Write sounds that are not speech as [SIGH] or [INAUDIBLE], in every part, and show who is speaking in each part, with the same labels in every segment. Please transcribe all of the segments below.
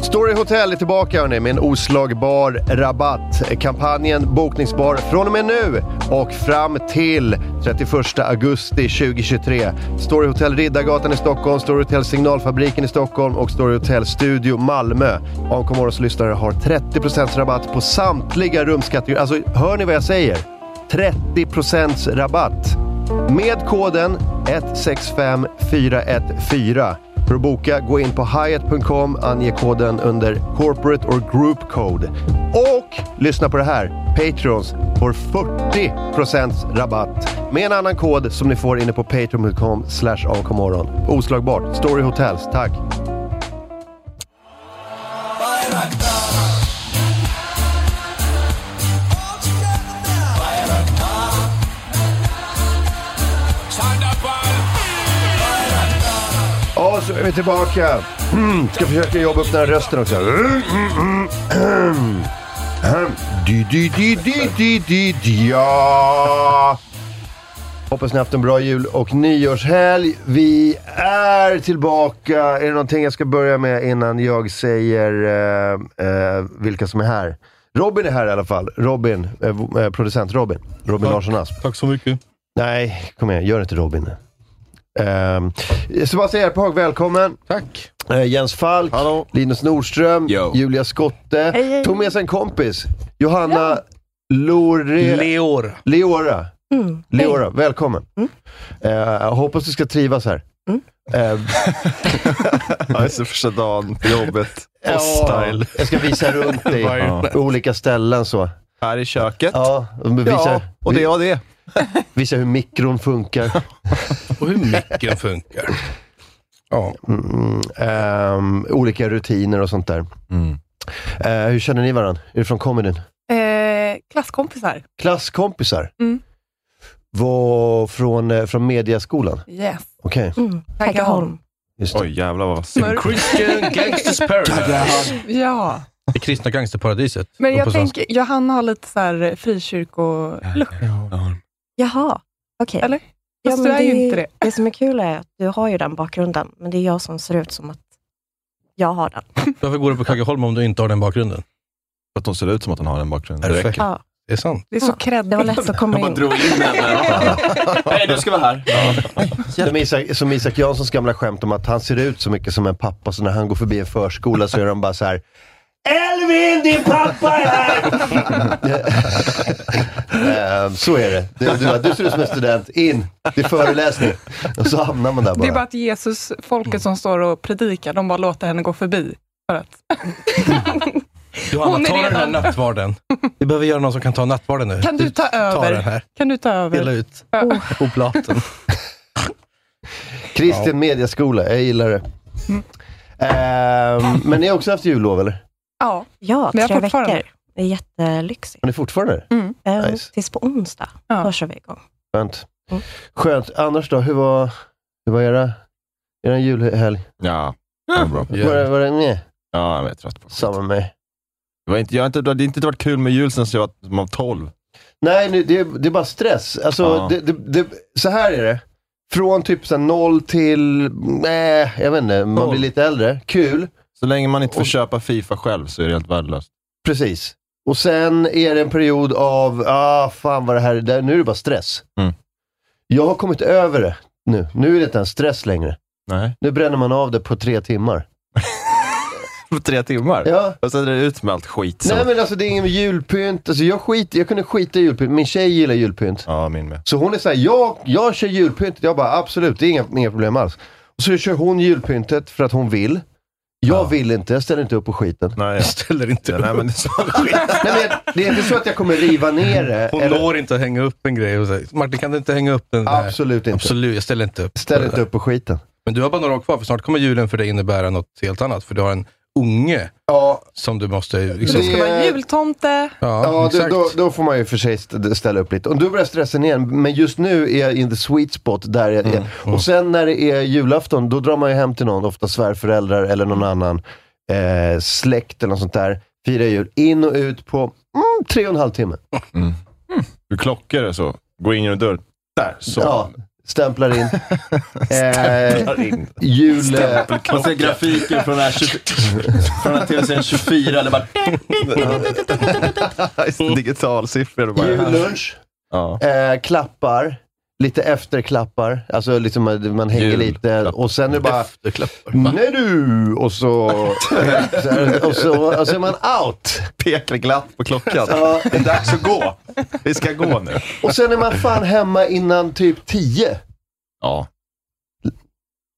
Speaker 1: Story Hotel är tillbaka hörni, med en oslagbar rabatt. Kampanjen bokningsbar från och med nu och fram till 31 augusti 2023. Story Hotel Riddargatan i Stockholm, Story Hotel Signalfabriken i Stockholm och Story Hotel Studio Malmö. AMK Morgons lyssnare har 30% rabatt på samtliga rumskategorier. Alltså, hör ni vad jag säger? 30% rabatt! Med koden 165414. För att boka, gå in på hyatt.com, ange koden under corporate or group code. Och lyssna på det här! Patrons får 40% rabatt med en annan kod som ni får inne på patreon.com slash avkomorgon. Oslagbart! Story Hotels, tack! Och så är vi tillbaka. Mm, ska försöka jobba upp den här rösten också. Mm, mm, mm, ahem. Ahem. Di, di, di, di, di, di, di, ja. Hoppas ni haft en bra jul och nyårshelg. Vi är tillbaka. Är det någonting jag ska börja med innan jag säger eh, eh, vilka som är här? Robin är här i alla fall. Robin, eh, v- eh, producent Robin. Robin Larsson Asp.
Speaker 2: Tack så mycket.
Speaker 1: Nej, kom igen. Gör inte Robin. Um, Sebastian Erpahag, välkommen.
Speaker 2: Tack.
Speaker 1: Eh, Jens Falk,
Speaker 2: Hallå.
Speaker 1: Linus Nordström,
Speaker 3: Yo.
Speaker 1: Julia Skotte. Tog med sig en kompis. Johanna Lore...
Speaker 2: Leor.
Speaker 1: Leora.
Speaker 4: Mm.
Speaker 1: Leora, välkommen. Eh, jag hoppas du ska trivas här. Eh,
Speaker 3: Ja, just det, första dagen på jobbet.
Speaker 1: ja,
Speaker 3: Hostile.
Speaker 1: jag ska visa runt dig
Speaker 2: Ja.
Speaker 1: på olika ställen. Så.
Speaker 3: Här i köket.
Speaker 1: Ja, visa,
Speaker 3: Ja, och det var det.
Speaker 1: visa hur mikron funkar.
Speaker 2: Och hur micken funkar. Ja.
Speaker 1: Mm, ehm, olika rutiner och sånt där.
Speaker 3: Mm.
Speaker 1: Eh, hur känner ni varandra? Är det från comedyn?
Speaker 4: Eh, klasskompisar.
Speaker 1: Klasskompisar?
Speaker 4: Mm.
Speaker 1: Var från, eh, från mediaskolan?
Speaker 4: Yes.
Speaker 1: Okej,
Speaker 4: Tackaholm.
Speaker 1: just det.
Speaker 3: Oj, jävlar vad synd.
Speaker 2: Christian
Speaker 4: [LAUGHS]
Speaker 2: Gangsters Paradise.
Speaker 4: Ja.
Speaker 2: Det kristna gangsterparadiset.
Speaker 4: Men
Speaker 2: Och på
Speaker 4: jag
Speaker 2: svenska.
Speaker 4: tänker, Johanna har lite så här frikyrko...
Speaker 5: Jaha, okej.
Speaker 4: Eller?
Speaker 5: Ja,
Speaker 4: Fast
Speaker 5: men
Speaker 4: du är ju inte det.
Speaker 5: Det som är kul är att du har ju den bakgrunden, men det är jag som ser ut som att jag har den.
Speaker 2: Varför går du på Kaggeholm om du inte har den bakgrunden?
Speaker 3: För att hon ser ut som att hon har en bakgrund.
Speaker 2: Det räcker.
Speaker 5: Ja.
Speaker 2: Det är sant.
Speaker 4: Det är så
Speaker 5: Ja,
Speaker 4: kreddigt.
Speaker 5: Det var lätt att komma in.
Speaker 3: in
Speaker 5: [LAUGHS]
Speaker 3: henne. [LAUGHS] Nej, du ska vara här.
Speaker 1: Som Isak, som Isak Janssons gamla skämt om att han ser ut så mycket som en pappa, så när han går förbi en förskola så är de bara så här. Elvin, din pappa är här! Ehm, så är det. Du, du, du ser ut som en student. In! Det är föreläsning. Och så hamnar man där bara.
Speaker 4: Det är bara att Jesus, folket som står och predikar, de bara låter henne gå förbi. För att, Hon
Speaker 2: Johanna,
Speaker 4: är
Speaker 2: ta den här
Speaker 4: redan-
Speaker 2: nattvarden. Vi behöver göra någon som kan ta nattvarden nu.
Speaker 4: kan du ta
Speaker 2: Ta den
Speaker 4: över?
Speaker 2: här.
Speaker 4: Kan du ta
Speaker 2: Dela
Speaker 4: över?
Speaker 2: ut
Speaker 4: Ja.
Speaker 2: oblaten.
Speaker 1: Kristen mediaskola, jag gillar det.
Speaker 4: Mm.
Speaker 1: Ehm, men ni har också haft jullov eller?
Speaker 4: Ja.
Speaker 5: Ja,
Speaker 4: Men jag
Speaker 5: tre
Speaker 4: fortfarande- Mm.
Speaker 5: veckor. Det är jättelyxigt.
Speaker 1: Har ni fortfarande det?
Speaker 5: Eh,
Speaker 1: Nice.
Speaker 5: Tills på onsdag,
Speaker 4: Ja.
Speaker 5: då kör vi igång.
Speaker 1: Skönt.
Speaker 5: Mm.
Speaker 1: Skönt. Annars då, hur var, hur var era, era julhelg?
Speaker 3: Ja, det var bra.
Speaker 1: Var, det- var det nej,
Speaker 3: Ja, jag är trött på
Speaker 1: samma med mig?
Speaker 3: det. Var inte, jag har inte, det har inte varit kul med jul sen jag var- var 12.
Speaker 1: Nej, nu, det, det är bara stress. Alltså,
Speaker 3: Ja.
Speaker 1: det, det, det, så här är det. Från typ så här noll till, nej, jag vet inte, man
Speaker 3: Noll.
Speaker 1: blir lite äldre. Kul,
Speaker 3: Så länge man inte får
Speaker 1: Och-
Speaker 3: köpa Fifa själv så är det helt värdelöst.
Speaker 1: precis. Och sen är det en period av, ah fan vad det här är, där- nu är det bara stress.
Speaker 3: Mm.
Speaker 1: Jag har kommit över det nu. Nu är det inte ens stress längre.
Speaker 3: Nej.
Speaker 1: Nu bränner man av det på tre timmar.
Speaker 3: [LAUGHS] på tre timmar.
Speaker 1: Ja.
Speaker 3: Och sen är det ut med allt skit.
Speaker 1: Nej
Speaker 3: som-
Speaker 1: men alltså det är ingen julpynt. Alltså, jag, skit, jag kunde skita i julpynt. Min tjej gillar julpynt.
Speaker 3: Ja, min med.
Speaker 1: Så hon är såhär, jag, jag kör julpyntet. Jag bara absolut, det är inga, inga problem alls. Och så kör hon julpyntet för att hon vill. Jag
Speaker 3: Ja.
Speaker 1: vill inte, jag ställer inte upp på skiten.
Speaker 3: Nej,
Speaker 2: Jag
Speaker 3: ja.
Speaker 2: ställer inte
Speaker 3: Ja, nej, men det är så.
Speaker 1: Nej, men jag, det är inte så att jag kommer riva ner det.
Speaker 2: Hon
Speaker 1: eller-
Speaker 2: når inte att hänga upp en grej och säger, Martin kan du inte hänga upp den där?
Speaker 1: Absolut inte.
Speaker 2: Absolut, jag ställer inte upp.
Speaker 1: Ställ inte upp på skiten.
Speaker 2: Men du har bara några år kvar, för snart kommer julen för dig innebära något helt annat. För du har en unge
Speaker 1: Ja,
Speaker 2: som du måste...
Speaker 4: Det
Speaker 2: Liksom,
Speaker 1: Det
Speaker 4: ska
Speaker 1: är-
Speaker 4: vara jultomte.
Speaker 2: ja,
Speaker 1: ja då,
Speaker 2: exakt.
Speaker 1: då, då får man ju för sig st- ställa upp lite. Och då börjar stressen igen, men just nu är jag in the sweet spot där jag
Speaker 2: Mm.
Speaker 1: är. Och sen när det är julafton, då drar man ju hem till någon, ofta svärföräldrar eller någon annan eh, släkt eller något sånt där. Firar jul, in och ut på mm, tre och en halv timme.
Speaker 3: Du klockar det så. Går in genom dörren. Där, så.
Speaker 1: Ja, stämplar
Speaker 2: [LAUGHS]
Speaker 1: in. eh,
Speaker 3: Där in.
Speaker 1: jul... eh,
Speaker 3: Man ser grafiken från den
Speaker 1: [LAUGHS]
Speaker 3: här, 20, från den här tv-serien 24. Eller bara... Digitalsiffror. och bara-
Speaker 1: Jullunch.
Speaker 3: Ja.
Speaker 1: Eh, klappar, lite efterklappar. Alltså liksom man, man hänger
Speaker 3: Jul.
Speaker 1: lite och sen är det bara Mm.
Speaker 2: Efterklappar.
Speaker 1: Nej du! Och så, [LAUGHS] och så, och så är man out.
Speaker 3: Pekar glatt på klockan.
Speaker 1: Ja.
Speaker 3: Det är dags att gå. Vi ska gå nu.
Speaker 1: Och sen är man fan hemma innan typ 10.
Speaker 3: Ja,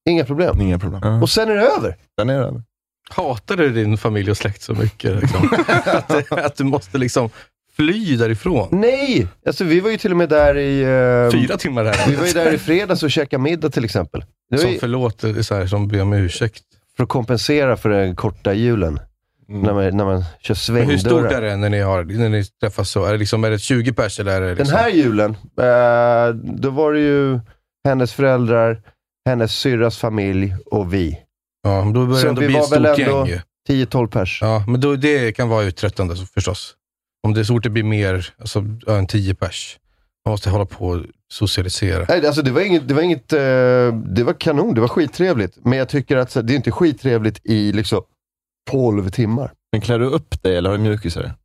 Speaker 1: Inga problem.
Speaker 3: inga problem. Ja.
Speaker 1: Och sen är det över.
Speaker 3: Sen är den.
Speaker 2: Hatar du din familj och släkt så mycket? Liksom?
Speaker 1: [LAUGHS]
Speaker 2: att, det- att du måste liksom fly därifrån?
Speaker 1: Nej! Alltså vi var ju till och med där i... eh,
Speaker 2: Fyra timmar
Speaker 1: Vi var ju
Speaker 2: här.
Speaker 1: där i fredags och käkade middag till exempel. Det var
Speaker 2: Som
Speaker 1: ju
Speaker 2: förlåter, så här, som ber om ursäkt. Mm.
Speaker 1: för att kompensera för den korta julen. När, man, när man kör
Speaker 2: Men hur stort är
Speaker 1: svängdörrar.
Speaker 2: det när ni, har, när ni träffas så? Är det, liksom, är det 20 pers eller är det
Speaker 1: Den
Speaker 2: liksom...
Speaker 1: här julen, eh, då var det ju hennes föräldrar, hennes syrras familj och vi.
Speaker 2: Ja, men då börjar
Speaker 1: Så
Speaker 2: det ändå
Speaker 1: vi
Speaker 2: bli ett
Speaker 1: var väl
Speaker 2: stort
Speaker 1: ändå-
Speaker 2: gäng ju.
Speaker 1: 10-12 pers.
Speaker 2: Ja, men då, det kan vara uttröttande så förstås. Om det är så fort det blir mer alltså, ja, än 10 pers. Man måste hålla på och socialisera.
Speaker 1: Nej, alltså det var inget, det var inget, eh, det var kanon, det var skittrevligt. Men jag tycker att så- det är inte skittrevligt i liksom 12 timmar.
Speaker 3: Men klär du upp dig eller har du mjukisar?
Speaker 1: [LAUGHS]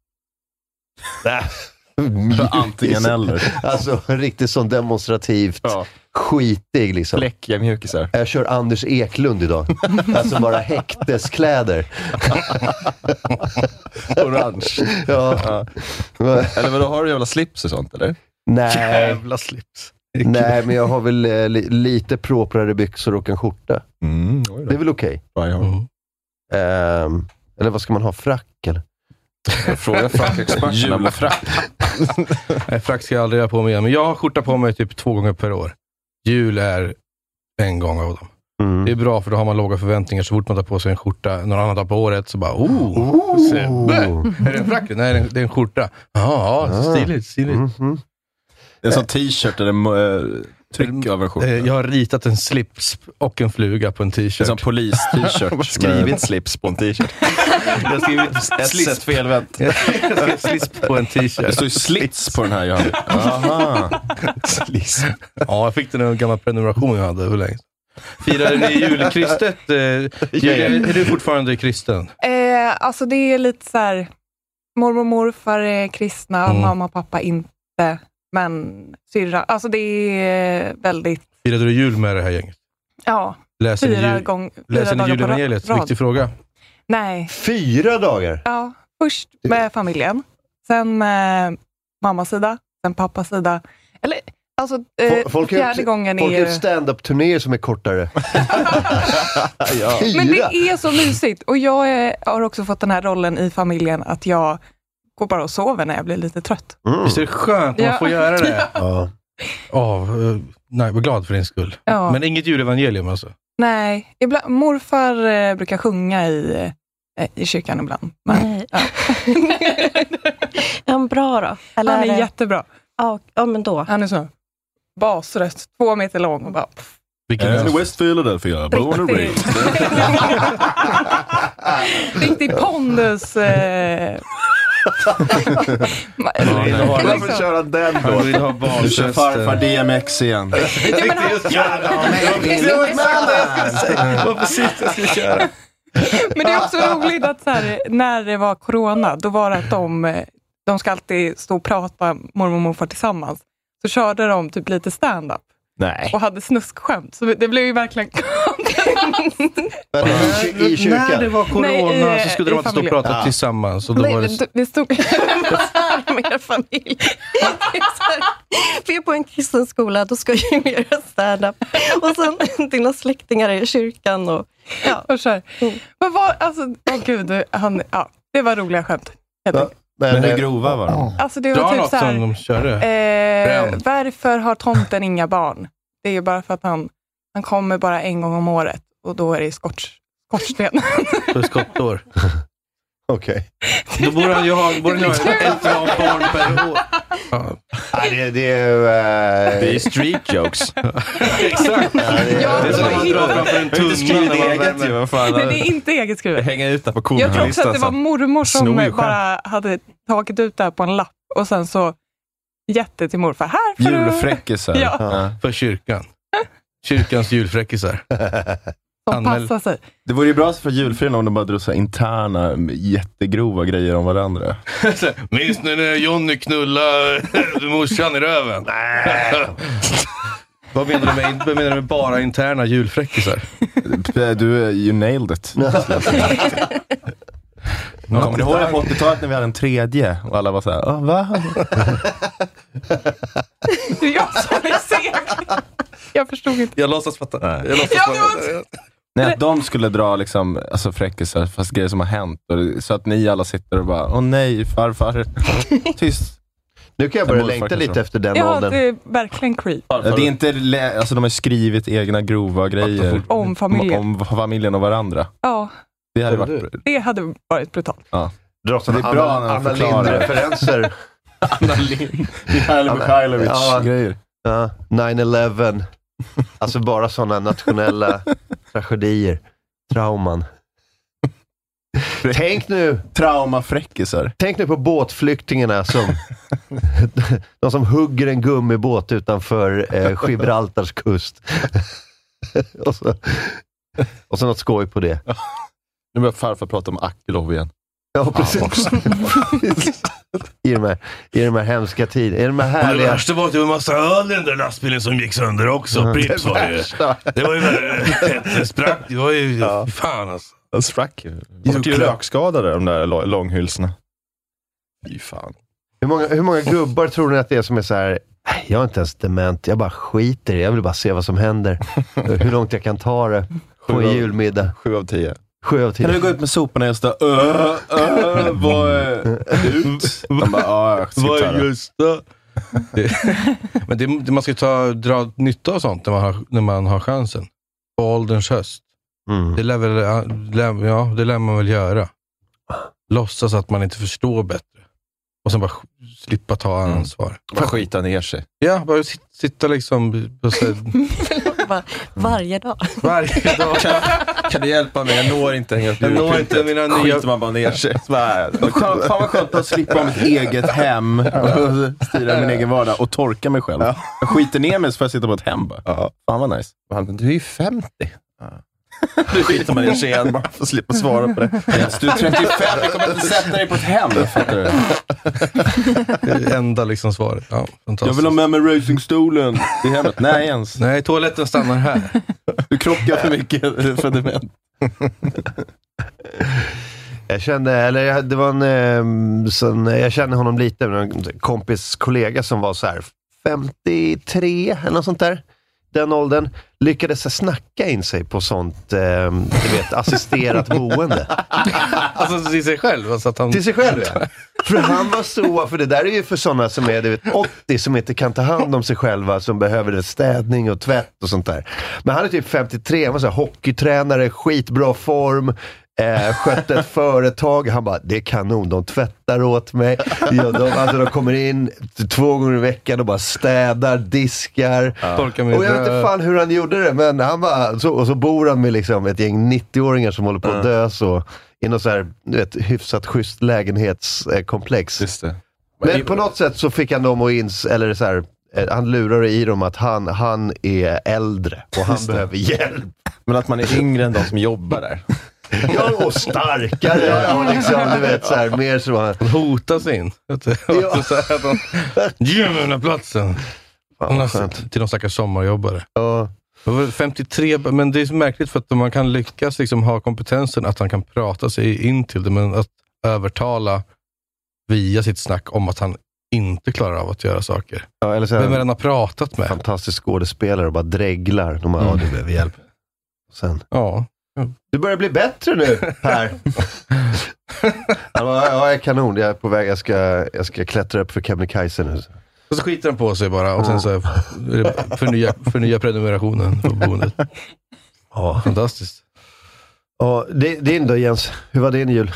Speaker 3: Antingen eller.
Speaker 1: Alltså riktigt sån demonstrativt
Speaker 3: Ja.
Speaker 1: skitig liksom.
Speaker 3: Fläckiga mjukisar.
Speaker 1: Jag kör Anders
Speaker 2: [LAUGHS]
Speaker 1: Eklund idag. Alltså bara häkteskläder.
Speaker 3: Orange.
Speaker 1: Ja.
Speaker 3: Ja. Eller vadå, har du jävla slips och sånt eller?
Speaker 1: Nej,
Speaker 2: slips.
Speaker 1: nej, men jag har väl eh, li, lite proprare byxor och en skjorta.
Speaker 3: Mm,
Speaker 1: Det är väl okej.
Speaker 2: Mm.
Speaker 1: Ehm, eller vad ska man ha? Frack eller?
Speaker 3: Fråga frackexperten. Julfrack.
Speaker 6: [LAUGHS]
Speaker 2: Nej, frack ska jag aldrig ha på mig igen. Men jag har skjorta på mig typ två gånger per år. Jul är en gång av dem.
Speaker 1: Mm.
Speaker 2: Det är bra för då har man låga förväntningar. Så fort man tar på sig en skjorta någon annan dag på året så bara oh, Sebbe! Är det en frack? Nej, det är en- det är en skjorta. Ja, ja, stiligt. stiligt.
Speaker 1: Mhm.
Speaker 3: En sån t-shirt där det är eh, tryck över
Speaker 2: Eh,
Speaker 3: skjortan.
Speaker 2: Jag har ritat en slips och en fluga på en
Speaker 3: Det är som
Speaker 2: t-shirt.
Speaker 7: [LAUGHS]
Speaker 2: [LAUGHS]
Speaker 3: polis-t-shirt. skrivit slips på en t-shirt. Jag har skrivit
Speaker 2: slips.
Speaker 3: s felvänt.
Speaker 2: Jag skrev slips på en
Speaker 3: Det
Speaker 2: t-shirt.
Speaker 3: står ju slits på den här Johan. Aha. Slips.
Speaker 2: Ja, jag fick den av en gammal prenumeration jag hade för länge Firade ni julkristet? [LAUGHS] Eh, Julia, är du fortfarande kristen?
Speaker 4: Eh, alltså det är lite så här, mormor och morfar är kristna,
Speaker 2: Mm.
Speaker 4: mamma och pappa inte, men syrra. Alltså det är väldigt,
Speaker 2: Firade du jul med det här gänget?
Speaker 4: ja,
Speaker 2: Läser ni,
Speaker 4: fyra,
Speaker 2: jul,
Speaker 4: gång, fyra
Speaker 2: läser ni
Speaker 4: dagar på
Speaker 2: julevangeliet?
Speaker 4: rad.
Speaker 2: Viktig fråga.
Speaker 4: Nej,
Speaker 1: Fyra dagar?
Speaker 4: ja, först med familjen, sen med mammas sida, sen pappas sida. Eller, alltså eh,
Speaker 1: Fo- folk är-
Speaker 4: fjärde gången
Speaker 1: Folk
Speaker 4: är
Speaker 1: gör
Speaker 4: ju...
Speaker 1: stand-up-turnéer som
Speaker 4: [LAUGHS]
Speaker 1: är kortare. ja.
Speaker 4: Men det är så mysigt och jag är, har också fått den här rollen i familjen att jag går bara och sover när jag blir lite trött.
Speaker 1: Mm.
Speaker 2: Visst är det skönt att man
Speaker 4: Ja.
Speaker 2: får göra det?
Speaker 1: Ja.
Speaker 2: Ja, eh, nej, vad glad för din skull.
Speaker 4: Ja.
Speaker 2: Men inget julevangelium alltså?
Speaker 4: [LAUGHS] Nej, ibland, morfar eh, brukar sjunga i, eh, i kyrkan ibland. Men
Speaker 5: Nej. [LAUGHS]
Speaker 4: Ja.
Speaker 5: är han bra då? Eller
Speaker 4: han är
Speaker 5: det-
Speaker 4: jättebra.
Speaker 5: ja, ja, men då.
Speaker 4: Han är så basröst, två meter lång och bara... Pff,
Speaker 2: Vilken är det?
Speaker 3: West Philadelphia, born and raised.
Speaker 4: [LAUGHS] Riktig pondus.
Speaker 2: [LAUGHS]
Speaker 4: Eh, [LAUGHS] Ma-
Speaker 2: nej.
Speaker 4: liksom.
Speaker 1: köra den
Speaker 2: Han vill ha
Speaker 3: Du kör farfar
Speaker 2: barnfesten.
Speaker 3: DMX igen.
Speaker 4: Ja, men han- Men det är också roligt att så här, när det var corona, då var det att de, eh, de ska alltid stå och prata, mormor och morfar tillsammans. Så körde de typ lite stand-up
Speaker 3: Nej.
Speaker 4: och hade snuskskämt. Så det blev ju verkligen
Speaker 1: Men i, kyr- i
Speaker 2: När det
Speaker 1: kyrkan.
Speaker 2: var corona
Speaker 4: Nej, i-
Speaker 2: så skulle de
Speaker 4: i
Speaker 2: inte stå och
Speaker 4: familjen.
Speaker 2: prata
Speaker 1: Ja.
Speaker 2: tillsammans. Och då var
Speaker 5: Nej,
Speaker 2: det...
Speaker 5: det, det stod [LAUGHS] med er familj. [LAUGHS] Det är så här, Vi är på en kristen skola, då ska ju ni göra stand-up. Och [LAUGHS] sen dina släktingar i kyrkan. Och, ja.
Speaker 4: [LAUGHS] Och så här.
Speaker 5: Mm.
Speaker 4: Men vad, alltså, åh gud, han, ja, det var roliga skämt. helt
Speaker 1: Ja.
Speaker 4: enkelt.
Speaker 1: Men,
Speaker 7: Men hur
Speaker 1: eh,
Speaker 7: grova var de?
Speaker 4: Alltså det var
Speaker 2: Dra
Speaker 4: typ
Speaker 2: något
Speaker 4: så här,
Speaker 2: som de körde.
Speaker 4: eh,
Speaker 2: Bränn.
Speaker 4: varför har tomten inga barn? Det är ju bara för att han, han kommer bara en gång om året och då är det i skorts, skorsten.
Speaker 2: [LAUGHS] För skottår.
Speaker 1: okej.
Speaker 2: Då borde han ju ha, borde han ju ha ett bra barn per år. Ja,
Speaker 1: Nej, det, det är...
Speaker 7: Det är
Speaker 1: eh,
Speaker 7: street jokes.
Speaker 4: [LAUGHS]
Speaker 2: exakt.
Speaker 1: ja, det-
Speaker 4: Ja,
Speaker 2: Det är som när man drar framför en
Speaker 7: Jag har inte
Speaker 2: tunna
Speaker 7: skrivit
Speaker 2: när man
Speaker 7: eget ju.
Speaker 2: värmer.
Speaker 7: Vad fan.
Speaker 4: Men det är inte eget skrivet.
Speaker 7: Hänga ut där på
Speaker 4: Jag tror också att
Speaker 7: komikerlistan
Speaker 2: alltså.
Speaker 4: det var
Speaker 7: sen.
Speaker 4: mormor som
Speaker 7: Snor ju
Speaker 4: eh, bara hade tagit ut det här på en lapp och sen så gett det till morfar. Här får du.
Speaker 7: Julfräckisar.
Speaker 4: Ja.
Speaker 2: För kyrkan. Kyrkans [LAUGHS] julfräckisar.
Speaker 4: Som
Speaker 2: Anmäl-
Speaker 4: passar sig.
Speaker 7: Det vore ju bra för julfrun om de bara drog så här interna, m, jättegrova grejer om varandra.
Speaker 2: Minns ni när Johnny knullade morsan i röven? Vad menar du med, vad menar du med bara interna julfräckisar?
Speaker 7: P- [LAUGHS] Du, eh, you nailed it. [LAUGHS] Kommer ni ihåg det på 80-talet när vi hade en tredje och alla var såhär, ah, va?
Speaker 4: [LAUGHS] Det är jag som är seg. Jag förstod inte.
Speaker 2: Jag låtsas fatta.
Speaker 7: Nej.
Speaker 2: Jag låtsas
Speaker 4: Ja, det
Speaker 2: fatta.
Speaker 7: Nej, att de skulle dra liksom, alltså, fräckisar, fast grejer som har hänt. Och, det- så att ni alla sitter och bara, åh nej, [LAUGHS] farfar. Tyst.
Speaker 1: Nu kan jag börja längta lite efter den
Speaker 4: Ja,
Speaker 1: åldern.
Speaker 4: det är verkligen creep.
Speaker 7: Det är inte, lä- alltså, de har skrivit egna grova grejer.
Speaker 4: Om familjen.
Speaker 7: Om, om familjen och varandra.
Speaker 4: Ja,
Speaker 7: Det hade
Speaker 1: Vad var
Speaker 7: varit
Speaker 4: det hade varit brutalt.
Speaker 1: Dra sådana
Speaker 7: Det är bra
Speaker 1: Anna,
Speaker 7: när de
Speaker 1: Anna
Speaker 7: förklarar.
Speaker 1: Lindh-referenser.
Speaker 7: [LAUGHS] Anna Lindh. Mihailo
Speaker 1: Ja.
Speaker 7: grejer.
Speaker 1: Ja, 9-11. Alltså bara sådana nationella tragedier. Trauman. Tänk nu,
Speaker 7: Traumafräckisar.
Speaker 1: tänk nu på båtflyktingarna som... de som hugger en gummibåt utanför eh, Gibraltars kust. [LAUGHS] och, så, och så något skoj på det.
Speaker 7: Nu börjar farfar prata om Akilov igen.
Speaker 1: Ja, precis. [LAUGHS] I, de här, I de här hemska tiderna. I de här
Speaker 2: Men Det
Speaker 1: härliga...
Speaker 2: värsta var att det var en massa öl i den där lastbilen som gick sönder också. Pripps var Mm. det ju. Det var ju värre. [LAUGHS] Det sprack. Det var ju...
Speaker 1: Ja.
Speaker 2: Fan alltså.
Speaker 7: Sprack ju. Vart ju
Speaker 2: Julklapp.
Speaker 7: rökskadade de där lo- långhylsorna. Fy fan.
Speaker 1: Hur många, hur många gubbar tror ni att det är som är så här, "Nej, jag är inte ens dement, jag bara skiter i det. jag vill bara se vad som
Speaker 7: [LAUGHS]
Speaker 1: händer. Hur långt jag kan ta det på
Speaker 7: Sju
Speaker 1: en
Speaker 7: av-
Speaker 1: julmiddag.
Speaker 7: Sju av tio.
Speaker 1: Sju av
Speaker 7: Kan du
Speaker 1: tio.
Speaker 7: gå ut med soporna just då? Öh, öh, vad är ut? De bara, ja, jag ska ta det.
Speaker 2: just det? Men det, det- man ska ta, dra nytta av sånt när man har, när man har chansen. På ålderns höst.
Speaker 1: Mm.
Speaker 2: Det lär, väl, lär, ja, det lär man väl göra. Låtsas att man inte förstår bättre. Och sen bara sk- slippa ta
Speaker 7: Mm.
Speaker 2: ansvar.
Speaker 7: Bara skita ner sig.
Speaker 2: Ja, bara sit, sitta liksom på så här,
Speaker 5: Bara, varje dag.
Speaker 2: varje dag.
Speaker 7: Kan du hjälpa mig? Jag når inte hänga upp
Speaker 2: Jag når
Speaker 7: julpyntet.
Speaker 2: inte mina nya-
Speaker 7: Skiter man bara ner [LAUGHS] sig. Så bara, Fan fan vad skönt att slippa ha mitt eget hem och styra min egen vardag och torka mig själv. Jag skiter ner mig så får jag sitta på ett hem bara. Fan vad nice. du är ju 50. Nu skiter man ner sig igen bara för att slippa svara på det. du är 35, jag kommer inte sätta dig på ett hem. Fattar du?
Speaker 2: Det är det enda liksom svaret. Ja, fantastiskt.
Speaker 7: Jag vill ha med mig racingstolen i hemmet. Nej ens.
Speaker 2: Nej, toaletten stannar här.
Speaker 7: Du krockar för mycket sediment.
Speaker 1: Jag kände, eller jag, det var en, eh, sån, jag kände honom lite, men en kompis kollega som var så här 53 eller något sånt där. Den åldern. Lyckades så här snacka in sig på sånt, eh, du vet, assisterat boende.
Speaker 2: [LAUGHS] Alltså till sig själv. Alltså att han,
Speaker 1: Till sig själv ja. För han var så, för det där är ju för sådana som är du vet, 80 som inte kan ta hand om sig själva, som behöver städning och tvätt och sånt där. Men han är typ 53, han var så här, hockeytränare, skitbra form, eh, skötte ett företag. Han bara, det är kanon, de tvättar åt mig. Ja, de, alltså, de kommer in två gånger i veckan och bara städar, diskar.
Speaker 2: Torkar med
Speaker 1: Och jag vet inte fan hur han gjorde det, men han bara, så, och så bor han med liksom ett gäng 90-åringar som håller på att dö så, i något så här, du vet, hyfsat schysst lägenhetskomplex.
Speaker 7: Just det.
Speaker 1: Men på något sätt så fick han dem att inse, eller så här, eh, han lurade i dem att han, han är äldre och han
Speaker 7: Just det.
Speaker 1: behöver hjälp.
Speaker 7: Men att man är yngre än de som jobbar där.
Speaker 1: Ja, och starkare och liksom, du vet, så
Speaker 7: [LAUGHS]
Speaker 1: här, mer så. här-
Speaker 2: hotas in. Vet du?
Speaker 1: Ja.
Speaker 2: Så här att han, Ge mig den här platsen!
Speaker 1: Fan,
Speaker 2: Hon
Speaker 1: vad
Speaker 2: har
Speaker 1: skönt.
Speaker 2: sett till de stackars sommarjobbare.
Speaker 1: Ja.
Speaker 2: Det var 53, men det är så märkligt för att man kan lyckas liksom ha kompetensen att han kan prata sig in till det, men att övertala via sitt snack om att han inte klarar av att göra saker.
Speaker 1: Ja, eller så är
Speaker 2: Vem är det
Speaker 1: han
Speaker 2: han har pratat med? Mm.
Speaker 1: fantastisk skådespelare och bara dreglar. De bara, ja du behöver hjälp. Sen,
Speaker 2: Ja.
Speaker 1: du börjar bli bättre nu Per. Han bara, ja, jag är kanon. Jag är på väg. Jag ska, jag ska klättra upp för Kebnekaise nu.
Speaker 2: Och så skiter han på sig bara och sen så är det förnya, förnya prenumerationen på boendet.
Speaker 1: Ja.
Speaker 2: Fantastiskt.
Speaker 1: Ja, di- din då Jens? Hur var din jul?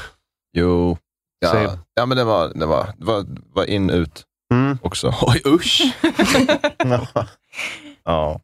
Speaker 3: Jo.
Speaker 1: Same.
Speaker 3: Ja, ja men det var, det var, det var, det var in ut
Speaker 1: Mm.
Speaker 3: också. Oj, usch!
Speaker 7: [LAUGHS]
Speaker 3: ja.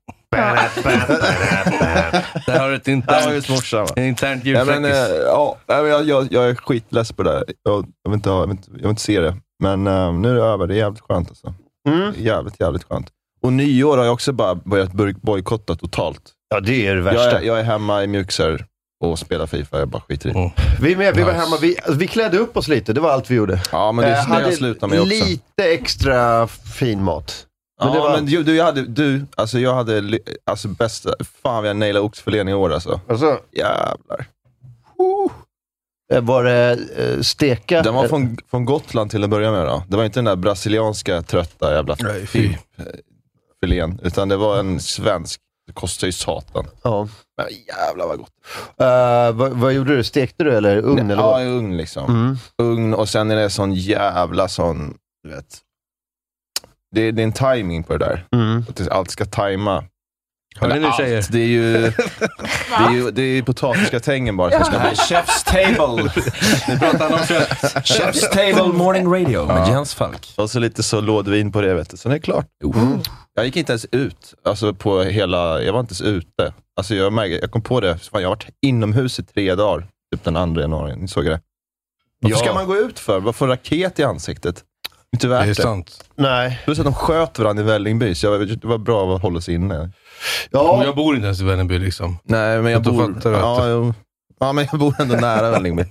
Speaker 2: Där har du ett
Speaker 3: Det var
Speaker 2: internt,
Speaker 3: just morsan. va?
Speaker 2: en internt
Speaker 3: Ja, men, eh,
Speaker 2: djurfräckis.
Speaker 3: ja, nej, men jag, jag, jag är skitless på det här. Jag, jag, vill inte ha, jag, vill inte, jag vill inte se det. Men eh, nu är det över. Det är jävligt skönt alltså.
Speaker 1: Mm.
Speaker 3: Jävligt, jävligt skönt. Och nyår har jag också bara börjat bur- bojkotta totalt.
Speaker 1: Ja, det är det
Speaker 3: Jag
Speaker 1: värsta.
Speaker 3: är, jag är hemma i mjukisar och spelar Fifa. Jag bara skiter i det.
Speaker 2: Mm.
Speaker 1: Vi med, vi var
Speaker 2: Nice.
Speaker 1: hemma. Vi, vi klädde upp oss lite. Det var allt vi gjorde.
Speaker 3: Ja, men det
Speaker 1: Eh,
Speaker 3: är det jag slutar med också.
Speaker 1: lite extra fin mat. men
Speaker 3: ja,
Speaker 1: det var-
Speaker 3: men du, du, jag hade, du, alltså jag hade, ly- alltså bästa, fan vad jag nailade oxfilén i år alltså.
Speaker 1: Alltså,
Speaker 3: Jävlar.
Speaker 1: eh, var det eh, steka?
Speaker 3: Den var från, från Gotland till att börja med då. Det var inte den där brasilianska trötta jävla typ, eh,
Speaker 2: Nej, fy.
Speaker 3: filén, utan det var en svensk. Det kostar ju satan.
Speaker 1: Ja.
Speaker 3: Men jävlar vad gott.
Speaker 1: Eh, vad, vad gjorde du? Stekte du eller ugn? eller
Speaker 3: ja,
Speaker 1: vad?
Speaker 3: i ugn liksom.
Speaker 1: Mm.
Speaker 3: Ugn och sen är det sån jävla sån, du vet. Det, det är en timing på det där.
Speaker 1: Mm.
Speaker 3: Att det- allt ska tajma.
Speaker 2: Hör ni nu
Speaker 3: allt.
Speaker 2: tjejer?
Speaker 3: Det är ju,
Speaker 2: [LAUGHS]
Speaker 3: det är ju, det är ju potatisgratängen bara som ska bli chef's table. Nu pratar han om kött. Chef's table morning radio med Jens Falk. Och så lite så lådvin på det, vet du. sen är det klart.
Speaker 2: Mm.
Speaker 3: Jag gick inte ens ut. Alltså på hela, jag var inte ens ute. Alltså jag, märker, jag kom på det, fan, jag har varit inomhus i tre dagar. Typ den 2 januari, ni såg det. Varför
Speaker 1: Ja.
Speaker 3: ska man gå ut för? Vad får raket i ansiktet? Inte
Speaker 2: Det
Speaker 3: värt
Speaker 2: är
Speaker 3: det.
Speaker 2: sant.
Speaker 1: Nej.
Speaker 3: Plus att de sköt varandra i Vällingby, så jag, det var bra att hålla sig inne.
Speaker 2: Och
Speaker 1: Ja,
Speaker 2: jag bor inte ens i Vällingby liksom.
Speaker 3: Nej, men jag
Speaker 2: Då
Speaker 3: bor...
Speaker 2: fattar du att
Speaker 3: Ja, jo. ja, men jag bor ändå nära Vällingby.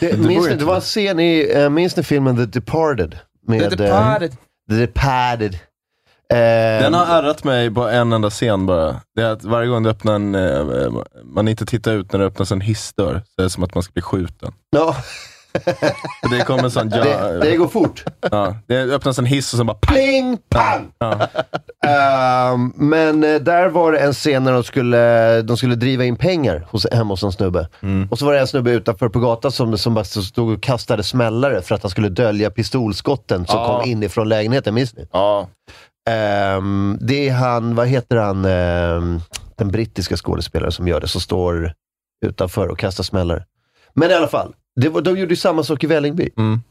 Speaker 1: det,
Speaker 3: bor
Speaker 1: minns ni,
Speaker 3: inte.
Speaker 1: det var en scen i, eh, minns ni filmen The Departed? Med,
Speaker 3: Det är
Speaker 1: eh,
Speaker 3: paret.
Speaker 1: The Departed. Eh,
Speaker 7: Den har ärrat mig på en enda scen bara. Det är att varje gång du öppnar en, eh, man inte tittar ut när det öppnas en hissdörr, så är det som att man ska bli skjuten.
Speaker 1: ja,
Speaker 7: För Det kommer en sån... Ja,
Speaker 1: det, det går fort.
Speaker 7: ja, det öppnas en hiss och sen bara... pang!
Speaker 1: Pling, pang! Ehm, men eh, där var det en scen när de skulle, de skulle driva in pengar hos, hemma hos en snubbe.
Speaker 3: Mm.
Speaker 1: Och så var det en snubbe utanför på gatan som, som bara stod och kastade smällare för att han skulle dölja pistolskotten som
Speaker 3: Ja.
Speaker 1: kom inifrån lägenheten. Minns ni?
Speaker 3: Ja,
Speaker 1: Ehm, det är han, vad heter han, ehm, den brittiska skådespelaren som gör det, som står utanför och kastar smällare. Men i alla fall, det var, de gjorde ju samma sak i Vällingby.
Speaker 3: Mm.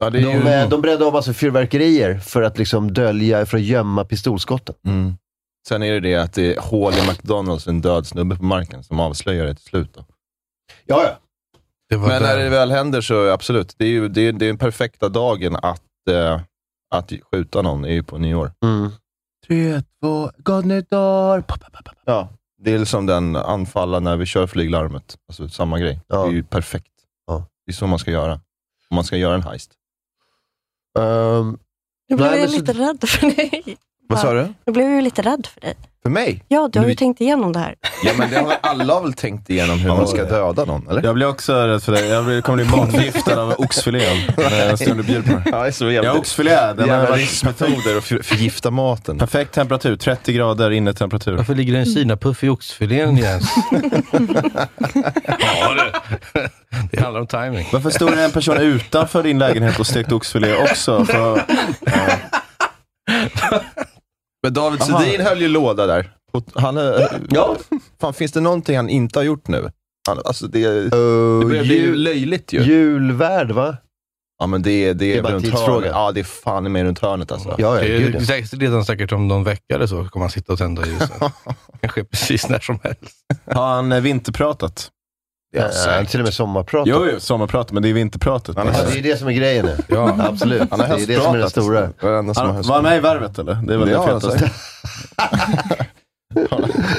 Speaker 3: ja det är
Speaker 1: De,
Speaker 3: ju...
Speaker 1: eh, de brände av massa fyrverkerier för att liksom dölja, för att gömma pistolskotten.
Speaker 3: Mm. Sen är det det att det är hål i McDonalds, en död snubbe på marken som avslöjar det till slut. Då.
Speaker 1: Ja, ja.
Speaker 2: Det var
Speaker 3: Men när
Speaker 2: där.
Speaker 3: det väl händer så absolut, det är ju det är, det är den perfekta dagen att, eh, att skjuta någon, är ju på nyår.
Speaker 1: Mm.
Speaker 3: Tre, två, god nytt år! Pa, pa, pa, pa. Ja, det är liksom den anfalla när vi kör flyglarmet. Alltså samma grej.
Speaker 1: Ja.
Speaker 3: Det är ju perfekt.
Speaker 1: Ja.
Speaker 3: Det är så man ska göra. Om man ska göra en heist.
Speaker 1: Ehm,
Speaker 5: [LAUGHS] Nu blev
Speaker 1: Nej,
Speaker 5: jag
Speaker 1: men så-
Speaker 5: lite rädd för dig. Vad sa
Speaker 3: du?
Speaker 5: Nu blev jag ju lite rädd för dig.
Speaker 3: För mig?
Speaker 5: Ja, du har
Speaker 3: Du-
Speaker 5: ju tänkt igenom det här.
Speaker 3: Ja, men det har väl alla väl tänkt igenom hur man ska döda någon, eller?
Speaker 7: Jag blir också rädd för det. Jag blir, kommer bli matförgiftad av
Speaker 3: [LAUGHS]
Speaker 7: oxfilén. eh, Den stunden du bjuder på den.
Speaker 3: Ja, det är så
Speaker 7: Jag har oxfilé. Den har
Speaker 3: Jävla
Speaker 7: varit
Speaker 3: riskmetoder och för, förgifta maten.
Speaker 7: perfekt temperatur. 30 grader innetemperatur.
Speaker 2: Varför ligger det en kinapuff i oxfilén Jens? ja, det. det handlar om timing.
Speaker 7: [LAUGHS] Varför stod det en
Speaker 2: [LAUGHS]
Speaker 7: person utanför din lägenhet och stekte oxfilé också? För,
Speaker 3: Men David
Speaker 7: Aha.
Speaker 3: Sedin höll ju låda där. Och Han, ja. Fan, finns det någonting han inte har gjort nu? Han, alltså det, det börjar bli
Speaker 1: jul-
Speaker 3: löjligt ju.
Speaker 1: julvärd va?
Speaker 3: Ja, men det, är- det
Speaker 1: Det
Speaker 3: är
Speaker 1: är bara
Speaker 3: runt
Speaker 1: tidsfråga.
Speaker 3: hörnet. Ja, det är fan i mig runt hörnet alltså.
Speaker 1: Ja, ja,
Speaker 2: Det
Speaker 1: gud,
Speaker 2: är
Speaker 1: ja.
Speaker 2: säkert, redan säkert om någon vecka eller så kommer han sitta och tända
Speaker 1: [LAUGHS]
Speaker 2: ljusen. Kanske precis när som helst.
Speaker 7: har han eh, vinterpratat?
Speaker 3: Det är
Speaker 1: Eh,
Speaker 3: säkert.
Speaker 1: till och med sommarprat.
Speaker 7: Jo, jo, sommarpratat, men det är vinterpratet.
Speaker 3: Han
Speaker 1: Ja,
Speaker 3: har
Speaker 1: det är ju det som är grejen nu.
Speaker 2: Ja.
Speaker 1: Absolut.
Speaker 3: Han
Speaker 1: Det
Speaker 3: har
Speaker 1: är det som är det
Speaker 3: höstpratat.
Speaker 1: stora.
Speaker 3: Varenda som har
Speaker 7: Han,
Speaker 3: höst.
Speaker 7: var han med i Värvet eller? Det är väl
Speaker 3: Det
Speaker 7: det,
Speaker 3: har han
Speaker 7: fetaste.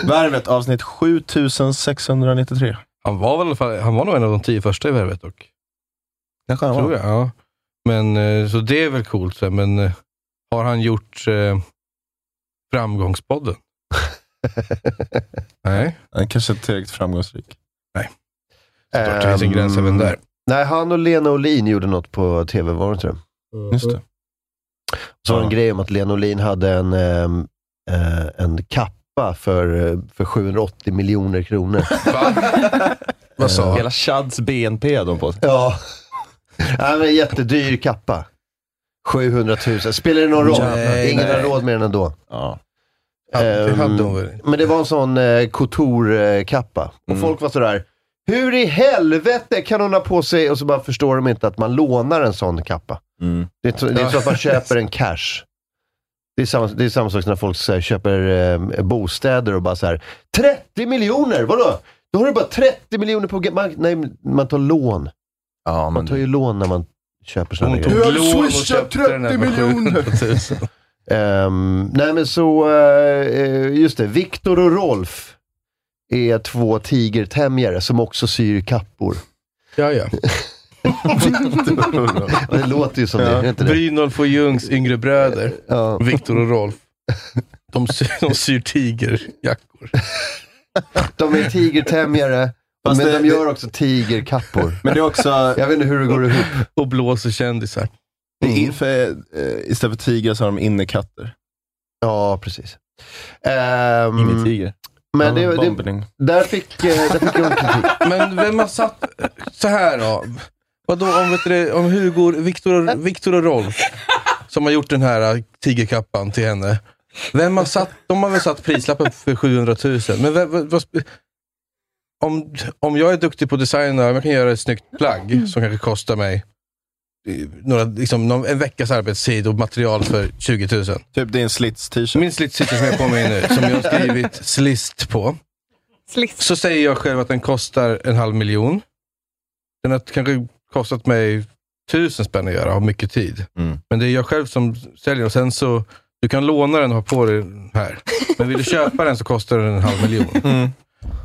Speaker 7: Värvet avsnitt 7693.
Speaker 2: Han var väl i alla fall, han var nog en av de tio första i värvet dock.
Speaker 3: Kanske han
Speaker 2: Tror jag. Ja. Men, eh, så det är väl coolt. så här, Men eh, har han gjort eh, Framgångspodden? Nej.
Speaker 7: Den kanske inte är tillräckligt framgångsrik.
Speaker 2: Nej. Såklart, det finns en gräns även där.
Speaker 1: Ehm, Nej, han och Lena Olin gjorde något på tv, var det inte det?
Speaker 7: Just det.
Speaker 1: Så var det en grej om att Lena Olin hade en, ehm, eh, en kappa för, eh, för 780
Speaker 2: [LAUGHS]
Speaker 1: miljoner kronor. Eh,
Speaker 2: Vad sa han?
Speaker 3: Hela Chads BNP hade de på sig.
Speaker 1: ja. Nej, men en jättedyr kappa. 700 000. Spelar det någon roll?
Speaker 2: Nej,
Speaker 1: Ingen har
Speaker 2: nej.
Speaker 1: råd med den ändå. Ehm,
Speaker 3: Ja.
Speaker 2: Ja, det hade hon väl.
Speaker 1: Men det var en sån eh, couture-kappa. Och
Speaker 3: Mm.
Speaker 1: folk var sådär, hur i helvete kan hon ha på sig? Och så bara förstår de inte att man lånar en sån kappa.
Speaker 3: Mm.
Speaker 1: Det är, inte så- det är inte så att man köper en cash. Det är samma, det är samma sak som när folk så här, köper eh, bostäder och bara så här 30 miljoner, vadå? Då har du bara 30 miljoner på... ga- Man, nej, man tar lån.
Speaker 3: Ja,
Speaker 1: Man
Speaker 3: men
Speaker 1: tar ju lån när man köper sådana
Speaker 2: Hon
Speaker 1: grejer.
Speaker 2: tog
Speaker 7: har
Speaker 2: lån och
Speaker 7: swishat
Speaker 2: köpte den här
Speaker 7: 30
Speaker 2: för [LAUGHS] 700 000.
Speaker 1: Ehm, nej men så, eh, eh, just det, Viktor och Rolf är två tigertämjare som också syr kappor.
Speaker 2: [LAUGHS] Ja, ja.
Speaker 1: [LAUGHS] Det låter ju som det, är det inte det?
Speaker 2: Brynolf och Ljungs yngre bröder,
Speaker 1: [LAUGHS] Ja.
Speaker 2: Viktor och Rolf. De syr, de syr tigerjackor.
Speaker 1: De är tigertämjare, men
Speaker 7: Fast det-
Speaker 1: de gör också tigerkappor.
Speaker 7: Men det är
Speaker 2: [LAUGHS]
Speaker 7: också,
Speaker 1: Jag vet inte hur det går ihop.
Speaker 7: [LAUGHS]
Speaker 2: Och blåser kändisar. Mm.
Speaker 7: det är för, eh, istället för tigrar så har de innekatter.
Speaker 1: Ja, precis. Ehm,
Speaker 7: Tiger.
Speaker 1: men det, det,
Speaker 7: Bombning.
Speaker 1: där fick, eh, där fick hon kritik.
Speaker 2: Men vem har satt... eh, Så här då. Vadå om, vet du, det, om Hugo, Viktor och, Viktor och Rolf, som har gjort den här äh, tigerkappan till henne. Vem har satt, de har väl satt prislappen för 700 000. Men vem, vad, vad, sp- om, om jag är duktig på design och jag kan göra ett snyggt plagg som kanske kostar mig eh, några, liksom, någon, en veckas arbetstid och material för 20 000.
Speaker 7: Typ din slits-t-shirt.
Speaker 2: Min slitscykel som jag har på mig nu, som jag har skrivit slist på.
Speaker 8: Slist.
Speaker 2: Så säger jag själv att den kostar en halv miljon. Den har kanske kostat mig tusen spänn att göra, har mycket tid.
Speaker 3: Mm.
Speaker 2: Men det är jag själv som säljer och sen så, du kan låna den och ha på dig den här. Men
Speaker 3: [LAUGHS]
Speaker 2: vill du köpa den så kostar den en halv miljon.
Speaker 3: Mm.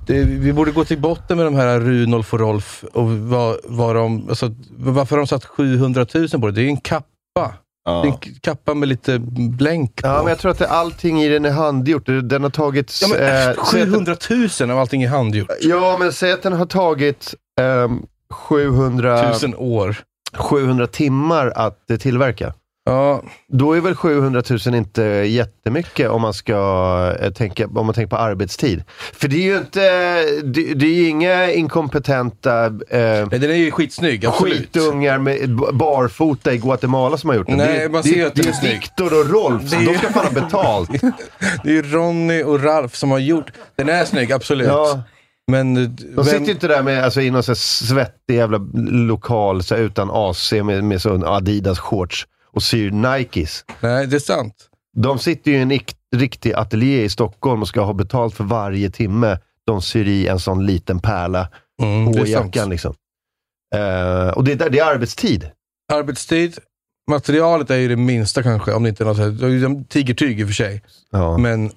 Speaker 2: Det, vi borde gå till botten med de här Runolf och Rolf och vad, vad de, alltså, varför har de satt 700 000 på det. Det är en kappa. Det är en
Speaker 3: Ja.
Speaker 2: k- kappa med lite blänk på.
Speaker 1: Ja, men jag tror att det, allting i den är handgjort. Den har tagits...
Speaker 2: Ja, men,
Speaker 1: eh,
Speaker 2: 700 000 av allting är handgjort.
Speaker 1: Ja, men säg att den har tagit ehm, 700,
Speaker 2: Tusen år.
Speaker 1: 700 timmar att eh, tillverka.
Speaker 2: Ja,
Speaker 1: Då är väl 700 000 inte jättemycket om man ska eh, tänka, om man tänker på arbetstid. För det är ju inte, det, det är ju inga inkompetenta eh,
Speaker 2: nej, den är ju skitsnygg. Absolut.
Speaker 1: skitungar med b- barfota i Guatemala som har gjort den.
Speaker 2: Nej,
Speaker 1: det, är-
Speaker 2: man
Speaker 1: det,
Speaker 2: ser ju
Speaker 1: är-
Speaker 2: att den
Speaker 1: det
Speaker 2: är
Speaker 1: är
Speaker 2: snygg.
Speaker 1: Viktor och Rolf, så
Speaker 2: Det är-
Speaker 1: de ska fan ha betalt.
Speaker 2: [LAUGHS] Det är ju Ronny och Ralf som har gjort... Den är snygg, absolut.
Speaker 1: Ja.
Speaker 2: Men eh,
Speaker 1: De
Speaker 2: vem,
Speaker 1: sitter ju inte där med, alltså, i någon så här svettig jävla lokal så här, utan AC med, med sån Adidas-shorts och syr Nikes.
Speaker 2: nej, det är sant.
Speaker 1: De sitter ju i en ikt, riktig ateljé i Stockholm och ska ha betalt för varje timme de syr i en sån liten pärla
Speaker 2: Mm, det
Speaker 1: på
Speaker 2: är sant.
Speaker 1: jackan. Liksom. Eh, och det, är där- det är arbetstid.
Speaker 2: Arbetstid. Materialet är ju det minsta kanske, om det inte är något så här, det är ju som tigertyg i och för sig.
Speaker 1: Ja.
Speaker 2: Men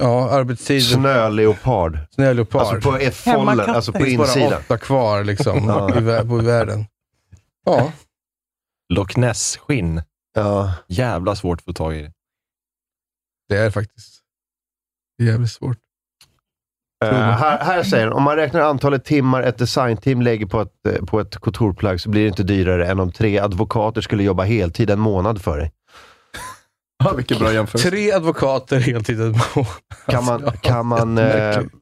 Speaker 2: ja, arbetstid,
Speaker 1: Snöleopard.
Speaker 2: snöleopard.
Speaker 1: Alltså på eh, follen,
Speaker 8: Hemmakatter.
Speaker 1: alltså på
Speaker 8: Finns
Speaker 2: Det finns bara
Speaker 1: insidan.
Speaker 2: åtta kvar liksom,
Speaker 1: [LAUGHS] Ja.
Speaker 2: i, vä- på, i världen. Ja,
Speaker 3: Loch Ness-skinn.
Speaker 1: Ja.
Speaker 3: Jävla svårt att få tag i.
Speaker 2: det är faktiskt jävligt svårt.
Speaker 1: Eh, här, här säger den, om man räknar antalet timmar ett designteam lägger på ett, eh, på ett kontorplagg så blir det inte dyrare än om tre advokater skulle jobba heltid en månad för dig.
Speaker 7: Ja, vilken bra jämförelse.
Speaker 2: Tre advokater heltid. Alltså,
Speaker 1: Kan man, kan man, eh,
Speaker 2: Märkligt.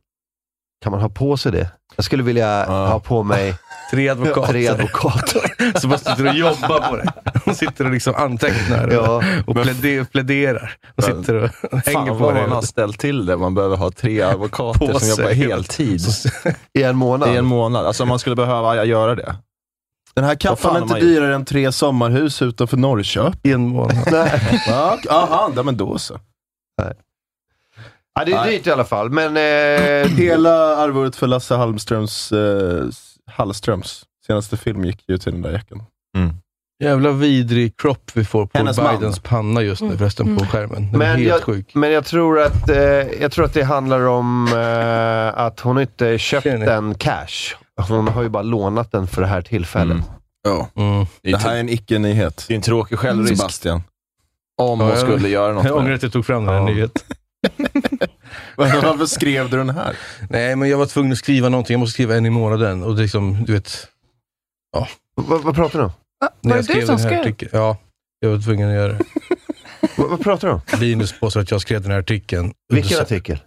Speaker 1: kan man ha på sig det? Jag skulle vilja
Speaker 3: Ja.
Speaker 1: ha på mig
Speaker 2: [LAUGHS] Tre advokater.
Speaker 1: tre advokater.
Speaker 2: Så bara sitter och jobbar på det. [LAUGHS] De sitter och liksom antecknar och,
Speaker 1: Ja.
Speaker 2: och pläde, pläderar. De sitter och hänger
Speaker 3: Fan
Speaker 2: på
Speaker 3: vad man har
Speaker 2: det.
Speaker 3: ställt till det. Man behöver ha [LAUGHS] tre advokater
Speaker 2: På
Speaker 3: som jobbar
Speaker 2: sig.
Speaker 3: heltid
Speaker 1: I en månad.
Speaker 3: [LAUGHS] i en månad. Alltså man skulle behöva göra det.
Speaker 7: Den här
Speaker 3: Vad fan
Speaker 7: kappan är
Speaker 3: har
Speaker 7: inte
Speaker 3: man gjort?
Speaker 7: dyrare än tre sommarhus utanför Norrköping.
Speaker 2: I en
Speaker 7: [LAUGHS]
Speaker 2: månad.
Speaker 7: Ja, ok- Aha, ja, men då så.
Speaker 1: Ja, det är
Speaker 7: Nej.
Speaker 1: dyrt i alla fall,
Speaker 2: [CLEARS THROAT]
Speaker 1: men eh,
Speaker 7: Hela arvodet för Lasse Halmströms, eh, Hallströms senaste film gick ju till den där
Speaker 1: Mm.
Speaker 7: jackan.
Speaker 2: Jävla vidrig kropp vi får på
Speaker 7: Hennes man.
Speaker 2: Bidens panna just nu förresten på skärmen. Den är
Speaker 1: Men
Speaker 2: helt
Speaker 1: jag-
Speaker 2: sjuk.
Speaker 1: men jag, tror att, eh, jag tror att det handlar om eh, att hon inte köpt
Speaker 2: Ser ni?
Speaker 1: den cash. Hon har ju bara lånat den för det här tillfället.
Speaker 3: Mm.
Speaker 2: Mm.
Speaker 3: Det
Speaker 7: Det
Speaker 3: är ju
Speaker 7: här är en icke-nyhet.
Speaker 3: Det är en tråkig självrisk.
Speaker 7: Sebastian.
Speaker 3: Om
Speaker 2: Ja,
Speaker 3: hon
Speaker 2: jag-
Speaker 3: skulle göra något
Speaker 2: Jag
Speaker 3: med
Speaker 2: ångrar
Speaker 3: det.
Speaker 2: att jag tog fram den här
Speaker 3: Ja. [LAUGHS]
Speaker 2: nyheten.
Speaker 7: [LAUGHS]
Speaker 2: [LAUGHS]
Speaker 7: Varför skrev du den här?
Speaker 2: Nej, men jag var tvungen att skriva någonting. Jag måste skriva en i månaden. Och det är liksom, du vet... Ja.
Speaker 1: vad pratar du om?
Speaker 2: När
Speaker 6: var
Speaker 2: jag
Speaker 6: det du som
Speaker 2: den här
Speaker 6: skrev?
Speaker 2: artikeln- Ja, jag var tvungen att göra det.
Speaker 1: Vad, vad pratar du om?
Speaker 2: Linus påstår att jag skrev den här artikeln.
Speaker 1: Vilken artikel?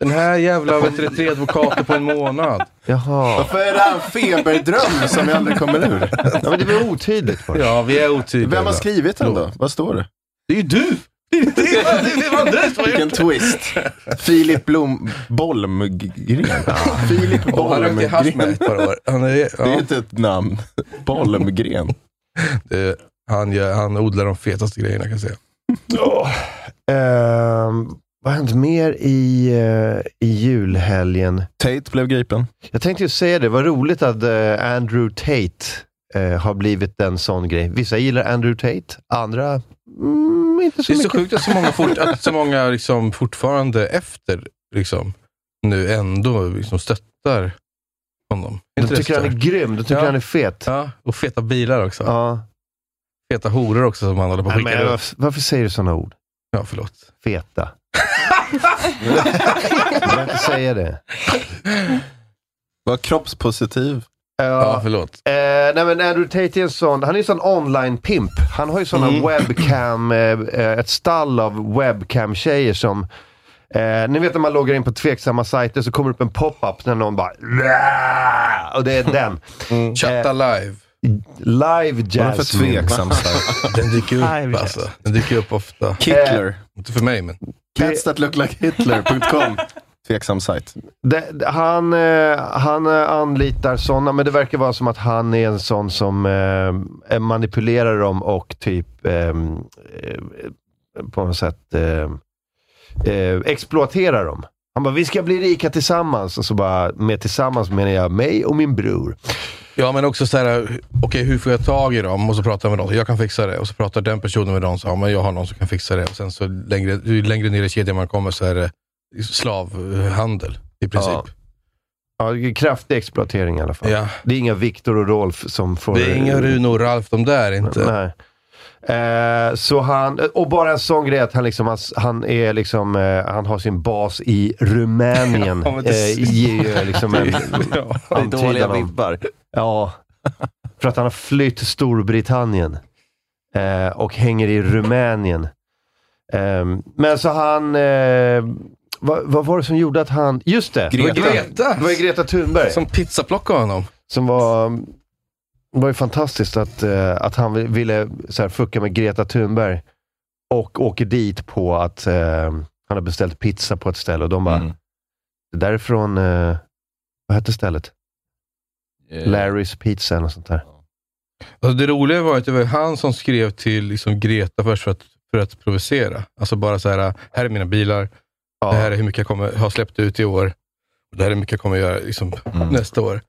Speaker 2: Den här jävla vet du, tre advokater på en månad.
Speaker 1: Jaha.
Speaker 7: Varför är det här en feberdröm som jag aldrig kommer ur?
Speaker 1: Ja, men det var otydligt bara.
Speaker 2: Ja, vi är otydliga.
Speaker 7: Vem har
Speaker 2: idag.
Speaker 7: skrivit den då? Vad står det?
Speaker 2: Det är ju du! Det är ju det är- det är vad du som har gjort
Speaker 7: Vilken twist. Filip Blom... Bolmgren. Filip
Speaker 2: det. Och han rökte hasch med
Speaker 7: Bolmgren.
Speaker 2: ett par år. Han, är,
Speaker 7: Det är
Speaker 2: ja,
Speaker 7: inte ett namn. Bolmgren.
Speaker 2: det, han, gör, han odlar de fetaste grejerna kan jag säga.
Speaker 1: Ehm, vad har hänt mer i, eh, i julhelgen?
Speaker 7: Tate blev gripen.
Speaker 1: Jag tänkte ju säga det, vad roligt att eh, Andrew Tate eh, har blivit en sån grej. Vissa gillar Andrew Tate, andra mm, inte så
Speaker 2: Det är så
Speaker 1: mycket.
Speaker 2: sjukt att så många, fort, att så många liksom fortfarande efter liksom, nu ändå liksom stöttar honom.
Speaker 1: De
Speaker 2: Inte det
Speaker 1: tycker han är
Speaker 2: stört?
Speaker 1: grym, de tycker
Speaker 2: Ja.
Speaker 1: han är fet.
Speaker 2: Ja, och feta bilar också.
Speaker 1: Ja.
Speaker 2: Feta horor också som han håller på att
Speaker 1: Nej,
Speaker 2: skicka
Speaker 1: men,
Speaker 2: runt.
Speaker 1: varför, varför säger du sådana ord?
Speaker 2: Ja, förlåt.
Speaker 1: Feta. [LAUGHS] Jag vill inte säga det.
Speaker 7: Var kroppspositiv.
Speaker 2: Ja,
Speaker 1: Ja,
Speaker 2: förlåt.
Speaker 1: Eh, nej men Andrew Tate är en sån, han är en sån online-pimp. Han har ju såna
Speaker 2: Mm.
Speaker 1: webcam, eh, eh, ett stall av webcam-tjejer som Eh, ni vet när man loggar in på tveksamma sajter så kommer det upp en pop-up när någon bara "Rää!" Och
Speaker 2: [LAUGHS]
Speaker 1: det är den.
Speaker 2: Mm.
Speaker 1: Eh,
Speaker 2: Chatta live.
Speaker 1: Live
Speaker 7: Varför
Speaker 1: Jasmine.
Speaker 7: tveksam? så?
Speaker 1: [LAUGHS]
Speaker 2: Den dyker
Speaker 6: Live,
Speaker 2: upp alltså. Den dyker upp ofta.
Speaker 7: Kickler.
Speaker 2: Eh, Inte för mig, men.
Speaker 7: Cats that look like
Speaker 2: [LAUGHS]
Speaker 7: Hitler.com. Tveksam sajt.
Speaker 1: Det- han, eh, han eh, anlitar sådana, men det verkar vara som att han är en sån som eh, manipulerar dem och typ ehm, eh, på något sätt eh, eh, exploaterar dem. Han bara, vi ska bli rika tillsammans. Och så bara, med tillsammans menar jag mig och min bror.
Speaker 2: Ja, men också så här, okej, hur får jag tag i dem? Och så pratar jag med dem. Jag kan fixa det. Och så pratar den personen med dem. Så, ja, men jag har någon som kan fixa det. Och sen så längre, ju längre ner i kedjan man kommer så är det slavhandel i princip.
Speaker 1: Ja, det är kraftig exploatering i alla fall.
Speaker 2: Ja.
Speaker 1: Det är inga Viktor och Rolf som får...
Speaker 2: Det är inga Rune och Ralf de där inte.
Speaker 1: Nej. Eh, så han, och bara en sån grej att han, liksom, han, han, är liksom, eh, han har sin bas i
Speaker 2: [LAUGHS]
Speaker 1: Rumänien.
Speaker 3: Ja, men det-
Speaker 1: eh, ger ju liksom
Speaker 3: [LAUGHS]
Speaker 1: en
Speaker 2: Ja.
Speaker 3: Det är dåliga
Speaker 1: antydan om...
Speaker 3: vibbar.
Speaker 1: Ja, för att han har flytt Storbritannien eh, och hänger i Rumänien. Eh, men så han... Eh, vad, vad var det som gjorde att han... Just det!
Speaker 2: Det var
Speaker 1: Det var Greta,
Speaker 2: Greta
Speaker 1: det var ju Greta Thunberg.
Speaker 2: som pizzaplockade honom.
Speaker 1: Som var... Det var ju fantastiskt att, eh, att han vi- ville så här, fucka med Greta Thunberg och åker dit på att eh, han har beställt pizza på ett ställe och de bara,
Speaker 3: Mm.
Speaker 1: det där är från, eh, vad hette stället? Larry's Pizza eller något sånt där.
Speaker 2: Alltså det roliga var att det var han som skrev till liksom Greta först för att, för att provocera. Alltså bara så här, här är mina bilar, det här är hur mycket jag kommer ha släppt ut i år. Och det här är hur mycket jag kommer göra liksom, nästa år.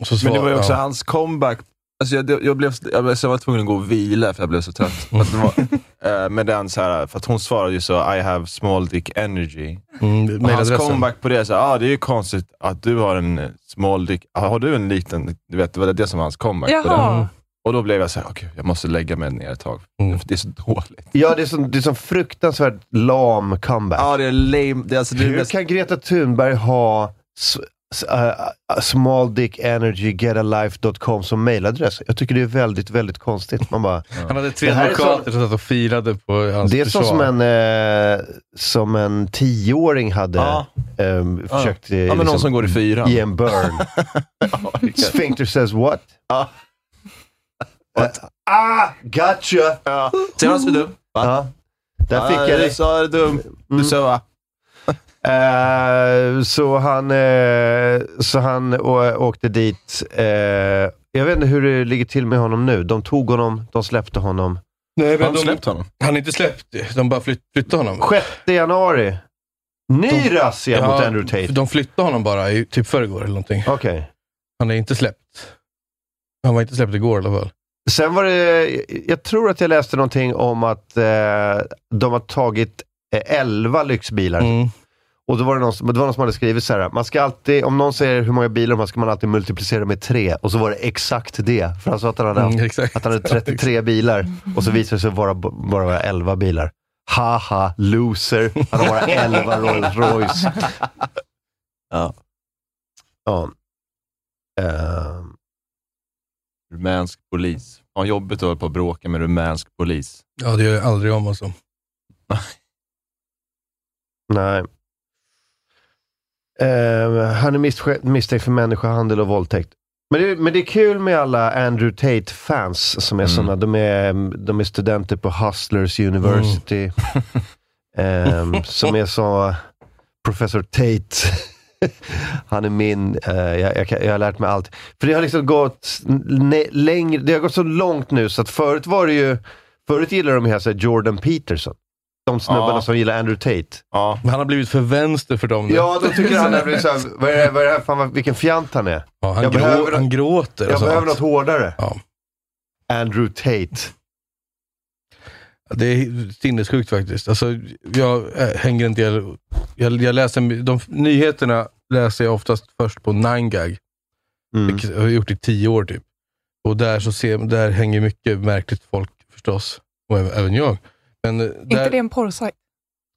Speaker 2: Och så
Speaker 3: Mm. Men det
Speaker 2: svar-
Speaker 3: var ju också
Speaker 2: ja.
Speaker 3: hans comeback. Alltså jag, jag, blev, jag, blev, så jag var tvungen att gå och vila för jag blev så trött. För, att det var, eh, med den så här, för att hon svarade ju så I have small dick energy.
Speaker 2: mm,
Speaker 3: Och hans
Speaker 2: mailadressen.
Speaker 3: comeback på det, så här, ah, det är ju konstigt att du har en eh, small dick. Ah, har du en liten? Du vet, det var det som var hans comeback på det.
Speaker 6: Jaha.
Speaker 3: Och då blev jag så här, okay, jag måste lägga mig ner ett tag.
Speaker 2: Mm.
Speaker 3: För det är så dåligt.
Speaker 1: Ja, det är sån, det är sån fruktansvärt lam comeback.
Speaker 3: Ja, ah, det är lame. Det, är alltså, det är
Speaker 1: Hur
Speaker 3: mest-
Speaker 1: kan Greta Thunberg ha s- s- eh, small dick energy getalife.com som mailadress? Jag tycker det är väldigt, väldigt konstigt. Man bara,
Speaker 2: Han hade tre
Speaker 1: Det här är
Speaker 2: advokater som satt och filade på hans
Speaker 1: Det är så
Speaker 2: försvar.
Speaker 1: som en, eh, som en tioåring hade
Speaker 3: Ja.
Speaker 1: ehm,
Speaker 3: Ja.
Speaker 1: försökt eh,
Speaker 3: ja, men någon
Speaker 1: liksom,
Speaker 3: som går i fyran.
Speaker 1: ge en
Speaker 3: [LAUGHS]
Speaker 1: burn. Sphincter says what?
Speaker 3: Ja.
Speaker 1: Eh, ah, gotcha!
Speaker 3: Ja. Ser du vad så dum? Va?
Speaker 1: Ja. Där fick jag
Speaker 3: Du
Speaker 1: det.
Speaker 3: sa dum. Du sa va?
Speaker 1: Mm. [LAUGHS] Eh, så han, eh, så han å- åkte dit. Eh, jag vet inte hur det ligger till med honom nu. De tog honom, de släppte honom.
Speaker 2: Nej,
Speaker 7: Har
Speaker 2: men
Speaker 7: de
Speaker 2: de,
Speaker 7: släppt honom?
Speaker 2: han är inte släppt. De bara flytt, flyttade honom.
Speaker 1: 6 januari. Ny razzia
Speaker 2: Ja,
Speaker 1: mot Andrew Tate.
Speaker 2: De flyttade honom bara i typ förrgår eller någonting.
Speaker 1: Okej.
Speaker 2: Han är inte släppt. Han var inte släppt igår i alla fall.
Speaker 1: Sen var det, jag tror att jag läste någonting om att eh, de har tagit eh, 11 lyxbilar.
Speaker 2: Mm.
Speaker 1: Och då var det, någon, som- det var någon som hade skrivit så här, man ska alltid, om någon säger hur många bilar de har, ska man alltid multiplicera med tre. Och så var det exakt det. För han sa att han hade, haft,
Speaker 2: Mm, exakt.
Speaker 1: att han hade 33 bilar och så visade det sig vara, bara vara 11 bilar. Haha, loser. Han har bara 11 Rolls Royce.
Speaker 3: Ja.
Speaker 1: ja. Ehm.
Speaker 3: Rumänsk polis. Ja, jobbigt att hålla på och bråka med rumänsk polis.
Speaker 1: [LAUGHS]
Speaker 2: Ja, det gör jag aldrig om alltså.
Speaker 1: Nej. Eh, han är misstänkt- misstänkt för människohandel och våldtäkt. Men det, men det är kul med alla Andrew Tate-fans som är sådana. De är, de är studenter på Hustlers University. [LAUGHS] Ehm, som är så... Professor Tate. [LAUGHS] Han är min. eh, jag, jag, kan- jag har lärt mig allt. För det har liksom gått ne- längre. Det har gått så långt nu så att förut var det ju... Förut gillade de ju här, så här Jordan Peterson. De snubbarna
Speaker 2: Ja.
Speaker 1: som gillar Andrew Tate.
Speaker 2: Men han har blivit för vänster för dem nu.
Speaker 1: Ja, då tycker han att det är så här, vad är det, vad är det här, fan vad, vilken fjant han är.
Speaker 2: Ja, han,
Speaker 1: jag
Speaker 2: grå,
Speaker 1: behöver,
Speaker 2: han gråter. alltså. och
Speaker 1: jag
Speaker 2: sånt.
Speaker 1: behöver något hårdare.
Speaker 2: Ja.
Speaker 1: Andrew Tate.
Speaker 2: Det är sinnessjukt faktiskt. Alltså, jag eh, hänger en del... Jag, jag läser, de nyheterna läser jag oftast först på 9gag.
Speaker 1: Mm.
Speaker 2: Vilket jag har gjort i tio år typ. Och där, så ser, där hänger mycket märkligt folk förstås. Och även- även jag. Men eh,
Speaker 4: inte
Speaker 2: där,
Speaker 4: det en porrsajt?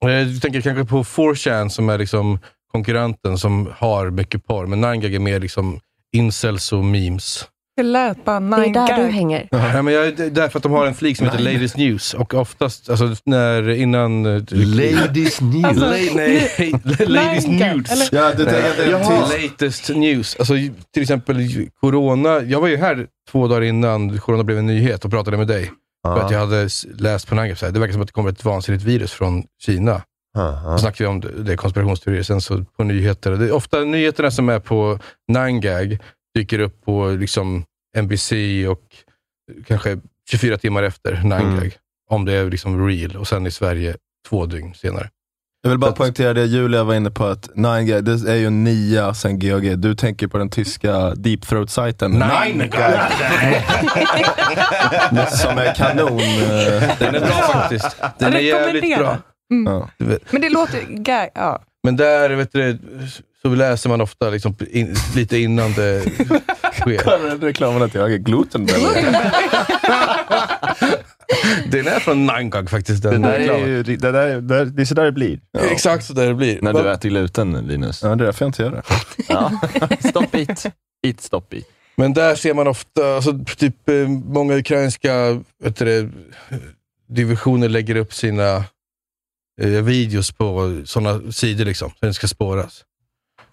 Speaker 2: Och Jag tänker kanske på 4chan som är liksom konkurrenten som har mycket porr, men 9gag är mer liksom incels och memes.
Speaker 4: Det lät bara
Speaker 5: Det är
Speaker 4: nine
Speaker 5: där du
Speaker 4: gag.
Speaker 5: hänger.
Speaker 2: Ja, men jag, det är därför att de har en flik som heter Ladies News och oftast, alltså när, innan... eh, [LAUGHS]
Speaker 1: Ladies news.
Speaker 4: Alltså,
Speaker 2: La- nej, Ladies
Speaker 4: Nine gag,
Speaker 2: Nudes.
Speaker 4: eller?
Speaker 7: Ja, du tänker att det är
Speaker 2: Jaha.
Speaker 7: tyst.
Speaker 2: Latest news. Alltså, till exempel ju- corona. Jag var ju här två dagar innan corona blev en nyhet och pratade med dig. För att jag hade s- läst på Nangap, så här, det verkar som att det kommer ett vansinnigt virus från Kina. Då snackade vi om det, det är konspirationsteorier, sen så på nyheter. Det är ofta nyheterna som är på 9gag dyker upp på liksom NBC och kanske 24 timmar efter 9gag.
Speaker 7: Mm.
Speaker 2: Om det är liksom real och sen i Sverige två dygn senare.
Speaker 7: Jag vill bara poängtera det Julia var inne på, att 9 det är ju en nia sen GHG. Du tänker på den tyska deepthroat-sajten.
Speaker 2: [LAUGHS]
Speaker 7: Som är kanon. eh,
Speaker 2: Den är bra faktiskt. Den är jävligt
Speaker 4: Rekommendera.
Speaker 2: bra.
Speaker 7: Ja.
Speaker 4: Mm. Men det låter ju gag. Ja.
Speaker 2: Men där vet du, så läser man ofta liksom in, lite innan det sker.
Speaker 7: Kolla den reklamen att jag är glutenbelly.
Speaker 2: [LAUGHS] Den är från Nangag faktiskt. Den
Speaker 1: Det där är
Speaker 2: reklamen.
Speaker 1: ju, det, där, där, det är så där det blir. [LAUGHS]
Speaker 2: Exakt så där det blir.
Speaker 3: När du äter gluten, Linus.
Speaker 7: Ja, det är därför jag inte gör det.
Speaker 3: Ja. [LAUGHS] Stop it. Eat, stop it.
Speaker 2: Men där ser man ofta, alltså, typ, eh, många ukrainska vet du, det, divisioner lägger upp sina eh, videos på sådana sidor liksom, så den ska spåras.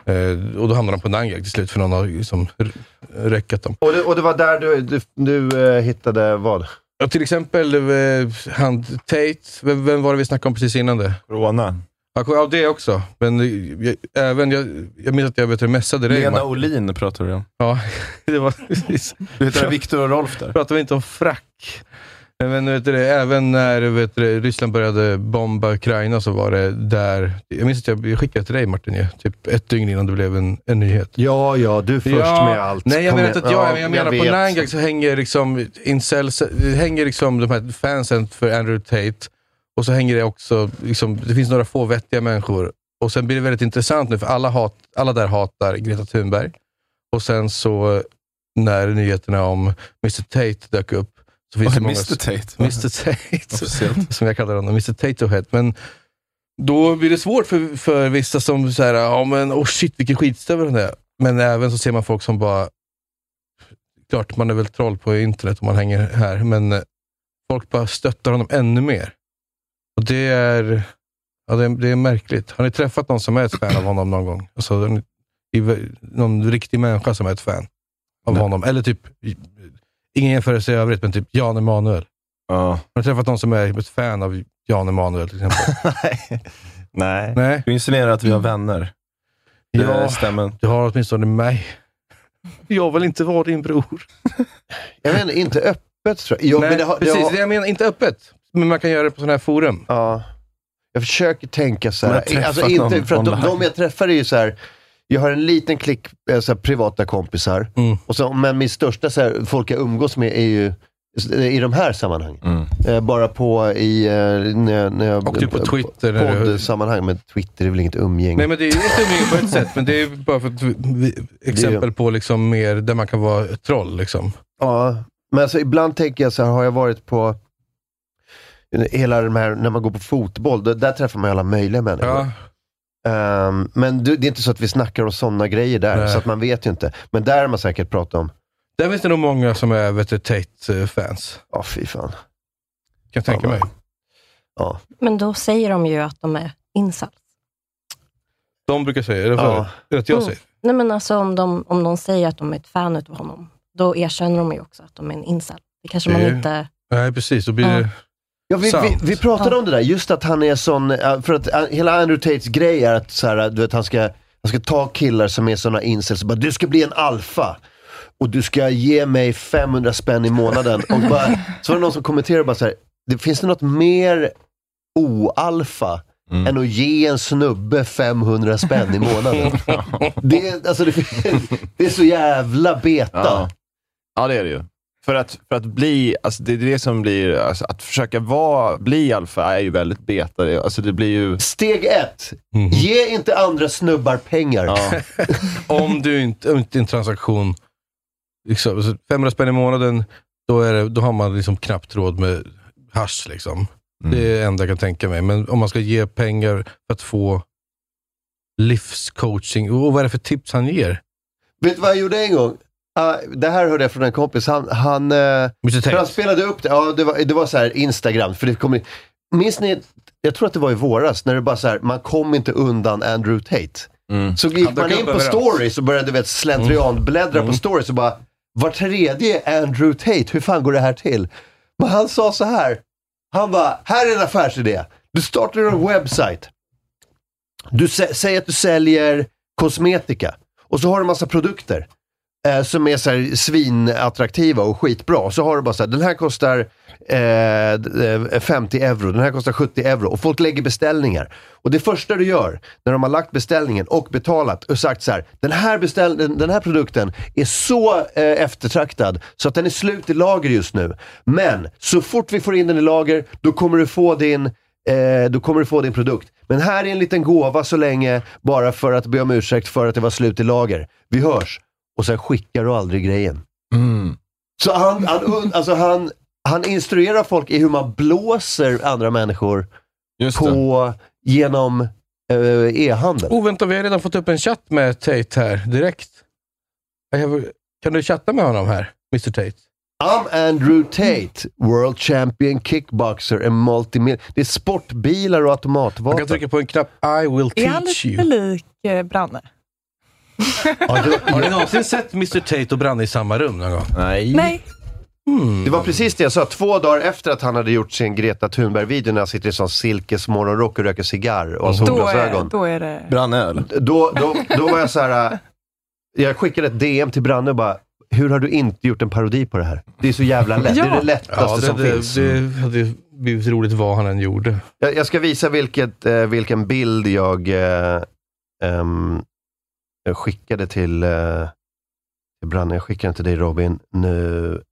Speaker 2: Eh, och då hamnar de på Nangag till slut, för någon har liksom r- räckat dem.
Speaker 1: Och det, och det var där du, du, du eh, hittade vad?
Speaker 2: Ja, till exempel eh, han Tate, vem, vem var det vi snackade om precis innan det?
Speaker 7: Corona.
Speaker 2: Ja, ko- Ja, det också. Men eh, jag, även, jag, jag minns att jag vet, du, messade dig.
Speaker 7: Lena
Speaker 2: Mark.
Speaker 7: Olin pratar vi om. [LAUGHS]
Speaker 2: Ja, det var precis.
Speaker 7: Du heter Viktor och Rolf där.
Speaker 2: pratar vi inte om frack. Men vet du, det, även när vet du, det, Ryssland började bomba Ukraina så var det där. Jag minns att jag jag skickade till dig Martin, ju, typ ett dygn innan det blev en, en nyhet.
Speaker 1: Ja, ja, du först
Speaker 2: Ja,
Speaker 1: med allt.
Speaker 2: Nej, jag
Speaker 1: Kom
Speaker 2: menar
Speaker 1: igen.
Speaker 2: inte att jag är,
Speaker 1: Ja,
Speaker 2: men jag menar på
Speaker 1: vet.
Speaker 2: Nangak så hänger liksom incels, det hänger liksom de här fansen för Andrew Tate och så hänger det också, liksom, det finns några få vettiga människor. Och sen blir det väldigt intressant nu, för alla, hat, alla där hatar Greta Thunberg. Och sen så när nyheterna om Mr Tate dök upp, så finns
Speaker 7: Vad är
Speaker 2: det många...
Speaker 7: Mr Tate?
Speaker 2: Mr Tate
Speaker 7: Officiellt.
Speaker 2: som jag kallar honom, Mr Tatohead. Men då blir det svårt för, för vissa som säger ja men oh shit vilken skitstövel han är. Men även så ser man folk som bara, klart man är väl troll på internet om man hänger här, men eh, folk bara stöttar honom ännu mer. Och det är, ja, det är, det är märkligt. Har ni träffat någon som är ett fan av honom någon gång? Alltså, har ni- i vä- någon riktig människa som är ett fan av honom? Eller typ, ingen jämförelse i övrigt, men typ Jan Emanuel.
Speaker 3: Ja.
Speaker 2: Har du träffat någon som är ett fan av Jan Emanuel till exempel?
Speaker 7: [LAUGHS]
Speaker 3: Nej.
Speaker 2: Nej.
Speaker 7: Du insinuerar att vi har vänner. Det
Speaker 2: Ja,
Speaker 7: stämmer.
Speaker 2: du har åtminstone mig. Jag vill inte vara din bror.
Speaker 1: Jag menar, inte öppet tror jag. Jo,
Speaker 2: Nej,
Speaker 1: men det har,
Speaker 2: precis.
Speaker 1: det har,
Speaker 2: Det jag menar, inte öppet. Men man kan göra det på sådana här forum.
Speaker 1: Ja. Jag försöker tänka så
Speaker 7: Men
Speaker 1: här.
Speaker 7: jag har
Speaker 1: Alltså,
Speaker 7: träffat
Speaker 1: inte,
Speaker 7: någon
Speaker 1: för att de,
Speaker 7: online.
Speaker 1: de jag träffar är ju så här. Jag har en liten klick eh, så här, privata kompisar.
Speaker 2: Mm.
Speaker 1: Och så, men min största så här, folk jag umgås med är ju i de här sammanhangen.
Speaker 3: Mm.
Speaker 1: Eh, bara på i... Eh, när, när jag,
Speaker 2: Och typ på Twitter. när du-
Speaker 1: Poddsammanhang, men Twitter är väl inget umgänge.
Speaker 2: Nej, men det är ju ett umgänge på ett sätt, men det är ju bara för att vi- vi, exempel på liksom mer där man kan vara ett troll. Liksom.
Speaker 1: Ja, men alltså, ibland tänker jag så här, har jag varit på... hela de här, när man går på fotboll, då, där träffar man ju alla möjliga människor. Ehm, men du, det är inte så att vi snackar om sådana grejer där,
Speaker 2: Nej.
Speaker 1: så att man vet ju inte. Men där har man säkert pratat om,
Speaker 2: Där finns det nog många som är vet du, Tate-fans.
Speaker 1: ja fy fan. Kan
Speaker 2: jag tänka mig.
Speaker 1: Ja.
Speaker 5: Men då säger de ju att de är incels.
Speaker 2: De brukar säga, eller
Speaker 1: Ja.
Speaker 2: vad är det att jag
Speaker 5: Mm.
Speaker 2: säger?
Speaker 5: Nej, men alltså om de, om de säger att de är ett fan av honom, då erkänner de ju också att de är en incel. Det kanske man
Speaker 2: Det är ju-
Speaker 5: inte...
Speaker 2: Nej, precis. Då blir det...
Speaker 1: Ja, vi,
Speaker 2: Sant.
Speaker 1: vi, vi pratade om det där, just att han är sån, eh, för att eh, hela Andrew Tates grej är att så här, du vet, han, ska, han ska ta killar som är såna incels och bara, du ska bli en alfa. Och du ska ge mig 500 spänn i månaden. Och bara, så var det någon som kommenterade bara så här, det, finns det något mer oalfa än att ge en snubbe 500 spänn i månaden? det, är- alltså, det, [LAUGHS] det är så jävla beta.
Speaker 3: Ja. ja, det är det ju. För att, för att bli, alltså det är det som blir, alltså att försöka vara, bli alfa är ju väldigt beta. Det- Alltså det blir ju... Mhm.
Speaker 1: Steg ett, ge inte andra snubbar pengar.
Speaker 3: Ja.
Speaker 2: Om du inte, om inte en transaktion, liksom, så 500 spänn i månaden, då, är det, då har man liksom knappt råd med hasch. Liksom. Det är det enda jag kan tänka mig. Men om man ska ge pengar för att få livscoaching, och vad är det för tips han ger?
Speaker 1: Vet du vad jag gjorde en gång? Ah, det här hörde jag från en kompis. Han, han, eh,
Speaker 2: Mr.
Speaker 1: för han
Speaker 2: Tate.
Speaker 1: spelade upp det. Ja, det, var, det var så här Instagram. För det kom, in- minns ni? Jag tror att det var i våras när det bara så här, man kom inte undan Andrew Tate. Så gick
Speaker 2: Mm. Han dök
Speaker 1: man in
Speaker 2: upp
Speaker 1: på
Speaker 2: överallt. Mm.
Speaker 1: stories och började du vet, slentrian bläddra på stories och bara, var tredje är Andrew Tate, hur fan går det här till? Men han sa så här, han bara, här är en affärsidé. Du startar en website. Du sä- säger att du säljer kosmetika och så har du en massa produkter eh, som är så här svinattraktiva och skitbra. Och så har du bara så här, den här kostar eh, d- eh, 50 euro, den här kostar 70 euro och folk lägger beställningar. Och det första du gör när de har lagt beställningen och betalat och sagt så här, den här, beställ- den, den här produkten är så eh, eftertraktad så att den är slut i lager just nu. Men så fort vi får in den i lager, då kommer du få din Eh, då kommer du få din produkt. Men här är en liten gåva så länge, bara för att be om ursäkt för att det var slut i lager. Vi hörs. Och sen skickar du aldrig grejen.
Speaker 2: Mm.
Speaker 1: Så han, han, und- alltså han, han instruerar folk i hur man blåser andra människor
Speaker 3: Just det.
Speaker 1: på, genom eh, e-handel.
Speaker 2: Oh, vänta, vi har redan fått upp en chatt med Tate här direkt. Jag har- Kan du chatta med honom här, Mr Tate?
Speaker 1: I'm Andrew Tate, world champion kickboxer and multimil... Det är sportbilar
Speaker 2: Man
Speaker 1: och
Speaker 2: kan
Speaker 1: automatvapen.
Speaker 2: trycka på en knapp I will
Speaker 4: Är han
Speaker 2: teach
Speaker 4: lite
Speaker 2: you.
Speaker 4: lik eh, Branne?
Speaker 1: Ja, det, var,
Speaker 4: [LAUGHS]
Speaker 2: Har ni någonsin sett Mr Tate och Branne i samma rum någon gång?
Speaker 3: Nej.
Speaker 4: Nej.
Speaker 2: Mm.
Speaker 1: det var precis det jag sa, två dagar efter att han hade gjort sin Greta Thunberg-video när han sitter i sån silkesmorgonrock och röker cigarr och har
Speaker 4: Då är,
Speaker 1: solglasögon.
Speaker 4: Mm. då är det...
Speaker 3: Brannöl.
Speaker 1: då, då, då var jag så här. äh, Jag skickade ett DM till Branne och bara, hur har du inte gjort en parodi på det här? Det är så jävla lätt. Det är
Speaker 4: Ja.
Speaker 1: det lättaste
Speaker 2: Ja, det,
Speaker 1: som
Speaker 2: det,
Speaker 1: finns.
Speaker 2: det hade blivit roligt vad han än gjorde.
Speaker 1: Jag, jag ska visa vilket, eh, vilken bild jag eh, ehm, jag skickade till, eh, till Branne. Jag skickade den till dig Robin. Nu.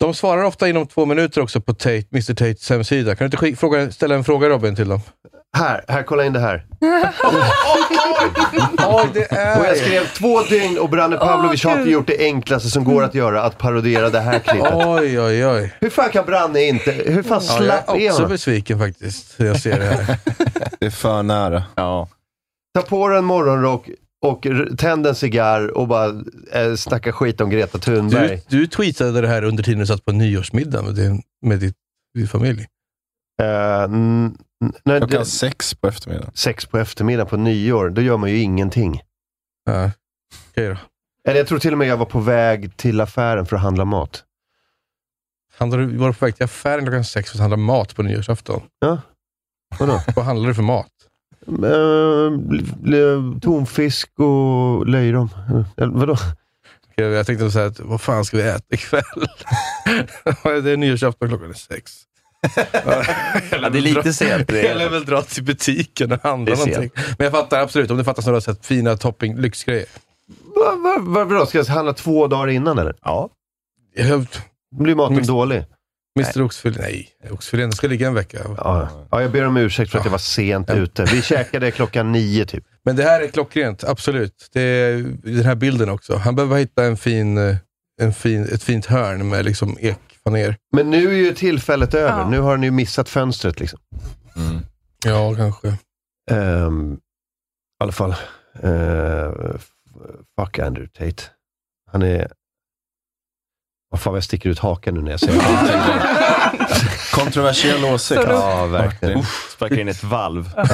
Speaker 2: De svarar ofta inom två minuter också på Tate, Mr Tates hemsida. Kan du inte skick- fråga, ställa en fråga Robin till dem?
Speaker 1: Här, här, kolla in det här.
Speaker 2: Oj, det
Speaker 1: Och jag
Speaker 2: är...
Speaker 1: skrev två dygn och Branne Pavlovic har inte gjort det enklaste som går att göra, att parodiera det här klippet.
Speaker 2: Mm. Oj, oj, oj.
Speaker 1: Hur fan kan Branne inte, hur fan
Speaker 2: Ja,
Speaker 1: slapp
Speaker 2: jag är
Speaker 1: är
Speaker 2: också
Speaker 1: han?
Speaker 2: besviken faktiskt. när Jag ser det här.
Speaker 7: Det är för nära.
Speaker 3: Ja.
Speaker 1: Ta på dig en morgonrock och r- tänd en cigarr och bara eh, snacka skit om Greta Thunberg.
Speaker 2: Du, du tweetade det här under tiden du satt på nyårsmiddagen med din, med ditt, din familj.
Speaker 1: Eh, n- n- nej,
Speaker 7: Klockan
Speaker 1: det-
Speaker 7: sex på eftermiddagen.
Speaker 1: sex på eftermiddagen på nyår, då gör man ju ingenting.
Speaker 2: Ja. Okej då.
Speaker 1: Eller jag tror till och med jag var på väg till affären för att handla mat.
Speaker 2: Handlar du, var du på väg till affären klockan sex för att handla mat på nyårsafton?
Speaker 1: Ja. Vadå?
Speaker 2: Vad handlar du för mat?
Speaker 1: Eh, l- l- tonfisk och löjrom. Eh, vadå?
Speaker 2: Okej, Jag tänkte så här, att, vad fan ska vi äta ikväll? [LAUGHS] det är nyårsafton klockan är sex.
Speaker 1: [LAUGHS]
Speaker 3: Ja, det är lite sent.
Speaker 2: Jag lär väl dra till butiken och handla
Speaker 3: Det är sent.
Speaker 2: någonting. Men jag fattar absolut, om det fattas några så här fina topping, lyxgrejer.
Speaker 1: Va, va, va, vadå? Ska jag handla två dagar innan eller?
Speaker 3: Ja.
Speaker 2: Jag-
Speaker 1: Blir maten
Speaker 2: Miss-
Speaker 1: dålig?
Speaker 2: Mr Oxfilé, nej. Oxfilén ska ligga en vecka.
Speaker 1: Ja. ja, jag ber om ursäkt för att jag var sent ute. Vi käkade klockan nio typ.
Speaker 2: Men det här är klockrent, absolut. Det är den här bilden också. Han behöver hitta en fin, eh, en fin, ett fint hörn med liksom ek, stoppa ner.
Speaker 1: Men nu är ju tillfället över.
Speaker 4: Ja.
Speaker 1: Nu har han ju missat fönstret liksom.
Speaker 2: Ja, kanske.
Speaker 1: Ehm, I alla fall. eh, f- fuck Andrew Tate. Han är... Vad fan vad jag sticker ut hakan nu när jag säger det.
Speaker 3: Kontroversiell åsikt.
Speaker 4: Så då-
Speaker 1: Ja, verkligen.
Speaker 3: Sparkar in ett valv.
Speaker 1: Jag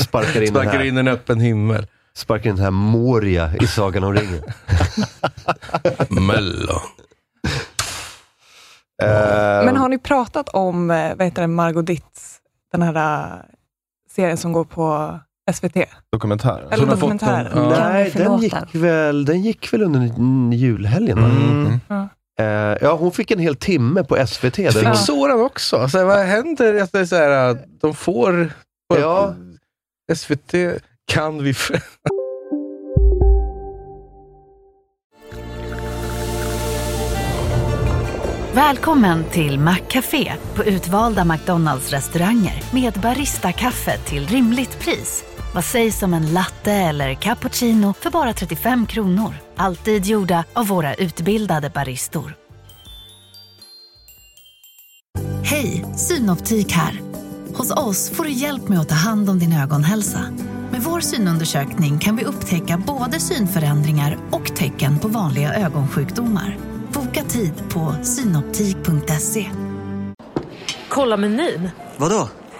Speaker 1: sparkar in, den
Speaker 2: Sparkar
Speaker 1: här,
Speaker 2: in en öppen himmel.
Speaker 1: sparkar in den här Moria i Sagan om ringen.
Speaker 2: Mello.
Speaker 1: Ehm,
Speaker 4: Men har ni pratat om eh, vad heter det, Margot Ditts, den här eh, serien som går på SVT?
Speaker 3: Dokumentär.
Speaker 4: Eller
Speaker 2: har fått
Speaker 4: dokumentären?
Speaker 2: den, ja.
Speaker 5: Kan vi
Speaker 1: Nej, den
Speaker 5: förlåta?
Speaker 1: gick, väl, den gick väl under mm, julhelgen? va?
Speaker 2: Mm.
Speaker 1: Eh, ja, hon fick en hel timme på SVT. Där
Speaker 2: Fick
Speaker 1: hon,
Speaker 2: Soran också. Alltså, vad händer? Att det är så här, att de får...
Speaker 1: Ja.
Speaker 2: SVT kan vi... [LAUGHS] f-
Speaker 9: Välkommen till Maccafé på utvalda McDonalds restauranger med Baristakaffe till rimligt pris. Vad sägs om en latte eller cappuccino för bara 35 kronor? Alltid gjorda av våra utbildade baristor. Hej, Synoptik här. Hos oss får du hjälp med att ta hand om din ögonhälsa. Med vår synundersökning kan vi upptäcka både synförändringar och tecken på vanliga ögonsjukdomar. Boka tid på synoptik.se.
Speaker 10: Kolla menyn.
Speaker 6: Vadå?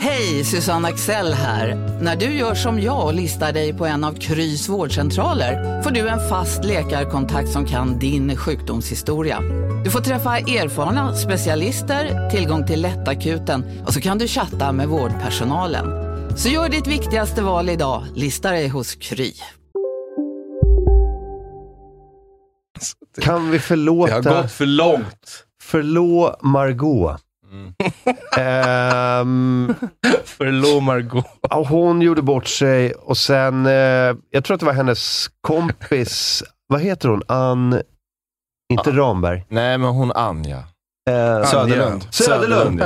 Speaker 11: Hej, Susanne Axel här. När du gör som jag och listar dig på en av Krys vårdcentraler får du en fast läkarkontakt som kan din sjukdomshistoria. Du får träffa erfarna specialister, tillgång till lättakuten och så kan du chatta med vårdpersonalen. Så gör ditt viktigaste val idag, listar dig hos Kry.
Speaker 1: kan vi
Speaker 2: Det har
Speaker 1: förlåta...
Speaker 2: gått för långt.
Speaker 1: Förlå Margot.
Speaker 7: Mm. [LAUGHS]
Speaker 1: Ehm,
Speaker 2: Förlåt Margot.
Speaker 1: ja, hon gjorde bort sig och sen, eh, jag tror att det var hennes kompis, vad heter hon? Ann, inte Ramberg.
Speaker 7: Nej, men hon Anja.
Speaker 1: Eh,
Speaker 7: Söderlund.
Speaker 1: Söderlund.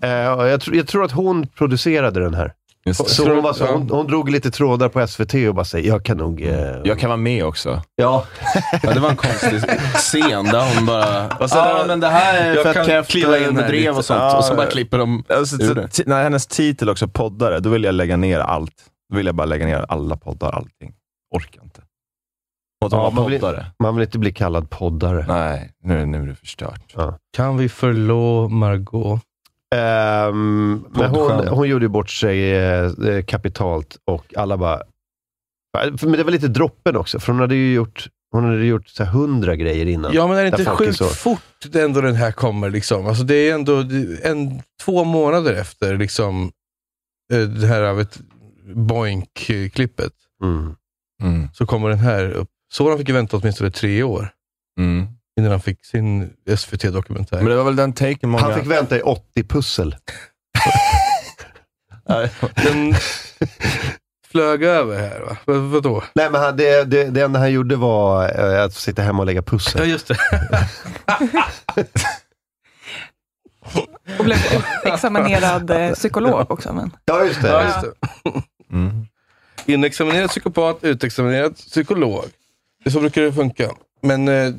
Speaker 7: ja.
Speaker 1: Eh, och jag, tr- jag tror att hon producerade den här.
Speaker 7: Just det.
Speaker 1: Så hon, var så,
Speaker 2: Ja.
Speaker 1: hon, hon drog lite trådar på SVT och bara säger, jag kan nog... Eh,
Speaker 7: Mm. Jag kan vara med också.
Speaker 1: ja.
Speaker 7: Ja, det var en konstig scen där hon bara...
Speaker 3: Och sen
Speaker 7: ja,
Speaker 3: har-
Speaker 7: men det här är
Speaker 2: Jag
Speaker 7: för
Speaker 2: kan
Speaker 7: att Kef
Speaker 2: kliva in här
Speaker 7: drev
Speaker 2: lite.
Speaker 7: och sånt.
Speaker 3: Ja,
Speaker 7: och så bara klipper de
Speaker 3: Alltså,
Speaker 7: ur det.
Speaker 3: t- när hennes titel också, poddare, då vill jag lägga ner allt. Då vill jag bara lägga ner alla poddar, allting. Orkar inte. Och att hon
Speaker 1: Ja,
Speaker 3: var
Speaker 1: man blir-
Speaker 3: poddare.
Speaker 1: Man vill inte bli kallad poddare.
Speaker 3: Nej, nu, nu är det förstört.
Speaker 2: Kan vi förlå Margot?
Speaker 1: Ehm, men hon,
Speaker 3: Poddstjärna.
Speaker 1: hon gjorde ju bort sig eh, eh, kapitalt och alla bara... Men det var lite droppen också, för hon hade ju gjort, hon hade gjort så här, hundra grejer innan.
Speaker 2: Ja, men är det
Speaker 1: Där
Speaker 2: inte
Speaker 1: folk är
Speaker 2: sjukt
Speaker 1: så.
Speaker 2: fort
Speaker 1: [LAUGHS]
Speaker 2: det ändå den här kommer? Liksom? Alltså, det är ändå det- en, två månader efter liksom, eh, det här av ett Boink-klippet,
Speaker 1: Mm.
Speaker 7: Mm.
Speaker 2: så kommer den här upp. Soran fick ju vänta åtminstone tre år
Speaker 7: Mm.
Speaker 2: innan han fick sin SVT-dokumentär.
Speaker 7: Men det var väl den taken många...
Speaker 1: Han fick vänta i 80 pussel.
Speaker 2: Den flög över här, va? Vad, vadå?
Speaker 1: Nej, men han, det, det, det enda han gjorde var eh, att sitta hemma och lägga
Speaker 2: Ja,
Speaker 1: pussel.
Speaker 2: just det. [LAUGHS]
Speaker 4: Och blev examinerad eh, psykolog också. Men.
Speaker 1: Ja, just
Speaker 2: Ja,
Speaker 1: det.
Speaker 2: just det.
Speaker 7: [LAUGHS] Mm.
Speaker 2: Inexaminerad psykopat, utexaminerad psykolog. Det är så brukar det funka. Men eh,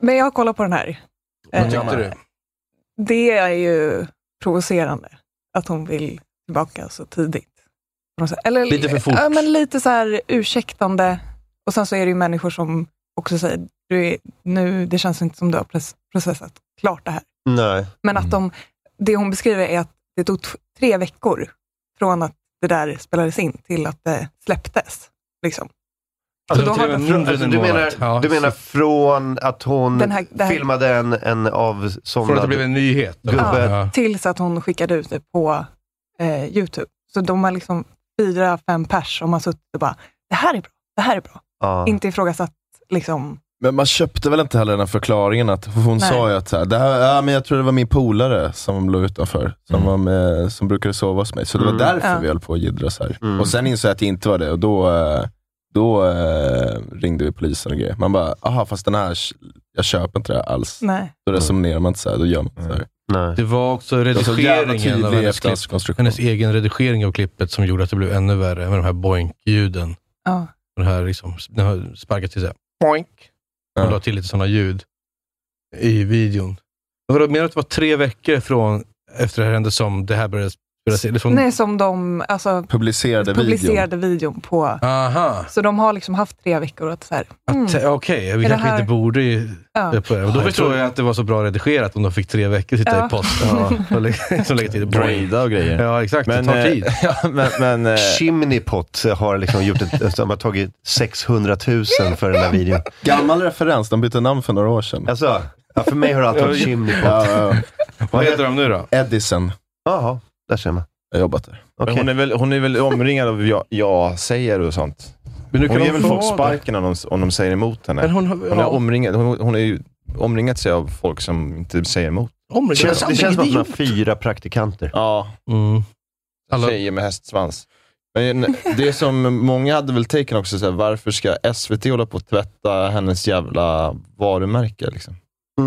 Speaker 4: men jag har kollat på den här.
Speaker 2: vad
Speaker 4: Eh,
Speaker 2: tyckte du?
Speaker 4: Det är ju provocerande att hon vill tillbaka så tidigt. På något sätt. Eller,
Speaker 2: Lite för fort.
Speaker 4: Ja, men lite så här ursäktande. Och sen så är det ju människor som också säger, du är, nu, det känns inte som du har pres- processat klart det här.
Speaker 1: Nej.
Speaker 4: Men att
Speaker 2: Mm.
Speaker 4: de, det hon beskriver är att det tog t- tre veckor från att det där spelades in till att det släpptes. Liksom.
Speaker 2: Alltså,
Speaker 4: Så då har
Speaker 2: till och med
Speaker 4: den-
Speaker 2: mindre
Speaker 1: Alltså,
Speaker 2: än
Speaker 1: du,
Speaker 2: en månad.
Speaker 1: menar,
Speaker 2: Ja,
Speaker 1: du menar
Speaker 2: så-
Speaker 1: från att hon
Speaker 4: Den här- det här-
Speaker 1: filmade en, en
Speaker 2: Från att det
Speaker 1: avsomnad...
Speaker 2: blev en nyhet. då.
Speaker 1: Gubbe.
Speaker 2: Ja.
Speaker 4: Tills att hon skickade ut det på eh, YouTube. Så de har liksom fyra, fem pers som har suttit och bara, det här är bra, det här är bra.
Speaker 1: Ja.
Speaker 4: Inte ifrågasatt liksom.
Speaker 7: Men man köpte väl inte heller den här förklaringen att hon
Speaker 4: Nej.
Speaker 7: sa ju att så här, det här, ja, men jag tror det var min polare som låg utanför, som,
Speaker 3: Mm.
Speaker 7: var med, som brukade sova hos mig. Så det var
Speaker 1: Mm.
Speaker 7: därför
Speaker 4: Ja.
Speaker 7: vi höll på att jiddra så här.
Speaker 1: Mm.
Speaker 7: Och sen insåg jag att det inte var det och då, eh, då eh, ringde vi polisen och grejer. Man bara, aha fast den här, jag köper inte det här alls.
Speaker 4: Nej.
Speaker 7: Då resonerar man inte så här, då gör man inte så
Speaker 3: Mm.
Speaker 7: här.
Speaker 2: Det var också
Speaker 7: Det var så jävla
Speaker 2: redigeringen av
Speaker 7: tydlig
Speaker 2: hennes, klipp,
Speaker 7: efterhandskonstruktion.
Speaker 2: hennes egen redigering av klippet som gjorde att det blev ännu värre med de här boink-ljuden.
Speaker 4: Ja.
Speaker 2: Det här liksom, den här sparkat till sig. Boink. Hon la till lite sådana ljud i videon. Men vadå, menar du att det var tre veckor från efter det här hände som det här började spelas in? Eller från-
Speaker 4: Nej, som de alltså,
Speaker 7: Publicerade
Speaker 4: publicerade videon på.
Speaker 2: Aha.
Speaker 4: Så de har liksom haft tre veckor att så här, mm.
Speaker 2: Att- eh, Okej,
Speaker 4: Är
Speaker 2: vi
Speaker 4: det
Speaker 2: kanske
Speaker 4: här-
Speaker 2: inte borde ju...
Speaker 4: Ja.
Speaker 2: det på det. Och
Speaker 4: Ja,
Speaker 2: Då
Speaker 4: jag
Speaker 2: förstår
Speaker 4: tror-
Speaker 2: jag att det var så bra redigerat om de fick tre veckor sitta
Speaker 4: Ja.
Speaker 2: i posten och lägga, så lägga till
Speaker 3: Braida och grejer.
Speaker 2: Ja, exakt. det
Speaker 1: eh,
Speaker 2: tar
Speaker 7: eh, [LAUGHS]
Speaker 2: tid.
Speaker 1: Chimney Pot har liksom gjort ett, de har tagit 600 000 för den här videon.
Speaker 7: Gammal referens, de bytte namn för några år sedan.
Speaker 1: Alltså, ja, för mig har det alltid varit
Speaker 7: Ja,
Speaker 1: Chimney Pot.
Speaker 7: ja, ja.
Speaker 2: Vad heter de nu då?
Speaker 7: Edison.
Speaker 1: Jaha, där ser man.
Speaker 7: Jag har jobbat där.
Speaker 3: Men hon, är väl, hon är väl omringad av ja- ja-sägare och sånt.
Speaker 2: Men nu kan
Speaker 3: hon
Speaker 2: de
Speaker 3: ger väl
Speaker 2: få
Speaker 3: folk
Speaker 2: det.
Speaker 3: sparken om de, om de säger emot henne.
Speaker 2: Men hon har-
Speaker 3: hon, är
Speaker 2: ja.
Speaker 3: omringad, hon, hon är ju omringat sig av folk som inte säger emot.
Speaker 2: Omringad
Speaker 1: Känns-
Speaker 2: av
Speaker 1: det känns som att man har
Speaker 2: idiot.
Speaker 1: fyra praktikanter.
Speaker 3: Ja.
Speaker 2: Mm.
Speaker 3: Tjejer med hästsvans. Men det som många hade väl taken också, så här, varför ska SVT hålla på att tvätta hennes jävla varumärke? Liksom?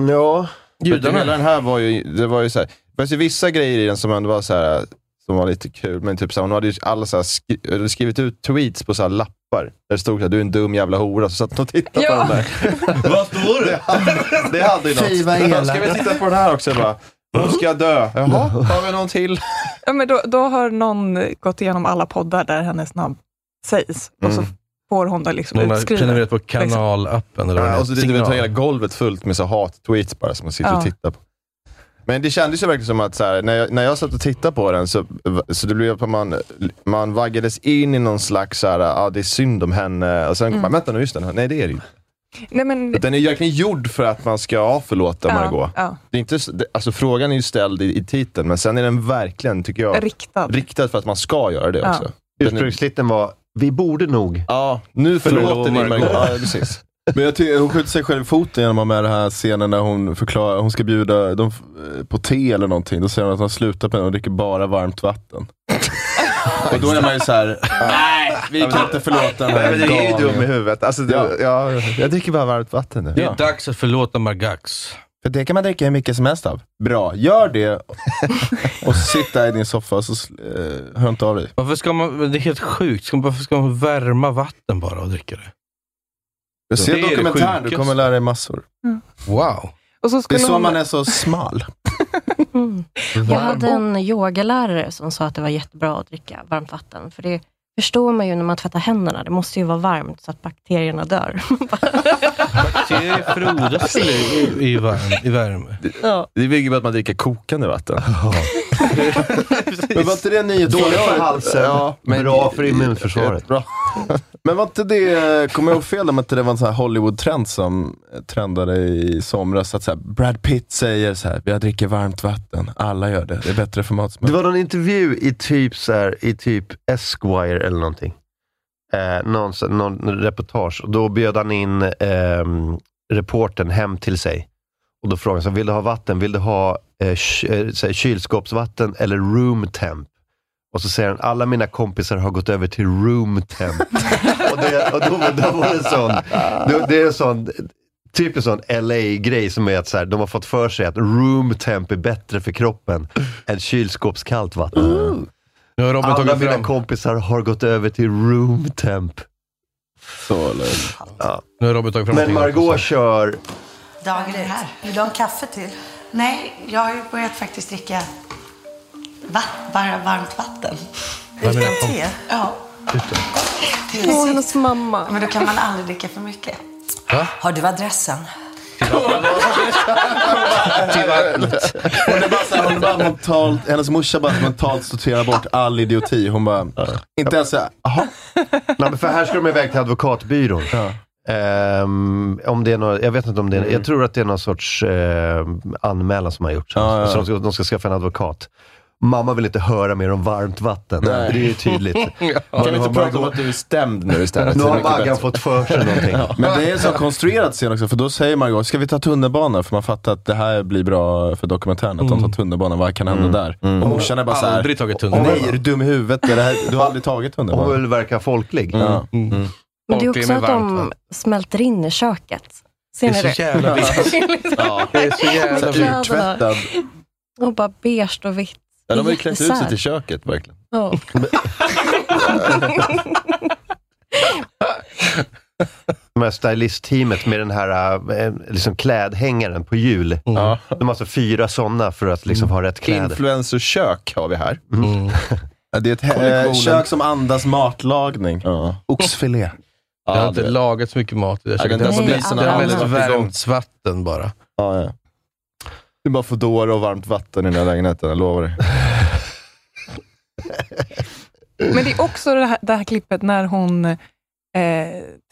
Speaker 1: Ja.
Speaker 3: Judarna. Hela den här var ju, det var ju så här, det fanns ju vissa grejer i den som ändå var så här, som var lite kul, men typ så här, hon hade ju alla så här skri- eller skrivit ut tweets på så här lappar, där det stod så här, du är en dum jävla hora, så satt hon och tittade
Speaker 7: Ja.
Speaker 3: på den där. Vad står det? Det hade ju
Speaker 7: Fy, vad
Speaker 3: något.
Speaker 7: elak.
Speaker 3: Ska vi titta på den här också? Bara, hon ska dö. Jaha, har vi någon till?
Speaker 4: [LAUGHS] Ja, men då, då har någon gått igenom alla poddar där hennes namn sägs och så
Speaker 3: Mm.
Speaker 4: får hon det liksom
Speaker 2: Hon har
Speaker 4: utskrivet.
Speaker 2: prenumererat på
Speaker 4: Liksom.
Speaker 2: kanalappen. Eller vad
Speaker 3: Ja,
Speaker 2: heter.
Speaker 3: och så det, du vet,
Speaker 2: Signal.
Speaker 3: har hela golvet fullt med så här hat-tweets bara som man sitter
Speaker 4: Ja.
Speaker 3: och tittar på. Men det kändes ju verkligen som att så här, när, jag, när jag satt och tittade på den så, så det blev att man, man vaggades in i någon slags, så här, ah, det är synd om henne. Och sen
Speaker 4: Mm.
Speaker 3: bara, vänta nu, just den här. Nej, det är det ju
Speaker 4: Nej, men,
Speaker 3: Den är ju verkligen gjord för att man ska, ja förlåt
Speaker 4: Ja,
Speaker 3: Margot.
Speaker 4: ja.
Speaker 3: Det är inte, s- det, alltså, frågan är ju ställd i, i titeln, men sen är den verkligen, tycker jag,
Speaker 4: Riktad.
Speaker 3: riktad för att man ska göra det
Speaker 4: Ja.
Speaker 3: också.
Speaker 1: Ursprungslitten var, vi borde nog.
Speaker 3: Ja, nu förlåter vi Margot. Ja, precis.
Speaker 7: Men jag tycker, hon skjuter sig själv i foten genom att ha med den här scenen när hon förklarar, hon ska bjuda dem f- på te eller någonting. Då säger hon att hon slutar med det och dricker bara varmt vatten. och då är man ju såhär, nej, vi kan inte förlåta den här
Speaker 3: Nej, men det är ju
Speaker 7: galningen."
Speaker 3: dum i huvudet. Alltså, det,
Speaker 7: Ja.
Speaker 3: ja. jag dricker bara varmt vatten nu.
Speaker 2: Det är dags att förlåta Margax.
Speaker 7: För det kan man dricka hur mycket som helst av. Bra, gör det. [LAUGHS] och sitta i din soffa och så sl- eh, hör inte av dig.
Speaker 2: Varför ska man, men det är helt sjukt. Ska, varför ska man värma vatten bara och dricka det?
Speaker 7: Jag ser
Speaker 2: Det är det
Speaker 7: dokumentären, du
Speaker 2: sjukaste.
Speaker 7: kommer lära dig massor.
Speaker 2: Wow.
Speaker 4: Och så
Speaker 7: Det är
Speaker 4: skulle
Speaker 7: så
Speaker 4: hon,
Speaker 7: man är
Speaker 4: [LAUGHS]
Speaker 7: så smal.
Speaker 5: Jag hade en yogalärare som sa att det var jättebra att dricka varmt vatten, för det förstår man ju när man tvättar händerna. Det måste ju vara varmt så att bakterierna dör.
Speaker 2: Det frodas i, i, varm, i värme.
Speaker 5: ja.
Speaker 3: Det bygger på att man dricker kokande vatten.
Speaker 7: Men var inte det nyhetsförhållandet?
Speaker 1: Dåligt för halsen, bra för immunförsvaret.
Speaker 7: Bra. [LAUGHS] Men var inte det, kommer jag ihåg fel om att det var en sån här Hollywood-trend som eh, trendade i somras? Att så här, Brad Pitt säger så här, jag dricker varmt vatten. Alla gör det. Det är bättre för
Speaker 1: Det
Speaker 7: matsmältning.
Speaker 1: var någon intervju i typ, så här, i typ Esquire eller någonting. Eh, någon, så- någon reportage. Och då bjöd han in ehm, reportern hem till sig. Och Då frågade han, så här, vill du ha vatten? Vill du ha eh, ky- eh, så här, kylskåpsvatten eller room temp? Och så säger han, alla mina kompisar har gått över till room temp. och det, och då, då var det en sån, det, det är en sån, typ en sån LA-grej som är att så här, de har fått för sig att room temp är bättre för kroppen än kylskåpskallt vatten.
Speaker 7: Mm.
Speaker 2: Nu har Robin
Speaker 1: alla
Speaker 2: tagit
Speaker 1: mina
Speaker 2: fram,
Speaker 1: kompisar har gått över till room temp.
Speaker 7: Så
Speaker 1: Ja.
Speaker 2: nu har Robin tagit fram
Speaker 1: Men
Speaker 2: någonting
Speaker 1: Margot kör,
Speaker 12: Dagen är här. Vill du ha en kaffe till? Nej, jag har ju börjat faktiskt dricka va- bara varmt vatten.
Speaker 2: Vad menar
Speaker 12: Utan
Speaker 2: du?
Speaker 12: te? Ja. Det är
Speaker 5: Åh,
Speaker 12: sitt-
Speaker 5: hennes mamma.
Speaker 12: Men då kan man aldrig dricka för mycket.
Speaker 2: Va?
Speaker 12: Har du adressen?
Speaker 11: [LAUGHS]
Speaker 7: Hon är bara, så här, hon är bara mentalt, hennes morsa bara mentalt sorterar bort all idioti. Hon bara, inte ens såhär, jaha.
Speaker 1: nej, men för här ska de iväg till advokatbyrån. Ehm, om det är några, jag vet inte om det är,
Speaker 7: Mm.
Speaker 1: jag tror att det är någon sorts eh, anmälan som har gjorts.
Speaker 7: ja, ja.
Speaker 1: Så de ska, de ska skaffa en advokat. Mamma vill inte höra mer om varmt vatten.
Speaker 7: Nej.
Speaker 1: Det är ju
Speaker 7: [LAUGHS]
Speaker 3: [LAUGHS]
Speaker 1: tydligt.
Speaker 7: Kan vi inte prata om att du är stämd nu istället?
Speaker 1: Nu
Speaker 7: Det är
Speaker 1: har
Speaker 7: mycket bättre.
Speaker 1: Maggan fått för sig
Speaker 3: [LAUGHS]
Speaker 1: någonting.
Speaker 7: Men det är en sån konstruerad scen också, för då säger Margot, ska vi ta tunnelbanan? För man fattar att det här blir bra för dokumentären, att de
Speaker 3: Mm.
Speaker 7: tar tunnelbanan, vad kan hända där? Och morsan är bara såhär,
Speaker 2: Aldrig tagit
Speaker 7: "Åh,
Speaker 2: tunnelbanan.
Speaker 7: nej är du dum i huvudet? Det här, du har aldrig tagit Mm.
Speaker 1: Hon
Speaker 7: tunnelbanan.
Speaker 3: Mm.
Speaker 1: vill verka folklig. Mm.
Speaker 7: Ja.
Speaker 5: Men det är
Speaker 2: Folk är
Speaker 5: också
Speaker 2: med
Speaker 5: att de
Speaker 2: varmt,
Speaker 5: smälter in i köket. Ser
Speaker 2: Det är
Speaker 5: ni
Speaker 2: så
Speaker 5: [LAUGHS]
Speaker 2: jävla viktigt. Ja, det är så jävla viktigt.
Speaker 5: Med kläderna.
Speaker 3: Uttvättad.
Speaker 5: Och bara beige och vitt.
Speaker 3: Ja, de har ju klätt ut sig
Speaker 5: Jättesär.
Speaker 3: till köket verkligen.
Speaker 5: Ja.
Speaker 1: De här stylistteamet med den här eh, liksom klädhängaren på
Speaker 3: Mm.
Speaker 1: hjul. De har alltså fyra sådana för att liksom ha rätt kläder. Mm.
Speaker 3: Influencerkök har vi här.
Speaker 7: Mm.
Speaker 3: [LAUGHS]
Speaker 1: Ja,
Speaker 3: det är ett
Speaker 1: Kollektionen.
Speaker 3: eh, kök som andas matlagning. Oxfilé.
Speaker 2: Jag har inte lagat så mycket mat i det
Speaker 3: Ja,
Speaker 2: här köket.
Speaker 3: den där
Speaker 2: Det har
Speaker 3: spisen har
Speaker 2: mest- det har
Speaker 3: aldrig
Speaker 2: mest
Speaker 3: varit igång.
Speaker 2: värmts vatten bara.
Speaker 3: Ja, ja. Det är bara Foodora och varmt vatten i den här lägenheten, jag lovar dig.
Speaker 4: Men det är också det här, det här klippet när hon eh,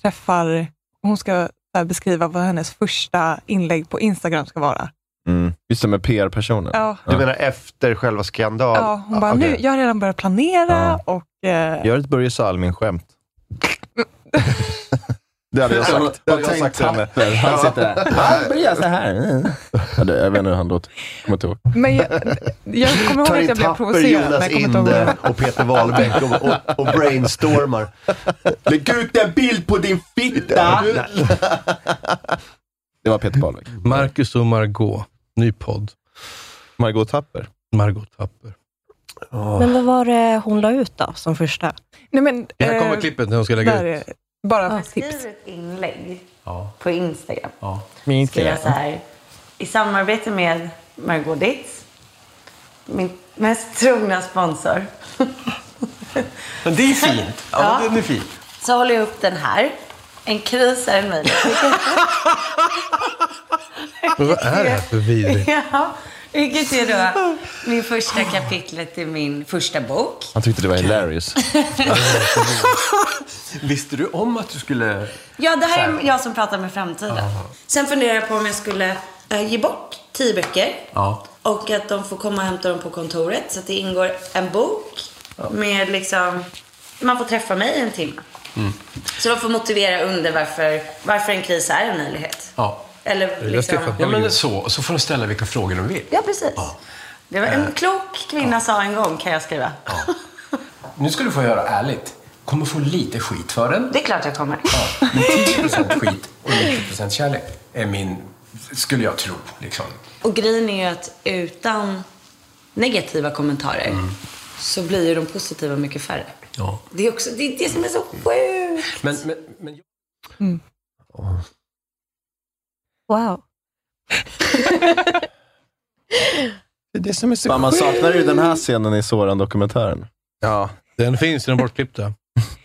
Speaker 4: träffar, hon ska så här beskriva vad hennes första inlägg på Instagram ska vara.
Speaker 3: Mm. Just det, med PR-personen.
Speaker 4: Ja.
Speaker 1: Du menar efter själva skandalen?
Speaker 4: Ja, hon
Speaker 1: ah,
Speaker 4: bara, nu, jag har redan börjat planera och... Eh,
Speaker 3: Gör ett Börje Salming-skämt. det hade jag sagt. Det hade jag sagt till henne. Han sitter där. Han börjar så här. Ja, det- Jag vet inte hur han låter. Jag kommer inte ihåg.
Speaker 4: Men jag, jag
Speaker 1: [LAUGHS]
Speaker 4: kommer ihåg
Speaker 1: Tar
Speaker 4: att
Speaker 1: in
Speaker 4: jag blev
Speaker 1: Tapper,
Speaker 4: provocerad.
Speaker 1: Jonas
Speaker 4: men jag kommer inte ihåg.
Speaker 1: Inde och Peter Wahlbeck och, och, och brainstormar.
Speaker 3: Lägg ut en bild på din fitta! Det var Peter Wahlbeck.
Speaker 2: Marcus och Margot, ny podd.
Speaker 3: Margot Tapper.
Speaker 2: Margot Tapper.
Speaker 5: Men vad var det hon la ut då, som första?
Speaker 4: Nej, men,
Speaker 2: Det
Speaker 12: eh,
Speaker 2: här kommer klippet när hon ska lägga ut.
Speaker 4: Bara
Speaker 12: tips. ett inlägg på Instagram.
Speaker 2: Ja.
Speaker 12: Min skriva så här. I samarbete med Margot Ditz, min mest trogna sponsor,
Speaker 6: Men det är fint. Ja,
Speaker 12: Ja.
Speaker 6: den är fin.
Speaker 12: så håller jag upp den här. En kris är en möjlighet.
Speaker 2: [LAUGHS] Men vad är det här för vidrigt?
Speaker 12: [LAUGHS] ja, vilket är då min första kapitlet i min första bok.
Speaker 3: Han tyckte det var hilarious.
Speaker 6: [LAUGHS] Visste du om att du skulle...
Speaker 12: Ja, det här är jag som pratar med framtiden. Sen funderar jag på om jag skulle eh, ge bort tio böcker
Speaker 6: Ja.
Speaker 12: och att de får komma och hämta dem på kontoret så att det ingår en bok med liksom... Man får träffa mig i en timme.
Speaker 6: Mm.
Speaker 12: Så de får motivera under varför, varför en kris är en möjlighet.
Speaker 6: Ja.
Speaker 12: Eller liksom...
Speaker 6: ja, men så. Så får de ställa vilka frågor de vill.
Speaker 12: Ja, precis. Det var en klok kvinna sa en gång, kan jag skriva.
Speaker 6: Nu ska du få höra ärligt. Kommer få lite skit för den.
Speaker 12: Det är klart jag kommer.
Speaker 6: Ja, men 10% skit och 90% kärlek är min, skulle jag tro. Liksom.
Speaker 12: Och grejen är ju att utan negativa kommentarer så blir ju de positiva mycket färre.
Speaker 6: Mm. Ja.
Speaker 12: Det är också det, är det som är så sjukt.
Speaker 6: Men, men, men
Speaker 5: Wow.
Speaker 3: [LAUGHS] Det är det som är så
Speaker 7: Fan,
Speaker 3: Man saknar ju den här scenen i Soran-dokumentären.
Speaker 2: Ja. Den finns, den är
Speaker 3: [LAUGHS]
Speaker 2: bortklippta.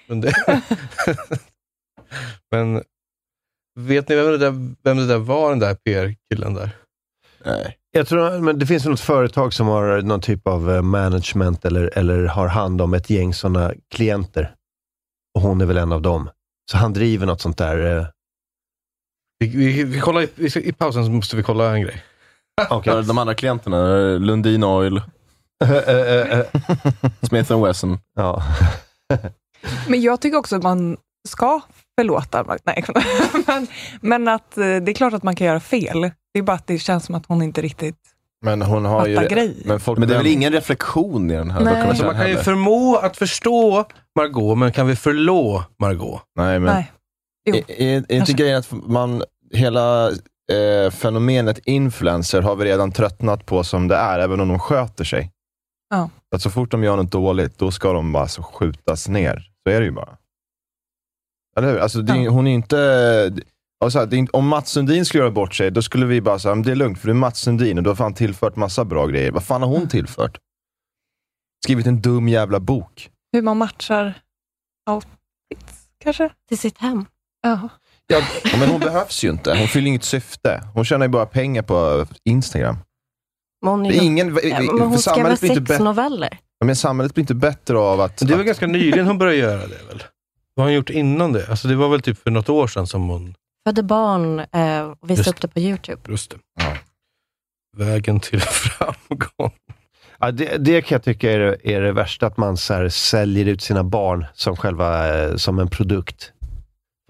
Speaker 2: Men, det... Men vet ni vem det, där, vem det där var, den där PR-killen där?
Speaker 3: Nej.
Speaker 1: Jag tror, men det finns något företag som har någon typ av eh, management eller, eller har hand om ett gäng sådana klienter. Och hon är väl en av dem. Så han driver något sånt där. eh,
Speaker 2: Vi, vi, vi kollar i, vi ska- i pausen så måste vi kolla en grej.
Speaker 3: Ja, De andra klienterna, Lundin [LAUGHS] Oil, Smith Wesson.
Speaker 1: Ja.
Speaker 4: Men jag tycker också att man ska förlåta. Nej, [LAUGHS] men, men att eh, det är klart att man kan göra fel. Det är bara att det känns som att hon inte riktigt...
Speaker 3: Men hon har ju...
Speaker 4: Fatta grej.
Speaker 3: Men, folk, men det är väl ingen reflektion i den här
Speaker 4: Nej.
Speaker 2: Alltså, man kan ju förmå att förstå Margot, men kan vi förlå Margot?
Speaker 3: Nej, men...
Speaker 4: Nej. Jo.
Speaker 3: Är- Är är inte
Speaker 4: Kanske.
Speaker 3: grejen att man, hela eh, fenomenet influencer har vi redan tröttnat på som det är, även om de sköter sig.
Speaker 4: Ja.
Speaker 3: Att så fort de gör något dåligt, då ska de bara så skjutas ner. Så är det ju bara. Eller hur? Alltså, det, är- Hon är inte... Och så här, det är inte, om Mats Sundin skulle göra bort sig, då skulle vi bara säga, "Men det är lugnt, för du är Mats Sundin och du har fan tillfört massa bra grejer. Vad fan har hon tillfört? Skrivit en dum jävla bok.
Speaker 4: Hur man matchar outfits, kanske?
Speaker 5: Till sitt hem.
Speaker 4: Ja.
Speaker 3: Ja, men hon behövs ju inte. Hon fyller inget syfte. Hon tjänar ju bara pengar på Instagram.
Speaker 5: Men hon, är
Speaker 3: Det är
Speaker 5: ju-
Speaker 3: ingen- vi- vi-
Speaker 5: Ja, men hon
Speaker 3: för
Speaker 5: skrev
Speaker 3: samhället blir inte bättre.
Speaker 5: sexnoveller.
Speaker 3: Ja, Men samhället blir inte bättre av att...
Speaker 2: Det var ganska nyligen hon började göra det väl? Vad har hon gjort innan det? Alltså, det var väl typ för något år sedan som hon...
Speaker 5: Födde barn eh, och visade
Speaker 2: Just.
Speaker 5: upp det på YouTube.
Speaker 2: Just det. Vägen till [LAUGHS] framgång.
Speaker 1: Ja, det, det kan jag tycka är, det- är det värsta, att man så här, säljer ut sina barn som, själva, eh, som en produkt.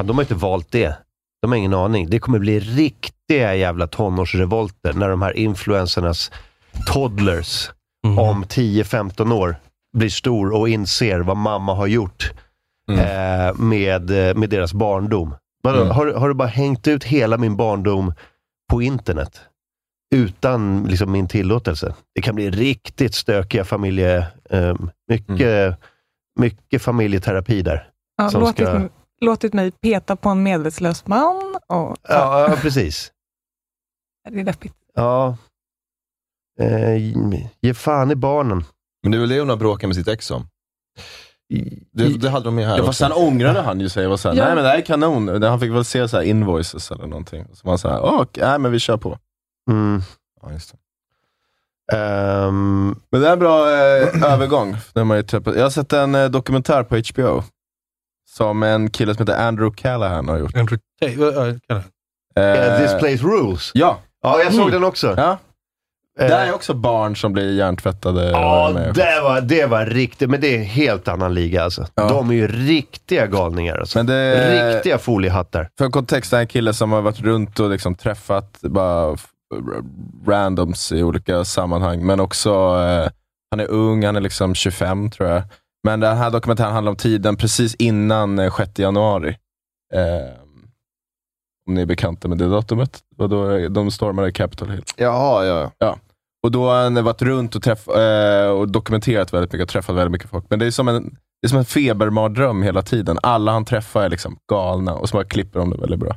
Speaker 1: Fan, de har inte valt det. De har ingen aning. Det kommer bli riktiga jävla tonårsrevolter när de här influencernas toddlers om 10-15 år blir stor och inser vad mamma har gjort eh, med, eh, med deras barndom. Man, har, du- har du bara hängt ut hela min barndom på internet? Utan liksom, min tillåtelse. Det kan bli riktigt stökiga familje... Eh, mycket, mycket familjeterapi där.
Speaker 4: Ja,
Speaker 1: som
Speaker 4: låtit,
Speaker 1: ska-
Speaker 4: låtit mig peta på en medvetslös man. Och,
Speaker 1: ja, ja, precis.
Speaker 4: Det är deppigt.
Speaker 1: Ja. Eh, ge fan i barnen.
Speaker 3: Men det är väl det hon har bråkat med sitt ex om? Det, det hade de ju här
Speaker 7: Ja, fast
Speaker 3: också.
Speaker 7: sen ångrade han ju sig och var såhär,
Speaker 3: Ja.
Speaker 7: nej men det här är kanon. Han fick väl se så här invoices eller någonting. Så man såhär, åh, okej, nej men vi kör på.
Speaker 1: Mm.
Speaker 7: Ja, just det.
Speaker 3: Men det är en bra eh,
Speaker 7: övergång. Den man ju träffat. Jag Ehm, har sett en eh, dokumentär på HBO. Som en kille som heter Andrew Callahan har gjort.
Speaker 2: Andrew Callahan?
Speaker 1: Eh, This Place Rules?
Speaker 7: Ja.
Speaker 1: Ja, jag såg
Speaker 3: Mm.
Speaker 1: den också.
Speaker 7: Ja.
Speaker 1: Eh.
Speaker 7: Där är också barn som blir hjärntvättade.
Speaker 1: Ja,
Speaker 7: med.
Speaker 1: det var, det var riktigt. Men det är en helt annan liga alltså. De är ju riktiga galningar alltså.
Speaker 7: Men det-
Speaker 1: Riktiga foliehattar.
Speaker 7: För kontext, det här är en kille som har varit runt och liksom träffat bara f- r- randoms i olika sammanhang, men också, eh, han är ung, han är liksom 25 tror jag. Men den här dokumentären handlar om tiden precis innan eh, 6 januari. Eh, om ni är bekanta med det datumet. Det var då de stormade Capitol Hill.
Speaker 3: Jaha, ja.
Speaker 7: Ja. Och då har han varit runt och, träff, eh, och dokumenterat väldigt mycket och träffat väldigt mycket folk. Men det är som en, det är som en febermardröm hela tiden. Alla han träffar är liksom galna och så bara klipper de det väldigt bra.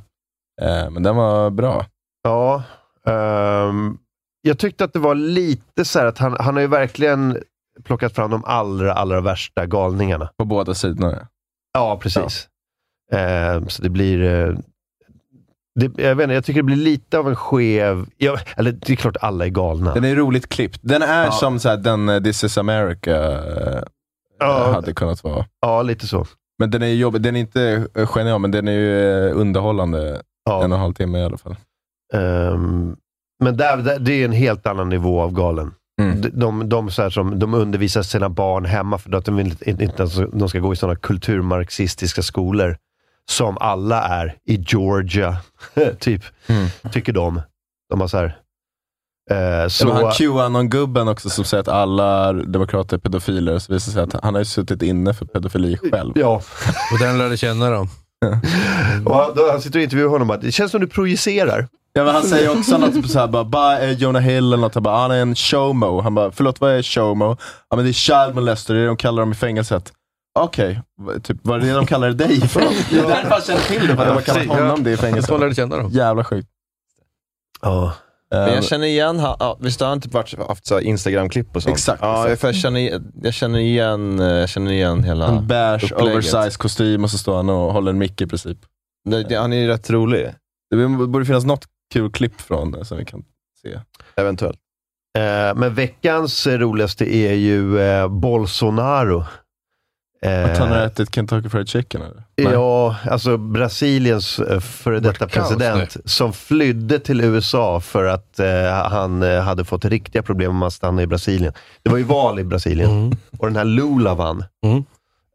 Speaker 7: Eh, men den var bra.
Speaker 1: Ja. ehm, jag tyckte att det var lite så här att han, han har ju verkligen plockat fram de allra, allra värsta galningarna.
Speaker 7: På båda sidorna, ja.
Speaker 1: Ja, precis. Ehm, så det blir... eh, det, jag, vet inte, jag tycker det blir lite av en skev... Ja, eller det är klart alla är galna.
Speaker 7: Den är roligt klippt. Den är
Speaker 1: Ja.
Speaker 7: som så här, den eh, This is America eh, hade kunnat vara.
Speaker 1: Ja, lite så.
Speaker 7: Men den är ju jobbig. Den är inte eh, genial, men den är ju eh, underhållande. En och en halv timme i alla fall.
Speaker 1: Ehm, men där, där, det är en helt annan nivå av galen.
Speaker 7: Mm.
Speaker 1: De, de, de, så här som, de undervisar sina barn hemma för att de vill inte- inte ens de ska gå i sådana kulturmarxistiska skolor som alla är i Georgia, [LAUGHS] typ,
Speaker 7: Mm.
Speaker 1: tycker de. De har så här... eh,
Speaker 7: Så...
Speaker 1: så,
Speaker 7: Han Qanon-gubben också som säger att alla demokrater är pedofiler, så visar det sig att han har ju suttit inne för pedofili själv.
Speaker 1: Ja.
Speaker 2: Och den lärde känna dem.
Speaker 1: [LAUGHS] och då, han sitter och intervjuar honom bara, det känns som du projicerar.
Speaker 7: Ja, men han säger
Speaker 1: [LAUGHS]
Speaker 7: också något så här, bara, bara eh, Jonah Hill eller något. Han bara, "Ah, han är en showmo. Han bara, förlåt vad är showmo? Ja men det är child molester, det är det de kallar dem i fängelset. Okej, v- typ, vad är det de kallar
Speaker 3: [LAUGHS]
Speaker 7: dig för? Det är därför han känner till det, för att de har kallat honom det i fängelset.
Speaker 3: Så lär du
Speaker 2: känna dem.
Speaker 7: Jävla sjukt. Ehm,
Speaker 1: Ja.
Speaker 3: Men jag känner igen, han- ja, visst har han typ varit, haft så här Instagram-klipp och sånt?
Speaker 7: Exakt,
Speaker 3: Ja,
Speaker 7: exakt.
Speaker 3: För jag, känner, jag känner igen eh, jag känner igen hela
Speaker 7: En beige,
Speaker 3: upplägget.
Speaker 7: oversized kostym och så står han och håller en mick i princip.
Speaker 3: Nej, det- Han är ju rätt rolig.
Speaker 7: Det borde finnas något kul klipp från eh, som vi kan se.
Speaker 3: Eventuellt.
Speaker 1: Eh, men veckans eh, roligaste är ju eh, Bolsonaro. Eh,
Speaker 7: Att han har ätit Kentucky Fried Chicken eller?
Speaker 1: Ja, alltså Brasiliens eh, före detta
Speaker 7: kaos
Speaker 1: president som flydde till USA för att eh, han eh, hade fått riktiga problem om att stanna i Brasilien. Det var ju val i Brasilien
Speaker 2: Mm.
Speaker 1: och den här Lula vann.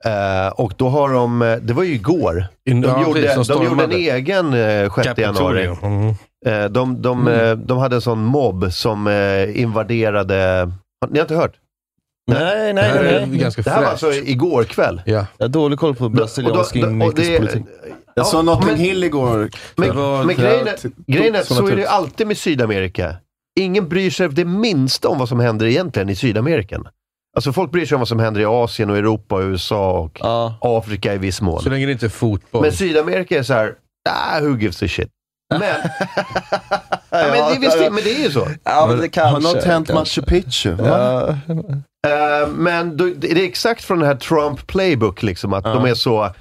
Speaker 1: Eh, och då har de, eh, det var ju igår,
Speaker 2: In-
Speaker 1: de,
Speaker 2: ja,
Speaker 1: gjorde,
Speaker 2: precis, de
Speaker 1: de gjorde en
Speaker 2: stormade.
Speaker 1: egen eh, 6 januari.
Speaker 2: Capitolium. Mm.
Speaker 1: Eh, de, de, eh, de hade en sån mobb som eh, invaderade... Har- Ni har inte hört?
Speaker 3: Nej, nej,
Speaker 1: Det här är
Speaker 3: nej.
Speaker 1: ganska Det här var alltså igår kväll.
Speaker 2: Ja.
Speaker 3: Jag har dålig koll på brasiliansk
Speaker 1: och då- och det-
Speaker 3: inrikespolitik.
Speaker 1: Jag såg Notting Hill
Speaker 7: igår.
Speaker 1: Men, men grejen, är, grejen är att så är det ju alltid med Sydamerika. Ingen bryr sig det minsta om vad som händer egentligen i Sydamerika. Alltså folk bryr sig om vad som händer i Asien och Europa och USA och Afrika i viss mån.
Speaker 2: Så länge det inte är fotboll.
Speaker 1: Men Sydamerika är så här, ah, who gives a shit? Men, ja, men, det, är visst, men det är ju så.
Speaker 3: Ja, men det kanske.
Speaker 7: Har något hänt
Speaker 3: kanske.
Speaker 7: Machu Picchu? va?
Speaker 3: Ja.
Speaker 1: Eh, men då, det är exakt från den här Trump playbook, liksom, att de är så...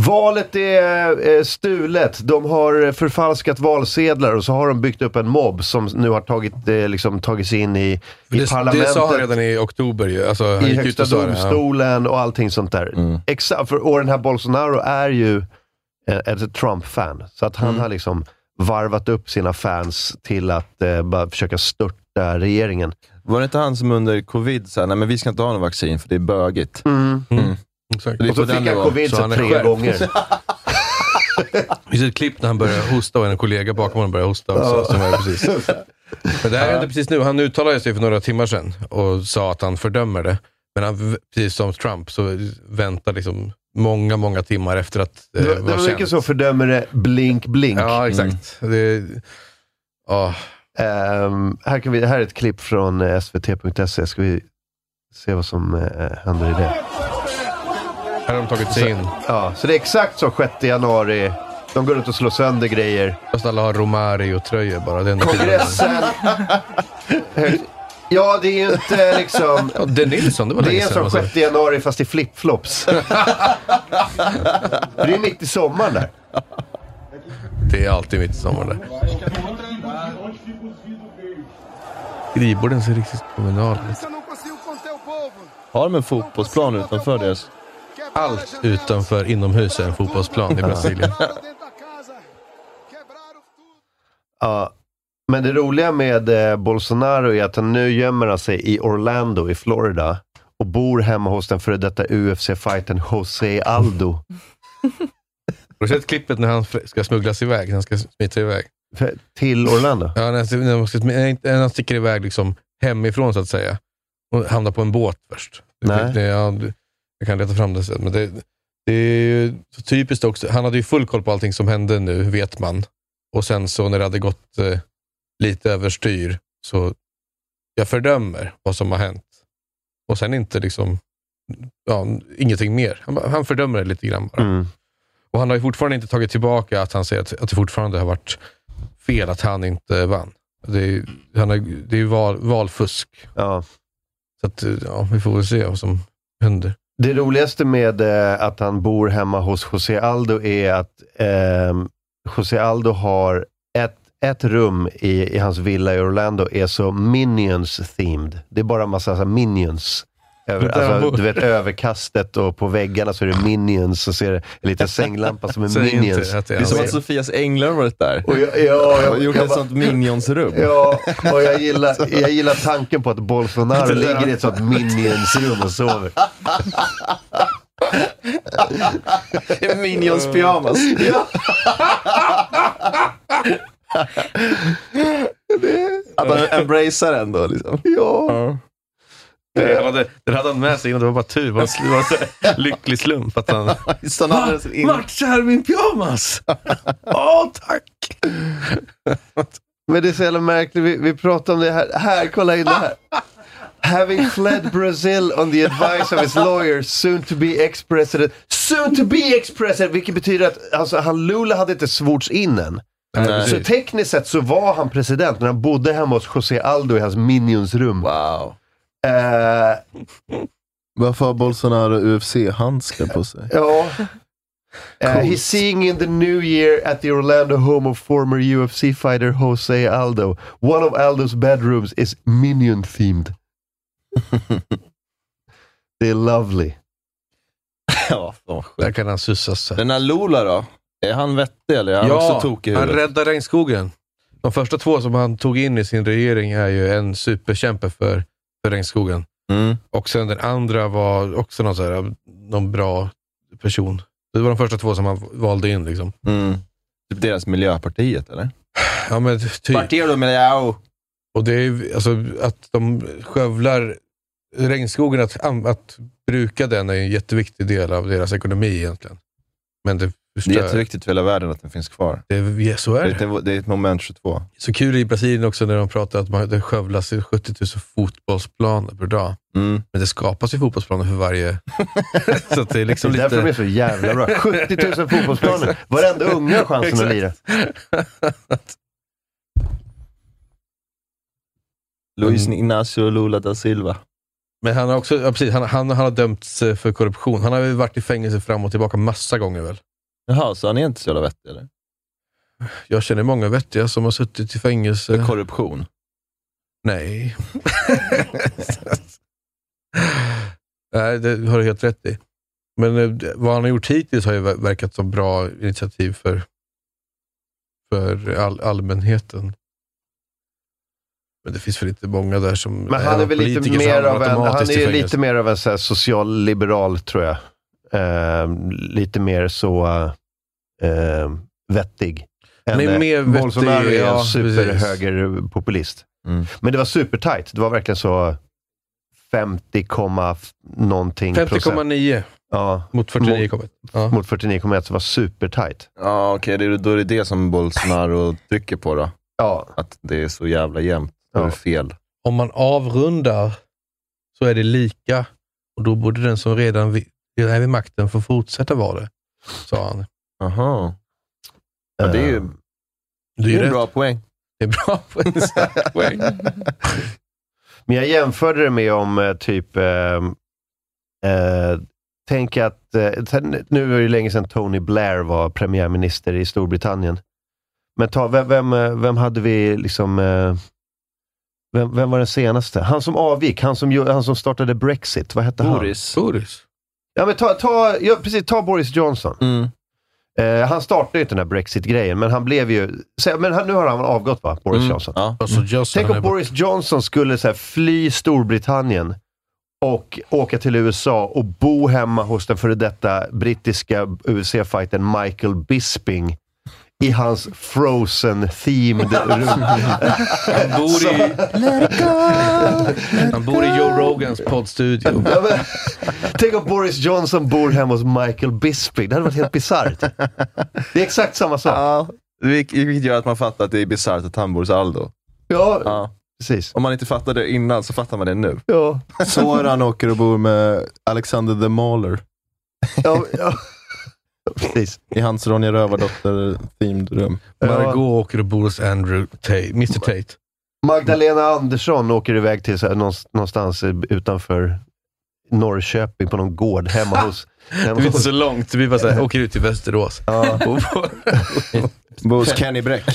Speaker 1: Valet är eh, stulet, de har förfalskat valsedlar och så har de byggt upp en mobb som nu har tagit, eh, liksom, tagit sig in i,
Speaker 2: Det,
Speaker 1: i
Speaker 2: det sa han
Speaker 1: parlamentet,
Speaker 2: redan i oktober ju. Alltså, han
Speaker 1: i
Speaker 2: gick ut
Speaker 1: högsta
Speaker 2: och sa det, ja. Mm.
Speaker 1: domstolen och allting sånt där. Exa- för, och den här Bolsonaro är ju eh, ett Trump-fan, så att han
Speaker 2: Mm.
Speaker 1: har liksom varvat upp sina fans till att eh, bara försöka störta regeringen.
Speaker 3: Var det inte han som under covid sa nej men vi ska inte ha någon vaccin för det är bögigt?
Speaker 7: Mm.
Speaker 2: Exakt.
Speaker 3: Det är på den nivån. Mm. Så han är skärpt. [LAUGHS]
Speaker 2: Vi ser ett klipp när han börjar hosta och en kollega bakom honom börjar hosta också.
Speaker 3: Ja.
Speaker 2: Som är
Speaker 1: [LAUGHS]
Speaker 2: precis. Men det här hände precis nu. Han uttalade sig för några timmar sedan och sa att han fördömer det. Men han, precis som Trump så väntar liksom många, många timmar efter att eh,
Speaker 1: Det var, det var mycket
Speaker 2: känt.
Speaker 1: så fördömer det blink, blink. Mm.
Speaker 2: Ja, exakt.
Speaker 1: Ehm, här, kan vi, här är ett klipp från eh, svt.se. Ska vi se vad som eh, händer i det?
Speaker 2: Här har de tagit sig in.
Speaker 1: Ja, så det är exakt så 6 januari. De går runt och slår sönder grejer.
Speaker 2: Fast alla har Romario-tröjor bara. Det är ändå-
Speaker 1: Kongressen. [LAUGHS] ja, det är ju inte liksom...
Speaker 2: Ja, det Nilsson, det var
Speaker 1: Det
Speaker 2: länge
Speaker 1: är
Speaker 2: sedan,
Speaker 1: som
Speaker 2: alltså.
Speaker 1: 6 januari fast i
Speaker 2: [LAUGHS]
Speaker 1: flipflops. För det är mitt i sommaren där.
Speaker 2: Det är alltid mitt i sommaren där. Skrivborden ser riktigt kommunala ut.
Speaker 3: Har de en fotbollsplan utanför deras?
Speaker 2: Allt utanför inomhus är en
Speaker 1: [LAUGHS]
Speaker 2: fotbollsplan i
Speaker 1: Ja.
Speaker 2: Brasilien.
Speaker 1: Ja. Men det roliga med eh, Bolsonaro är att han nu gömmer han sig i Orlando i Florida och bor hemma hos den före detta UFC-fightern José Aldo.
Speaker 2: Har du sett klippet när han ska smugglas iväg? När han ska smita iväg?
Speaker 1: För- Till Orlando?
Speaker 2: Ja, när han, ska- när han, ska, smi- när han sticker iväg liksom hemifrån så att säga. Och hamnar på en båt först. Det-
Speaker 1: Nej.
Speaker 2: Det, ja, du- jag kan leta fram det sen. Men det, det är ju så typiskt också. Han hade ju full koll på allting som hände nu, vet man. Och sen så när det hade gått eh, lite överstyr så jag fördömer vad som har hänt. Och sen inte liksom, ja, ingenting mer. Han, bara- han fördömer det lite grann bara.
Speaker 1: Mm.
Speaker 2: Och han har ju fortfarande inte tagit tillbaka att han säger att, att det fortfarande har varit fel att han inte vann. Det är ju han har, det är ju val, valfusk. Så att, ja, vi får väl se vad som händer.
Speaker 1: Det roligaste med eh, att han bor hemma hos José Aldo är att eh, José Aldo har ett, ett rum i, i hans villa i Orlando är så Minions-themed. Det är bara en massa så här, Minions. Över,
Speaker 2: Där han
Speaker 1: alltså,
Speaker 2: bor.
Speaker 1: du vet överkastet och på väggarna så är det Minions och så är det en liten sänglampa
Speaker 3: [LAUGHS]
Speaker 1: som är Minions.
Speaker 3: det är som att Sofias änglar har varit där.
Speaker 1: Och jag, ja, jag,
Speaker 3: och gjort
Speaker 1: jag
Speaker 3: ett
Speaker 1: bara-
Speaker 3: sånt minionsrum.
Speaker 1: Ja, och jag
Speaker 3: [LAUGHS]
Speaker 1: gillar, jag gillar tanken på att Bolsonaro ligger i ett sånt Minions-rum och sover.
Speaker 3: Minions pyjamas. Att han embracear ändå liksom.
Speaker 1: Ja.
Speaker 2: Den hade, den hade han med sig innan, det var bara tur. Det var en- det var en så här lycklig slump att han...
Speaker 3: Va?
Speaker 1: Alltså,
Speaker 3: [LAUGHS] Max, här är
Speaker 1: [LAUGHS]
Speaker 3: min pyjamas! Åh, tack!
Speaker 1: Men det är så jävla märkligt, vi, vi pratar om det här. Här, kolla in det
Speaker 3: [LAUGHS]
Speaker 1: här. Having fled Brazil on the advice of his lawyer, soon to be ex-president. Soon to be ex-president! Vilket betyder att alltså, han Lula hade inte svorts in än.
Speaker 3: Nej.
Speaker 1: Så tekniskt sett så var han president, men han bodde hemma hos José Aldo i hans Eh. minionsrum.
Speaker 3: Wow.
Speaker 7: Eh, Varför har Bolsonaro UFC-handskar på sig?
Speaker 1: Ja. Uh,
Speaker 7: Coolt.
Speaker 1: he's seeing in the new year at the Orlando home of former UFC fighter Jose Aldo. One of Aldo's bedrooms is minion [LAUGHS] themed. det är lovely.
Speaker 3: Ja,
Speaker 2: Där kan han sussas.
Speaker 3: Den här Lula då? Är han vettig eller är han också tokig i
Speaker 2: han
Speaker 3: huvudet?
Speaker 2: räddar regnskogen. De första två som han tog in i sin regering är ju en superkämpe för, för regnskogen.
Speaker 3: Mm.
Speaker 2: Och sen den andra var också någon, så här, någon bra person. Det var de första två som han valde in. Liksom.
Speaker 3: Typ deras Miljöpartiet eller?
Speaker 2: Ja, men typ.
Speaker 3: Partido Miljöo.
Speaker 2: Och det är ju- alltså, att de skövlar regnskogen, att, an- att bruka den är en jätteviktig del av deras ekonomi egentligen. Men det
Speaker 3: Det
Speaker 2: förstör.
Speaker 3: är jätteviktigt för hela världen att den finns kvar.
Speaker 2: Det är, ja, så är det.
Speaker 3: Det, det är ett moment 22.
Speaker 2: Så kul i Brasilien också när de pratar att man, det skövlas ju 70 000 fotbollsplaner per dag.
Speaker 3: Mm.
Speaker 2: Men det skapas ju fotbollsplaner för
Speaker 3: [LAUGHS]
Speaker 2: varje... så att det är liksom
Speaker 1: det är därför
Speaker 2: lite...
Speaker 1: de är så
Speaker 2: [LAUGHS]
Speaker 1: jävla [LAUGHS] bra. 70 000 fotbollsplaner.
Speaker 2: Exakt.
Speaker 1: Varenda unge har chansen
Speaker 2: Exakt.
Speaker 1: att lira.
Speaker 3: Luis Ignacio Lula da Silva.
Speaker 2: Men han har också, ja, precis, han, han, han har dömts eh, för korruption. Han har ju varit i fängelse fram och tillbaka massa gånger väl.
Speaker 3: Jaha, så han är inte så jävla vettig eller?
Speaker 2: Jag känner många vettiga som har suttit i fängelse. För
Speaker 3: korruption? [LAUGHS]
Speaker 2: Nej. [LAUGHS] Nej, det har du helt rätt i. Men eh, det- vad han har gjort hittills har ju ver- verkat som bra initiativ för, för all, allmänheten. Men det finns väl inte många där som
Speaker 1: Men han är väl lite
Speaker 2: politiker, så
Speaker 1: mer
Speaker 2: hamnar
Speaker 1: av en, han
Speaker 2: automatiskt i
Speaker 1: är ju
Speaker 2: fängelse.
Speaker 1: lite mer av en så här social liberal, tror jag. Ehm, lite mer så eh, vettig.
Speaker 2: Men
Speaker 1: Än, eh,
Speaker 2: mer vettig,
Speaker 1: Bolsonaro är
Speaker 2: ja, Mm.
Speaker 1: en
Speaker 2: precis.
Speaker 1: superhögerpopulist. Men det var supertight. Det var verkligen så 50, komma f- någonting procent.
Speaker 2: 50,9.
Speaker 1: Ja.
Speaker 2: Mot 49,1.
Speaker 1: Mot 49,1, så var supertight.
Speaker 3: Ja, okej. det är- Då är det det som Bolsonaro trycker på då?
Speaker 1: Ja.
Speaker 3: Att det är så jävla jämnt. Då är det fel.
Speaker 2: Om man avrundar så är det lika och då borde den som redan vi- är vid makten få fortsätta vara det, sa han.
Speaker 3: Aha. Ja, det är ju
Speaker 2: Det är
Speaker 3: Ehm, det är en
Speaker 2: rätt.
Speaker 3: bra poäng.
Speaker 2: Det är
Speaker 3: [LAUGHS]
Speaker 2: bra poäng. Stark poäng.
Speaker 1: Men jag jämförde det med om eh, typ... Eh, eh, tänk att... Eh, sen- nu var det ju länge sedan Tony Blair var premiärminister i Storbritannien. Men ta, vem, vem, eh, vem hade vi liksom... Eh, vem, vem var den senaste? Han som avgick, han som, gjo- han som startade Brexit. Vad hette
Speaker 3: Boris.
Speaker 1: han?
Speaker 2: Boris.
Speaker 1: Ja, men ta, ta, ja, precis, ta Boris Johnson.
Speaker 2: Mm.
Speaker 1: Eh, han startade ju inte den här Brexit-grejen, men han blev ju... sä- Men han, nu har han avgått va, Boris
Speaker 2: Mm,
Speaker 1: Johnson?
Speaker 3: Ja.
Speaker 2: Alltså, Johnson
Speaker 1: Tänk
Speaker 2: är
Speaker 1: om Boris Johnson skulle så här, fly Storbritannien och åka till USA och bo hemma hos den före detta brittiska UFC-fightern Michael Bisping i hans
Speaker 2: [LAUGHS]
Speaker 1: frozen-themed rum.
Speaker 2: Han bor
Speaker 1: Alltså.
Speaker 2: i, han bor i Joe Rogans poddstudio.
Speaker 1: Ja, men, Tänk om Boris Johnson bor hemma hos Michael Bisping. Det hade varit helt bisarrt. Det är exakt samma sak.
Speaker 3: Ja, vilk- vilket gör att man fattar att det är bisarrt att han bor hos Aldo.
Speaker 1: Ja,
Speaker 3: Om man inte fattade det innan så fattar man det nu.
Speaker 1: Ja.
Speaker 3: Soran åker och bor med Alexander the Mauler.
Speaker 1: Ja, precis.
Speaker 3: I hans Ronja Rövardotter-themed rum.
Speaker 2: Margot åker och bor hos Andrew Tate, Mr Tate.
Speaker 1: Magdalena Andersson åker iväg till så här, någonst- någonstans eh, utanför Norrköping på någon gård hemma hos...
Speaker 2: Det
Speaker 1: hemma
Speaker 2: är inte
Speaker 1: hos-
Speaker 2: så långt, vi bara så här, åker ut till Västerås. [LAUGHS]
Speaker 1: Ja.
Speaker 2: Och bor-
Speaker 3: Bor hos Kenny Bräck.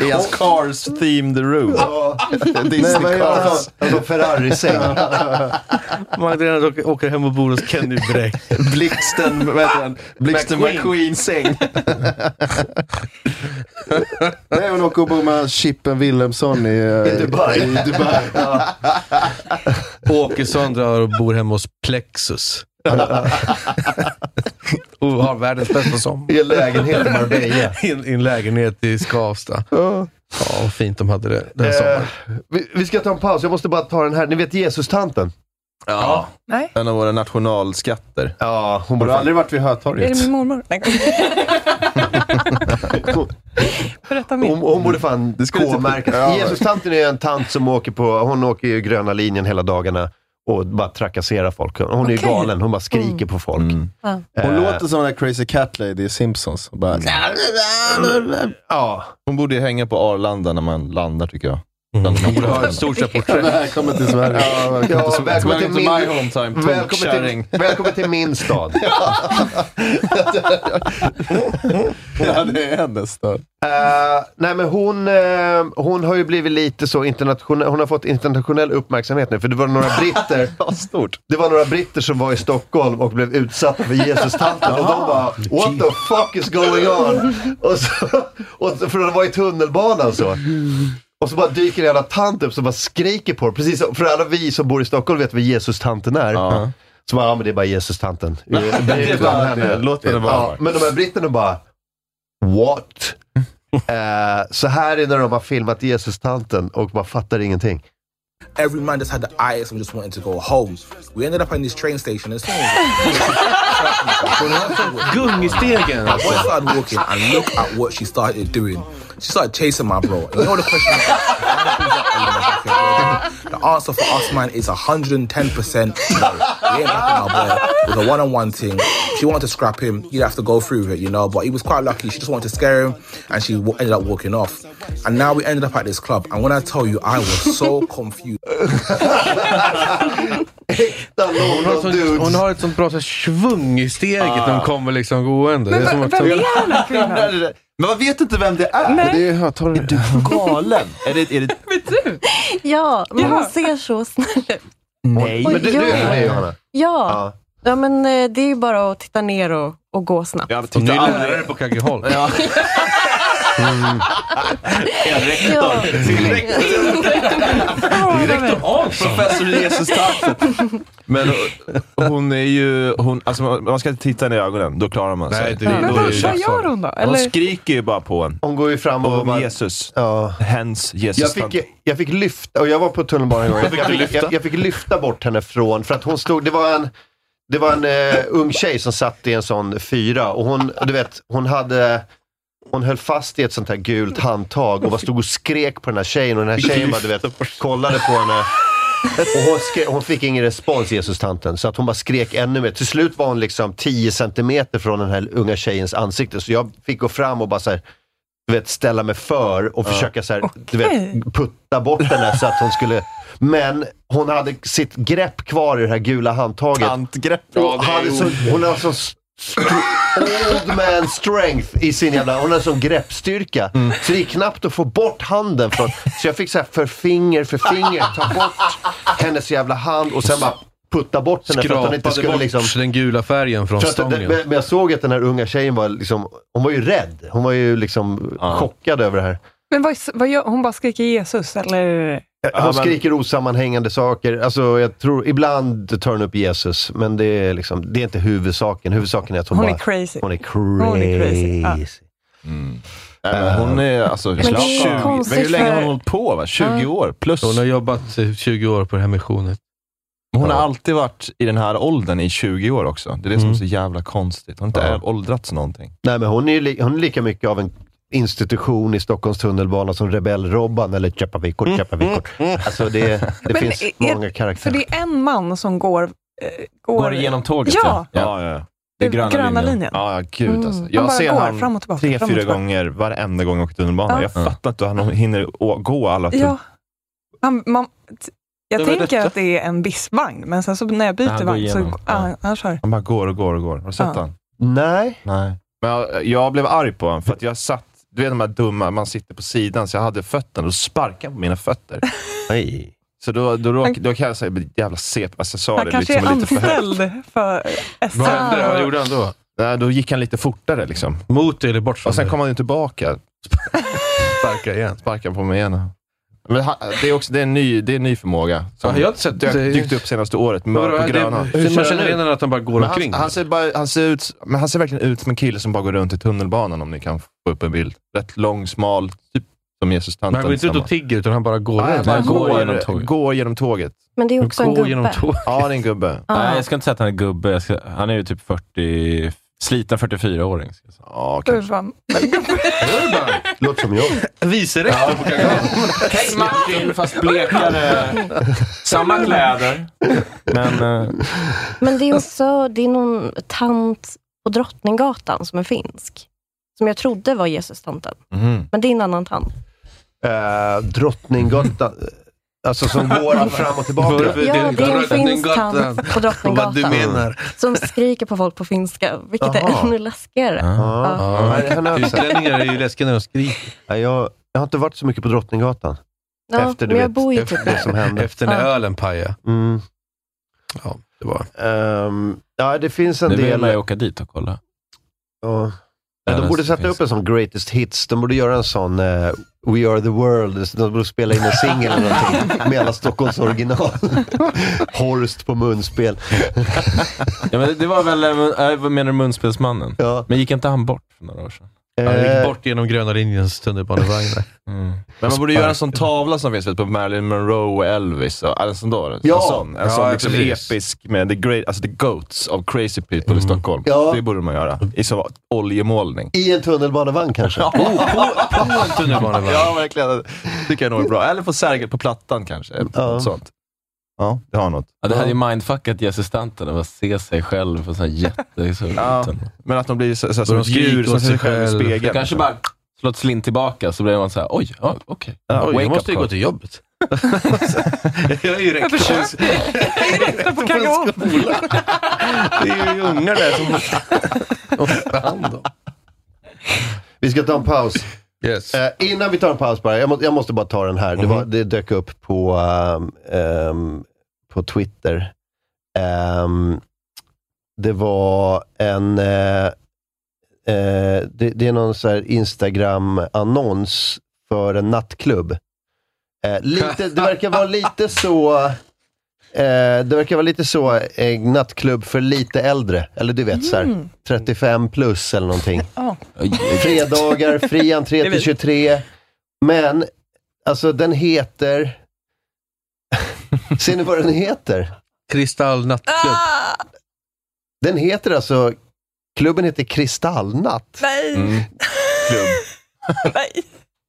Speaker 3: I hans Cars-themed room.
Speaker 1: Nej, men
Speaker 3: Disney
Speaker 1: jag-
Speaker 3: Cars.
Speaker 1: alltså, Ferrari-säng.
Speaker 2: Magdalena åker- åker hem och bor hos Kenny Bräck.
Speaker 3: Blixten, vad heter han? Blixten
Speaker 2: McQueen.
Speaker 3: McQueens säng. Nej, hon åker och bor med Chippen Wilhelmsson i, eh,
Speaker 1: Dubai.
Speaker 3: i Dubai.
Speaker 2: Åkesson drar och bor hemma hos
Speaker 3: [LAUGHS]
Speaker 2: Plexus. och har [LAUGHS] världens bästa sommar.
Speaker 1: I en lägenhet i Marbella.
Speaker 2: I en, i en lägenhet i Skavsta. Ja, vad fint de hade det den sommaren.
Speaker 1: Eh, vi, vi ska ta en paus. Jag måste bara ta den här. Ni vet Jesus-tanten?
Speaker 3: Ja.
Speaker 4: Nej.
Speaker 3: En av våra nationalskatter.
Speaker 1: Ja, hon
Speaker 3: har du aldrig varit vid
Speaker 4: Är det
Speaker 3: Hötorget?
Speaker 4: min mormor? Nej, Berätta mer.
Speaker 1: Hon, hon borde fan K-märkas.
Speaker 3: Ja.
Speaker 1: typ Jesus-tanten är en tant som åker på, hon åker ju gröna linjen hela dagarna och bara trakasserar folk. Hon är ju
Speaker 3: Okej.
Speaker 1: galen. Hon bara skriker på folk.
Speaker 3: Hon
Speaker 1: Eh.
Speaker 3: låter som den där crazy cat lady i Simpsons. Bara...
Speaker 1: Ja.
Speaker 3: Hon borde ju hänga på Arlanda när man landar tycker jag.
Speaker 2: Hon borde ha ett stort
Speaker 1: [LAUGHS]
Speaker 2: så här porträtt.
Speaker 3: Välkommen till Sverige. Ja, välkommen till Sverige.
Speaker 1: välkommen till
Speaker 3: my
Speaker 1: min-
Speaker 3: hometown,
Speaker 1: välkommen till-
Speaker 3: tokkärring.
Speaker 1: Välkommen till min stad.
Speaker 3: [LAUGHS] Ja, det är hennes stad.
Speaker 1: Eh, nej men hon, eh, hon har ju blivit lite så internationell, hon har fått internationell uppmärksamhet nu, för det var några
Speaker 3: [LAUGHS]
Speaker 1: britter
Speaker 3: stort.
Speaker 1: Det var några britter som var i Stockholm och blev utsatta för Jesus-tanten och de bara “What the fuck is going on?” och så, och så, För de var i tunnelbanan så. Och så bara dyker en jävla tant upp som bara skriker på dem. Precis som- för alla vi som bor i Stockholm vet vad Jesus-tanten är. Så bara, ja men det är bara Jesus-tanten.
Speaker 3: [LAUGHS] Det är bara det. Låt henne vara.
Speaker 1: Ja, men de här britterna bara “What?”
Speaker 3: Mm.
Speaker 1: Eh, Så här är när de har filmat Jesus-tanten och bara fattar ingenting.
Speaker 13: Every man just had the eyes and just wanted to go home. We ended up in this train station and
Speaker 2: Gungstegen,
Speaker 13: I
Speaker 2: alltså.
Speaker 13: started walking and look at what she started doing. She started chasing my bro. And you know the
Speaker 2: Typ-
Speaker 13: question The answer for us, man, is 110% no. We ain't backing our boy. It was a one on one thing. She wanted to scrap him. You'd have to go through with it, you know. But he was quite lucky. She just wanted to scare him and she w- ended up walking off. And now we ended up at this club. And when I tell you, I was so [LAUGHS] confused.
Speaker 2: Hon har, sånt, hon har ett sånt bra så här, svung i steget när
Speaker 3: Ah.
Speaker 2: hon kommer liksom gående.
Speaker 3: Men
Speaker 2: Det är som
Speaker 3: vad-
Speaker 2: att-
Speaker 3: vem är den här kvinnan? Men man vet inte vem det är. Nej. Det är, är du galen? är det, är det...
Speaker 5: [LAUGHS]
Speaker 14: Ja, men hon ser så snäll ut.
Speaker 1: Nej,
Speaker 14: Oj,
Speaker 1: men du, du
Speaker 14: ja.
Speaker 1: är med Johanna.
Speaker 14: Ja. ja, men eh, det är ju bara att titta ner och, och gå snabbt.
Speaker 3: Jag
Speaker 2: Hon är lärare på Kaggeholm.
Speaker 3: Rektor. Till rektor. Rektor och professor Jesus Taffel. Men hon är ju... Hon, alltså, man man ska inte titta henne i ögonen, då klarar man sig.
Speaker 2: Nej, det- Men det- vad- vad
Speaker 4: gör hon då?
Speaker 3: Hon
Speaker 4: Eller-
Speaker 3: skriker ju bara på en.
Speaker 1: Hon går ju fram och...
Speaker 3: Om Jesus. Hens Jesus.
Speaker 1: Jag fick, jag fick lyfta, och jag var på tunnelbanan en gång.
Speaker 3: Fick du
Speaker 1: Jag fick,
Speaker 3: lyfta?
Speaker 1: jag, jag fick lyfta bort henne från, för att hon stod, det var en, det var en eh, ung tjej som satt i en sån fyra och hon, du vet, hon hade, hon höll fast i ett sånt här gult handtag och bara stod och skrek på den här tjejen och den här tjejen bara, du vet, kollade på henne. [LAUGHS] Och hon, skrek, hon fick ingen respons, Jesus-tanten, så att hon bara skrek ännu mer. Till slut var hon liksom 10 centimeter från den här unga tjejens ansikte, så jag fick gå fram och bara så här, du vet, ställa mig för och försöka så här, du vet, putta bort henne så att hon skulle... Men hon hade sitt grepp kvar i det här gula handtaget.
Speaker 3: Tantgrepp.
Speaker 1: Och hade så, hon har så st- old man strength i sin jävla... Hon har sån greppstyrka. Så det är knappt att få bort handen från... Så jag fick så här för finger för finger ta bort hennes jävla hand och sen bara putta bort henne för att hon inte
Speaker 2: Skrapade
Speaker 1: skulle
Speaker 2: bort
Speaker 1: liksom...
Speaker 2: den gula färgen från
Speaker 1: För att den,
Speaker 2: stången.
Speaker 1: men, men jag såg att den här unga tjejen var liksom, hon var ju rädd. Hon var ju liksom chockad över det här.
Speaker 4: Men vad, vad gör, hon bara skriker Jesus, eller?
Speaker 1: Hon skriker osammanhängande saker. Alltså, jag tror, ibland tar hon upp Jesus, men det är, liksom, det är inte huvudsaken. Huvudsaken är att hon,
Speaker 4: Hon är
Speaker 1: bara,
Speaker 4: crazy.
Speaker 1: Hon är crazy.
Speaker 4: Hon är crazy, ja.
Speaker 3: hon är alltså...
Speaker 4: Men det är
Speaker 3: slapp av.
Speaker 4: konstigt
Speaker 3: Men hur länge har hon
Speaker 4: för-
Speaker 3: hållit på? Va? 20
Speaker 4: Ja.
Speaker 3: år plus?
Speaker 2: Hon har jobbat eh, 20 år på det här missionet.
Speaker 3: Men Hon har alltid varit i den här åldern i 20 år också. Det är det som är så jävla konstigt. Hon har inte åldrats någonting.
Speaker 1: Nej, men hon är, ju li- hon är lika mycket av en institution i Stockholms tunnelbana som Rebell-Robban eller Chepavikor, Chepavikor. Alltså det, det
Speaker 4: Mm. Men
Speaker 1: finns
Speaker 4: är-
Speaker 1: många
Speaker 4: För
Speaker 1: karaktärer.
Speaker 4: det är en man som går... eh, går,
Speaker 3: Går igenom tåget?
Speaker 4: Ja!
Speaker 3: ja. ja, ja. Det
Speaker 4: Den
Speaker 3: är gröna,
Speaker 4: gröna linjen.
Speaker 3: Ja, ja, gud
Speaker 4: Mm.
Speaker 3: alltså.
Speaker 4: Han
Speaker 3: Jag
Speaker 4: bara
Speaker 3: ser
Speaker 4: går
Speaker 3: han
Speaker 4: fram och tillbaka,
Speaker 3: tre,
Speaker 4: fram och
Speaker 3: fyra
Speaker 4: tillbaka.
Speaker 3: gånger varenda gång jag åker tunnelbana.
Speaker 4: Ja.
Speaker 3: Jag fattar inte hur han hinner å- gå alla tull-
Speaker 4: Ja. Han, man, t- jag
Speaker 3: Det var
Speaker 4: tänker
Speaker 3: detta.
Speaker 4: att det är en bispvagn, men sen så när jag byter
Speaker 3: Han går
Speaker 4: vagn så
Speaker 3: igenom.
Speaker 4: ja. han, han kör.
Speaker 3: Han bara går och går och går. Har du sett
Speaker 4: Ja.
Speaker 3: han?
Speaker 1: Nej.
Speaker 3: Nej. Men jag, jag blev arg på honom för att jag satt, du vet de här dumma, man sitter på sidan, så jag hade fötterna och sparkade på
Speaker 4: [LAUGHS]
Speaker 3: mina fötter.
Speaker 1: Nej.
Speaker 3: Så då, då, råk, då kan jag säga, jävla sep, alltså jag sa
Speaker 4: Han
Speaker 3: det
Speaker 4: kanske
Speaker 3: liksom
Speaker 4: är
Speaker 3: lite för högt.
Speaker 4: anställd för SM.
Speaker 3: han då? Nej, då gick han lite fortare. Liksom. Mot dig eller bort från Och sen kom han
Speaker 2: [LAUGHS]
Speaker 3: ju tillbaka. Sparka igen. Sparka på mig igen. Men han, det, är också, det, är en ny, det är en ny förmåga som
Speaker 2: Ja, jag har inte sett-
Speaker 3: dök,
Speaker 2: det-
Speaker 3: dykt upp senaste året.
Speaker 2: Vadå,
Speaker 3: Mörk och
Speaker 2: det-
Speaker 3: grön. han.
Speaker 2: hur man känner igen honom att han bara går
Speaker 3: Men
Speaker 2: omkring?
Speaker 3: Han, han, ser bara, han, ser ut, men han ser verkligen ut som en kille som bara går runt i tunnelbanan om ni kan få upp en bild. Rätt lång, smal, typ som Jesus-tanten.
Speaker 2: Men han går inte ut och
Speaker 3: tillsammans.
Speaker 2: tigger, utan han bara går
Speaker 3: Nej,
Speaker 2: runt.
Speaker 3: bara går,
Speaker 2: genom
Speaker 3: genom går genom tåget.
Speaker 5: Men det är också en gubbe.
Speaker 3: [LAUGHS] Ja, det är
Speaker 2: [LAUGHS]
Speaker 3: en gubbe.
Speaker 5: Ja.
Speaker 15: Nej, jag ska inte säga att han är gubbe. Jag ska, han är ju typ 40, sliten 44-åring. ska jag säga.
Speaker 4: Urban.
Speaker 1: Låter som jag. [LAUGHS]
Speaker 2: Vice rektor på Kagawa.
Speaker 15: Tänk Martin, fast blekare.
Speaker 3: [LAUGHS]
Speaker 15: Samma kläder. Men, eh,
Speaker 5: Men det är också, det är någon tant på Drottninggatan som är finsk. Som jag trodde var Jesus-tanten.
Speaker 1: Mm.
Speaker 5: Men det är en annan tant.
Speaker 1: Eh, Drottninggatan. Alltså
Speaker 4: [LAUGHS]
Speaker 1: som går fram och tillbaka.
Speaker 5: Ja, det är en finsk tant på Drottninggatan.
Speaker 1: Vad du menar.
Speaker 5: Som skriker på folk på finska, vilket
Speaker 1: Jaha. Ah.
Speaker 5: är ännu läskigare. Ja.
Speaker 1: Ja, det kan jag också.
Speaker 2: Ah. Utlänningar är ju läskiga när de skriker.
Speaker 1: Ja, jag, jag har inte varit så mycket på Drottninggatan.
Speaker 5: Ja,
Speaker 1: efter du
Speaker 5: men jag
Speaker 1: vet,
Speaker 5: bor ju
Speaker 1: efter
Speaker 5: typ
Speaker 1: det
Speaker 5: där.
Speaker 1: som hände.
Speaker 2: Efter när ölen pajade.
Speaker 1: Mm.
Speaker 2: Ja, det var.
Speaker 1: Ehm, ja, det finns en
Speaker 15: nu vill
Speaker 1: del...
Speaker 15: man ju åka dit och kolla.
Speaker 1: Ja.
Speaker 15: Ja,
Speaker 1: De
Speaker 15: det
Speaker 1: borde sätta
Speaker 15: finns.
Speaker 1: upp en sån greatest hits. De borde göra en sån eh, We are the world. De borde spela in en singel eller någonting med alla
Speaker 5: [LAUGHS]
Speaker 1: Stockholms original. Horst på munspel.
Speaker 15: Ja, men det var väl, eh, vad menar du, munspelsmannen? Men gick inte han bort för några år sedan?
Speaker 1: Eh,
Speaker 2: Han gick bort genom gröna linjens tunnelbanevagn. där.
Speaker 15: Mm.
Speaker 3: Men man borde göra en sån tavla som finns vet, på Marilyn Monroe och Elvis. Och, eller en sån då. En
Speaker 1: Ja.
Speaker 3: sån, en
Speaker 1: Ja,
Speaker 3: sån liksom
Speaker 1: precis.
Speaker 3: episk med the, great, alltså the Goats of Crazy People i Stockholm.
Speaker 1: Ja.
Speaker 3: Det borde man göra. I så oljemålning.
Speaker 1: I en tunnelbanevagn kanske?
Speaker 3: Oh, på [LAUGHS] en
Speaker 1: tunnelbanevagn.
Speaker 3: Ja, verkligen. Det tycker jag nog är bra. Eller på Sergel på Plattan kanske. Något sånt. Ja, det har något.
Speaker 15: Ja, det hade ju mindfuckat Jesus-tanten, att bara se sig själv på sån här jätte... Så ja,
Speaker 3: men att de blir så, så,
Speaker 15: som
Speaker 3: som ett djur som ser sig själv i spegeln.
Speaker 15: Det kanske bara slår ett slint tillbaka, så blir man så här, oj, ja, okej.
Speaker 3: Ja, oj, jag måste ju gå
Speaker 2: till jobbet. jag är ju
Speaker 4: Jag
Speaker 2: rektor.
Speaker 4: försöker. Jag är rektor på Kagawa.
Speaker 2: [LAUGHS] Det är ju ungar där som måste...
Speaker 1: Vi ska ta en paus.
Speaker 2: Yes.
Speaker 1: Eh, innan vi tar en paus bara, jag, må, jag måste bara ta den här. Det, var, det dök upp på, ehm, ehm, på Twitter. Ehm, det var en, eh, Eh, det, det är någon så här Instagram-annons för en nattklubb. Eh, lite, det verkar vara lite så... Eh, det verkar vara lite så, eh, nattklubb för lite äldre. Eller du vet, så här,
Speaker 4: Mm.
Speaker 1: 35 plus eller någonting.
Speaker 4: Ja.
Speaker 1: Fredagar, fri entré till 23. Men, alltså den heter... Ser ni vad den heter? Ah!
Speaker 2: Kristallnattklubb.
Speaker 1: Den heter alltså... Klubben heter Kristallnatt.
Speaker 5: Nej.
Speaker 3: Mm.
Speaker 1: Klubb.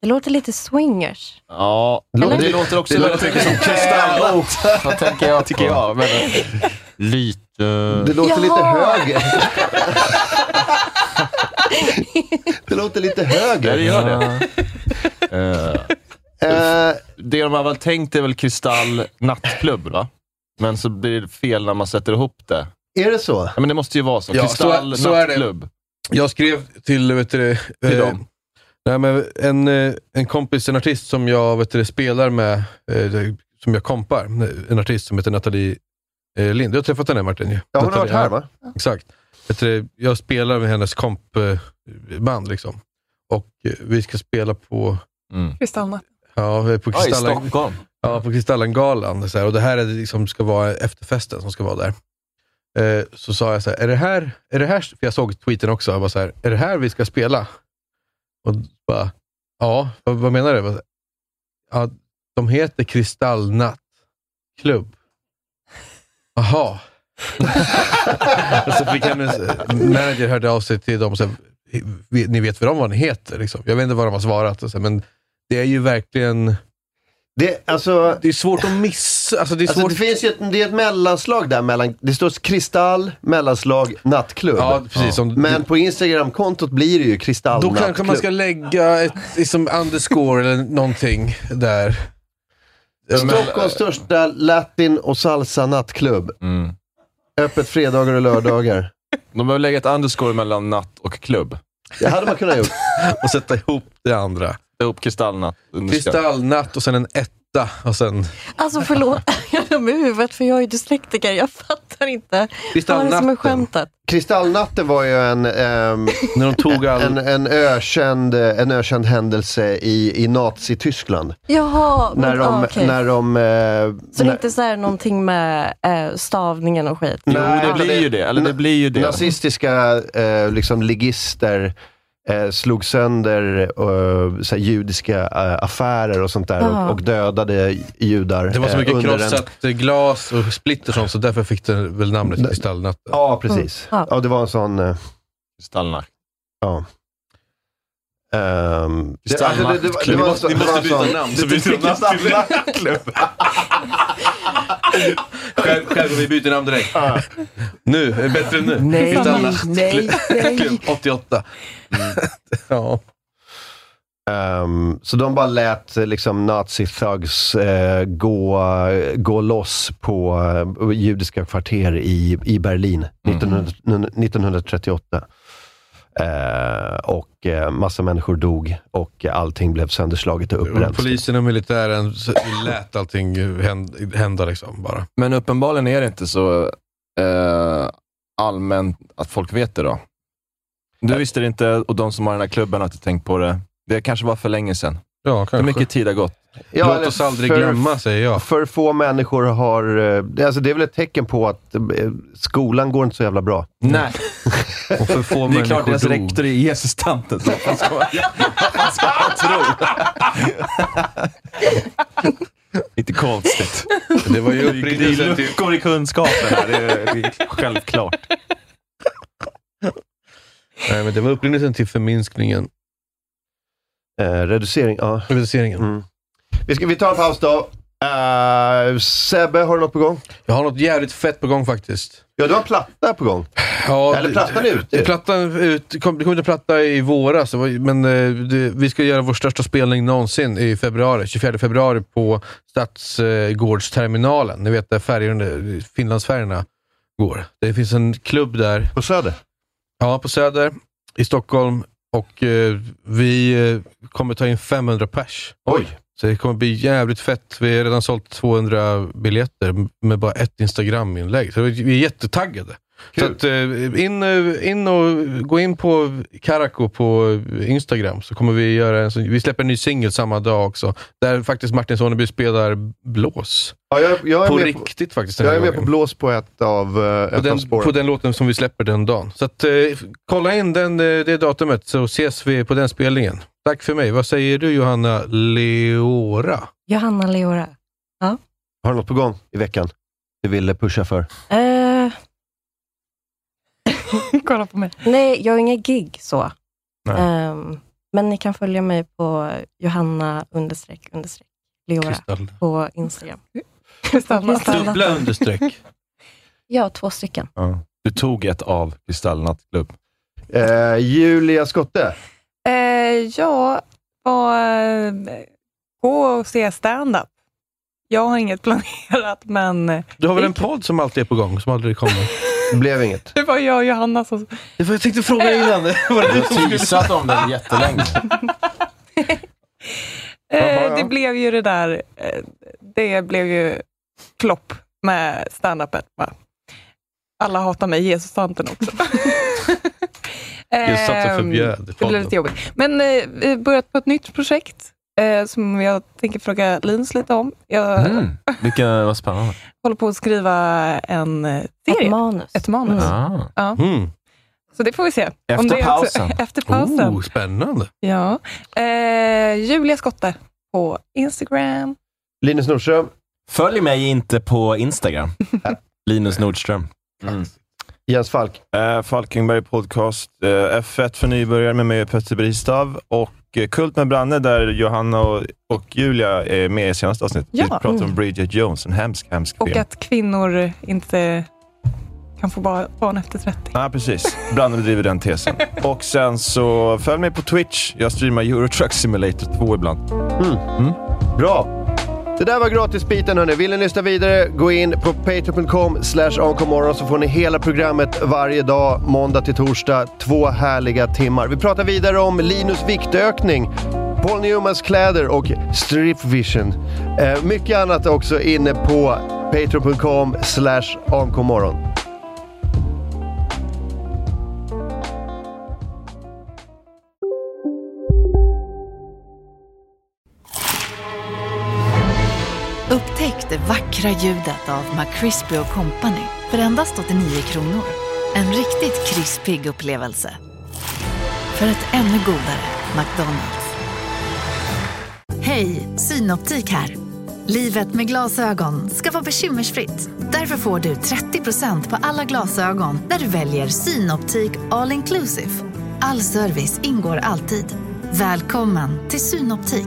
Speaker 5: Det låter lite swingers.
Speaker 1: Ja,
Speaker 5: Eller?
Speaker 3: Det låter också
Speaker 1: det
Speaker 3: väldigt mycket som kristallnatt. [LAUGHS] Vad tänker jag tycker jag. Men, lite...
Speaker 1: Det låter lite
Speaker 5: Jaha.
Speaker 1: höger. det låter lite höger.
Speaker 3: Ja, det gör det. [LAUGHS] Eh, det de har väl tänkt är väl kristall nattklubb, va? Men så blir det fel när man sätter ihop det.
Speaker 1: Är det så?
Speaker 3: Ja, men det måste ju vara så.
Speaker 2: Ja,
Speaker 3: kristall
Speaker 2: så- så är det.
Speaker 3: nattklubb.
Speaker 2: Jag skrev till, vet du, eh,
Speaker 3: Till dem.
Speaker 2: Nej, men en, eh, en kompis, en artist som jag vet du, spelar med, eh, som jag kompar. En artist som heter Nathalie eh, Lind. Du har träffat henne Martin. ju.
Speaker 1: Ja, hon har
Speaker 2: Nathalie,
Speaker 1: varit här, va?
Speaker 2: ja. Exakt. Vet du, jag spelar med hennes kompband. Liksom. Och eh, vi ska spela på
Speaker 4: Kristallnatt.
Speaker 2: Ja, på
Speaker 4: i
Speaker 2: Kristallen,
Speaker 4: Stockholm.
Speaker 2: Ja, på Kristallengalan. Så här, och det här är det liksom ska vara efterfesten som ska vara där. Eh, så sa jag så här, är det här, är det här, för jag såg tweeten också, jag bara så här, är det här vi ska spela? Och bara, ja, vad, vad menar du? Jag bara så här, Ja, de heter Kristallnatt klubb. Jaha. Och så fick hennes manager hörde av sig till dem och sa, ni vet väl om vad ni heter? Liksom. Jag vet inte vad de har svarat, och så, här, men det är ju verkligen...
Speaker 1: Det, alltså,
Speaker 2: det är svårt att missa. Alltså, det, är
Speaker 1: Alltså,
Speaker 2: svårt...
Speaker 1: det finns ju ett, det är ett mellanslag där mellan, det står kristall, mellanslag, nattklubb.
Speaker 2: Ja, precis, Ja. som-
Speaker 1: Men på Instagram-kontot blir det ju kristall,
Speaker 2: Då kanske
Speaker 1: nattklubb.
Speaker 2: man ska lägga ett liksom, underscore eller någonting där. eh,
Speaker 1: Stockholms största latin och salsa nattklubb. Öppet fredagar och lördagar.
Speaker 3: De behöver lägga ett underscore mellan natt och klubb.
Speaker 1: Det hade man kunnat gjort.
Speaker 2: [LAUGHS] och sätta ihop det andra.
Speaker 3: Sätta ihop kristallnatt.
Speaker 2: Kristallnatt och sen en etta. Och sen...
Speaker 5: Alltså förlåt, [LAUGHS] jag är dum i huvudet för jag är ju dyslektiker. Jag fattar inte vad det är som är skämtat.
Speaker 1: Kristallnatten var ju en, ehm, en, en, ökänd, en ökänd händelse i, i Nazityskland.
Speaker 5: Jaha,
Speaker 1: När
Speaker 5: men,
Speaker 1: de,
Speaker 5: ah, okej.
Speaker 1: när de... eh,
Speaker 5: Så det är
Speaker 1: när-
Speaker 5: inte så här någonting med eh, stavningen och skit?
Speaker 1: Nej, na-
Speaker 3: det.
Speaker 1: Nazistiska eh, liksom, ligister eh, slog sönder eh, så här, judiska eh, affärer och sånt där
Speaker 2: Ja.
Speaker 1: och, och dödade judar.
Speaker 2: Det var så
Speaker 1: eh,
Speaker 2: mycket
Speaker 1: under en-
Speaker 2: krossat glas och splitter sånt, så därför fick det väl namnet Kristallnatten.
Speaker 1: Ja, precis.
Speaker 2: Mm. Ja.
Speaker 1: Ja. det var en sån... Eh,
Speaker 3: Kristallnatt.
Speaker 1: Ja. Ehm, det- alltså, det- det var- det
Speaker 16: Ni
Speaker 1: var en
Speaker 16: måste-
Speaker 1: sån-
Speaker 16: ni
Speaker 1: det
Speaker 16: måste
Speaker 1: var en
Speaker 16: byta
Speaker 1: sån-
Speaker 16: namn,
Speaker 1: det-
Speaker 16: så
Speaker 1: det-
Speaker 16: byter vi
Speaker 1: det- det-
Speaker 16: Nattklubb.
Speaker 2: Mm. Själv, själv, vi byter namn direkt. nu, är bättre än nu.
Speaker 16: Nej,
Speaker 2: Kristallnatt
Speaker 16: nej,
Speaker 2: klubb-
Speaker 16: nej.
Speaker 2: klubb 88. ja.
Speaker 1: Mm. Ehm, så de bara lät eh, liksom, nazi-thugs eh, gå, gå loss på eh, judiska kvarter i, i Berlin 1900, 1938. Eh, och eh, massa människor dog och allting blev sönderslaget och
Speaker 2: Och
Speaker 1: uppbränt.
Speaker 2: polisen och militären så lät allting hän- hända liksom bara.
Speaker 3: Men uppenbarligen är det inte så eh, allmänt att folk vet det då. Du visste det inte och de som har den här klubben har inte tänkt på det. Det kanske var för länge sedan.
Speaker 2: Ja, kanske.
Speaker 3: För mycket tid har gått.
Speaker 1: Ja, eller för- För få människor har... eh, det- Alltså det är väl ett tecken på att eh, skolan går inte så jävla bra.
Speaker 3: Nej.
Speaker 2: [LAUGHS] Och för få
Speaker 3: [LAUGHS] det är klart deras
Speaker 1: dog.
Speaker 3: rektor
Speaker 2: [LAUGHS]
Speaker 3: är [LAUGHS] Jesus-tanten. så Vad ska, vad ska man
Speaker 1: [LAUGHS]
Speaker 3: tro? inte konstigt.
Speaker 2: Det var ju
Speaker 3: Det
Speaker 2: upprinnelsen
Speaker 3: är
Speaker 2: till-
Speaker 3: luckor i kunskapen här. Det är, det är självklart.
Speaker 2: Nej, men det var upprinnelsen till förminskningen. Eh,
Speaker 1: reducering, ja.
Speaker 2: Reduceringen.
Speaker 1: Vi, ska, vi tar en paus då. Eh, Sebbe, har du något på gång?
Speaker 2: Jag har något jävligt fett på gång faktiskt.
Speaker 1: Ja, du har en platta på gång.
Speaker 2: Ja,
Speaker 1: Eller plattan är ute.
Speaker 2: det- Plattan är ut, det kom, det kom ut en platta i våras, det var- men eh, det, vi ska göra vår största spelning någonsin i februari. 24 februari på Stadsgårdsterminalen. Ni vet där färjorna, Finlandsfärjorna går. Det finns en klubb där.
Speaker 1: På Söder?
Speaker 2: Ja, på Söder i Stockholm. Och eh, vi eh, kommer ta in 500 pers.
Speaker 1: Oj!
Speaker 2: Så det kommer bli jävligt fett. Vi har redan sålt 200 biljetter med bara ett Instagram-inlägg. Så vi är jättetaggade. Så att, eh, in, eh, in och gå in på Karako på Instagram så kommer vi göra en, sån- vi släpper en ny singel samma dag också. Där faktiskt Martin Soneby spelar blås.
Speaker 1: Ja, jag, jag är
Speaker 2: på
Speaker 1: med
Speaker 2: riktigt faktiskt. den
Speaker 1: Jag
Speaker 2: här
Speaker 1: är med
Speaker 2: gången.
Speaker 1: på blås på ett av, eh, ett
Speaker 2: på
Speaker 1: av
Speaker 2: den,
Speaker 1: spåren.
Speaker 2: på den låten som vi släpper den dagen. Så att, eh, kolla in den, eh, det datumet så ses vi på den spelningen. Tack för mig. Vad säger du Johanna Leora?
Speaker 14: Johanna Leora. Ja.
Speaker 1: Har du något på gång i veckan du ville pusha för?
Speaker 14: [LAUGHS] Eh,
Speaker 4: Kolla på mig.
Speaker 14: nej, jag har inga gig så.
Speaker 1: Nej.
Speaker 14: Ehm, men ni kan följa mig på Johanna understreck understreck Leora
Speaker 2: Kristall.
Speaker 14: på Instagram.
Speaker 2: Dubbla understreck.
Speaker 14: Ja, två stycken.
Speaker 15: Du tog ett av Kristallnattklubb.
Speaker 1: Eh, Julia Skotte.
Speaker 4: Eh, ja, och, eh, gå och se stand-up. Jag har inget [LAUGHS] planerat, men eh,
Speaker 2: Du har väl en podd som alltid är på gång, som aldrig kommer?
Speaker 1: [LAUGHS] Det blev inget.
Speaker 4: det var jag och Johanna som... Eh.
Speaker 2: Det var, jag tänkte fråga innan. Var
Speaker 4: det
Speaker 2: det
Speaker 4: du
Speaker 2: du
Speaker 4: som skulle-
Speaker 15: teasat om den
Speaker 2: [LAUGHS]
Speaker 15: jättelänge.
Speaker 4: Eh, det blev ju det där, eh, det blev ju flopp med stand-upet. va? Alla hatar mig, Jesus-tanten också.
Speaker 2: Jesus-tanten
Speaker 4: Eh,
Speaker 2: förbjöd
Speaker 4: Det blev
Speaker 2: podden.
Speaker 4: lite jobbigt. Men eh, vi har börjat på ett nytt projekt eh, som jag tänker fråga Linus lite om. Jag
Speaker 15: Mm. Vilken, vad spännande.
Speaker 4: håller på att skriva en eh, serie. Ett manus. Ett manus.
Speaker 15: Ah.
Speaker 4: Ja.
Speaker 2: Mm.
Speaker 4: Så det får vi se. Om
Speaker 15: Efter
Speaker 4: det också-
Speaker 15: pausen.
Speaker 4: [LAUGHS] Efter pausen.
Speaker 2: Oh, spännande.
Speaker 4: Ja. Eh, Julia Skotte på Instagram.
Speaker 1: Linus Nordström.
Speaker 15: Följ mig inte på Instagram. Linus Nordström.
Speaker 1: Mm. Jens Falk.
Speaker 3: Eh, Falkenberg Podcast, eh, F1 för nybörjare med mig Petter Bristav och eh, Kult med Branne där Johanna och, och Julia är med i senaste avsnittet.
Speaker 4: Ja.
Speaker 3: Vi pratar
Speaker 4: Mm.
Speaker 3: om Bridget Jones, en hemsk, hemsk
Speaker 4: Och
Speaker 3: film.
Speaker 4: att kvinnor inte kan få ba- barn efter 30.
Speaker 3: Ja, precis. Branne driver
Speaker 4: [LAUGHS]
Speaker 3: den tesen. Och sen så följ mig på Twitch. Jag streamar Euro Truck Simulator 2 ibland. Mm.
Speaker 1: Bra. Det där var gratisbiten hörni. Vill ni lyssna vidare, gå in på patreon.com slash onkomorgon så får ni hela programmet varje dag, måndag till torsdag. Två härliga timmar. Vi pratar vidare om Linus viktökning, Paul Newmans kläder och Stripvision. Eh, mycket annat också inne på patreon.com slash onkomorgon.
Speaker 9: Upptäck det vackra ljudet av McCrispy Company för endast 89 kronor. En riktigt krispig upplevelse. För ett ännu godare McDonalds. Hej, Synoptik här. Livet med glasögon ska vara bekymmersfritt. Därför får du 30% på alla glasögon när du väljer Synoptik All Inclusive. All service ingår alltid. Välkommen till Synoptik.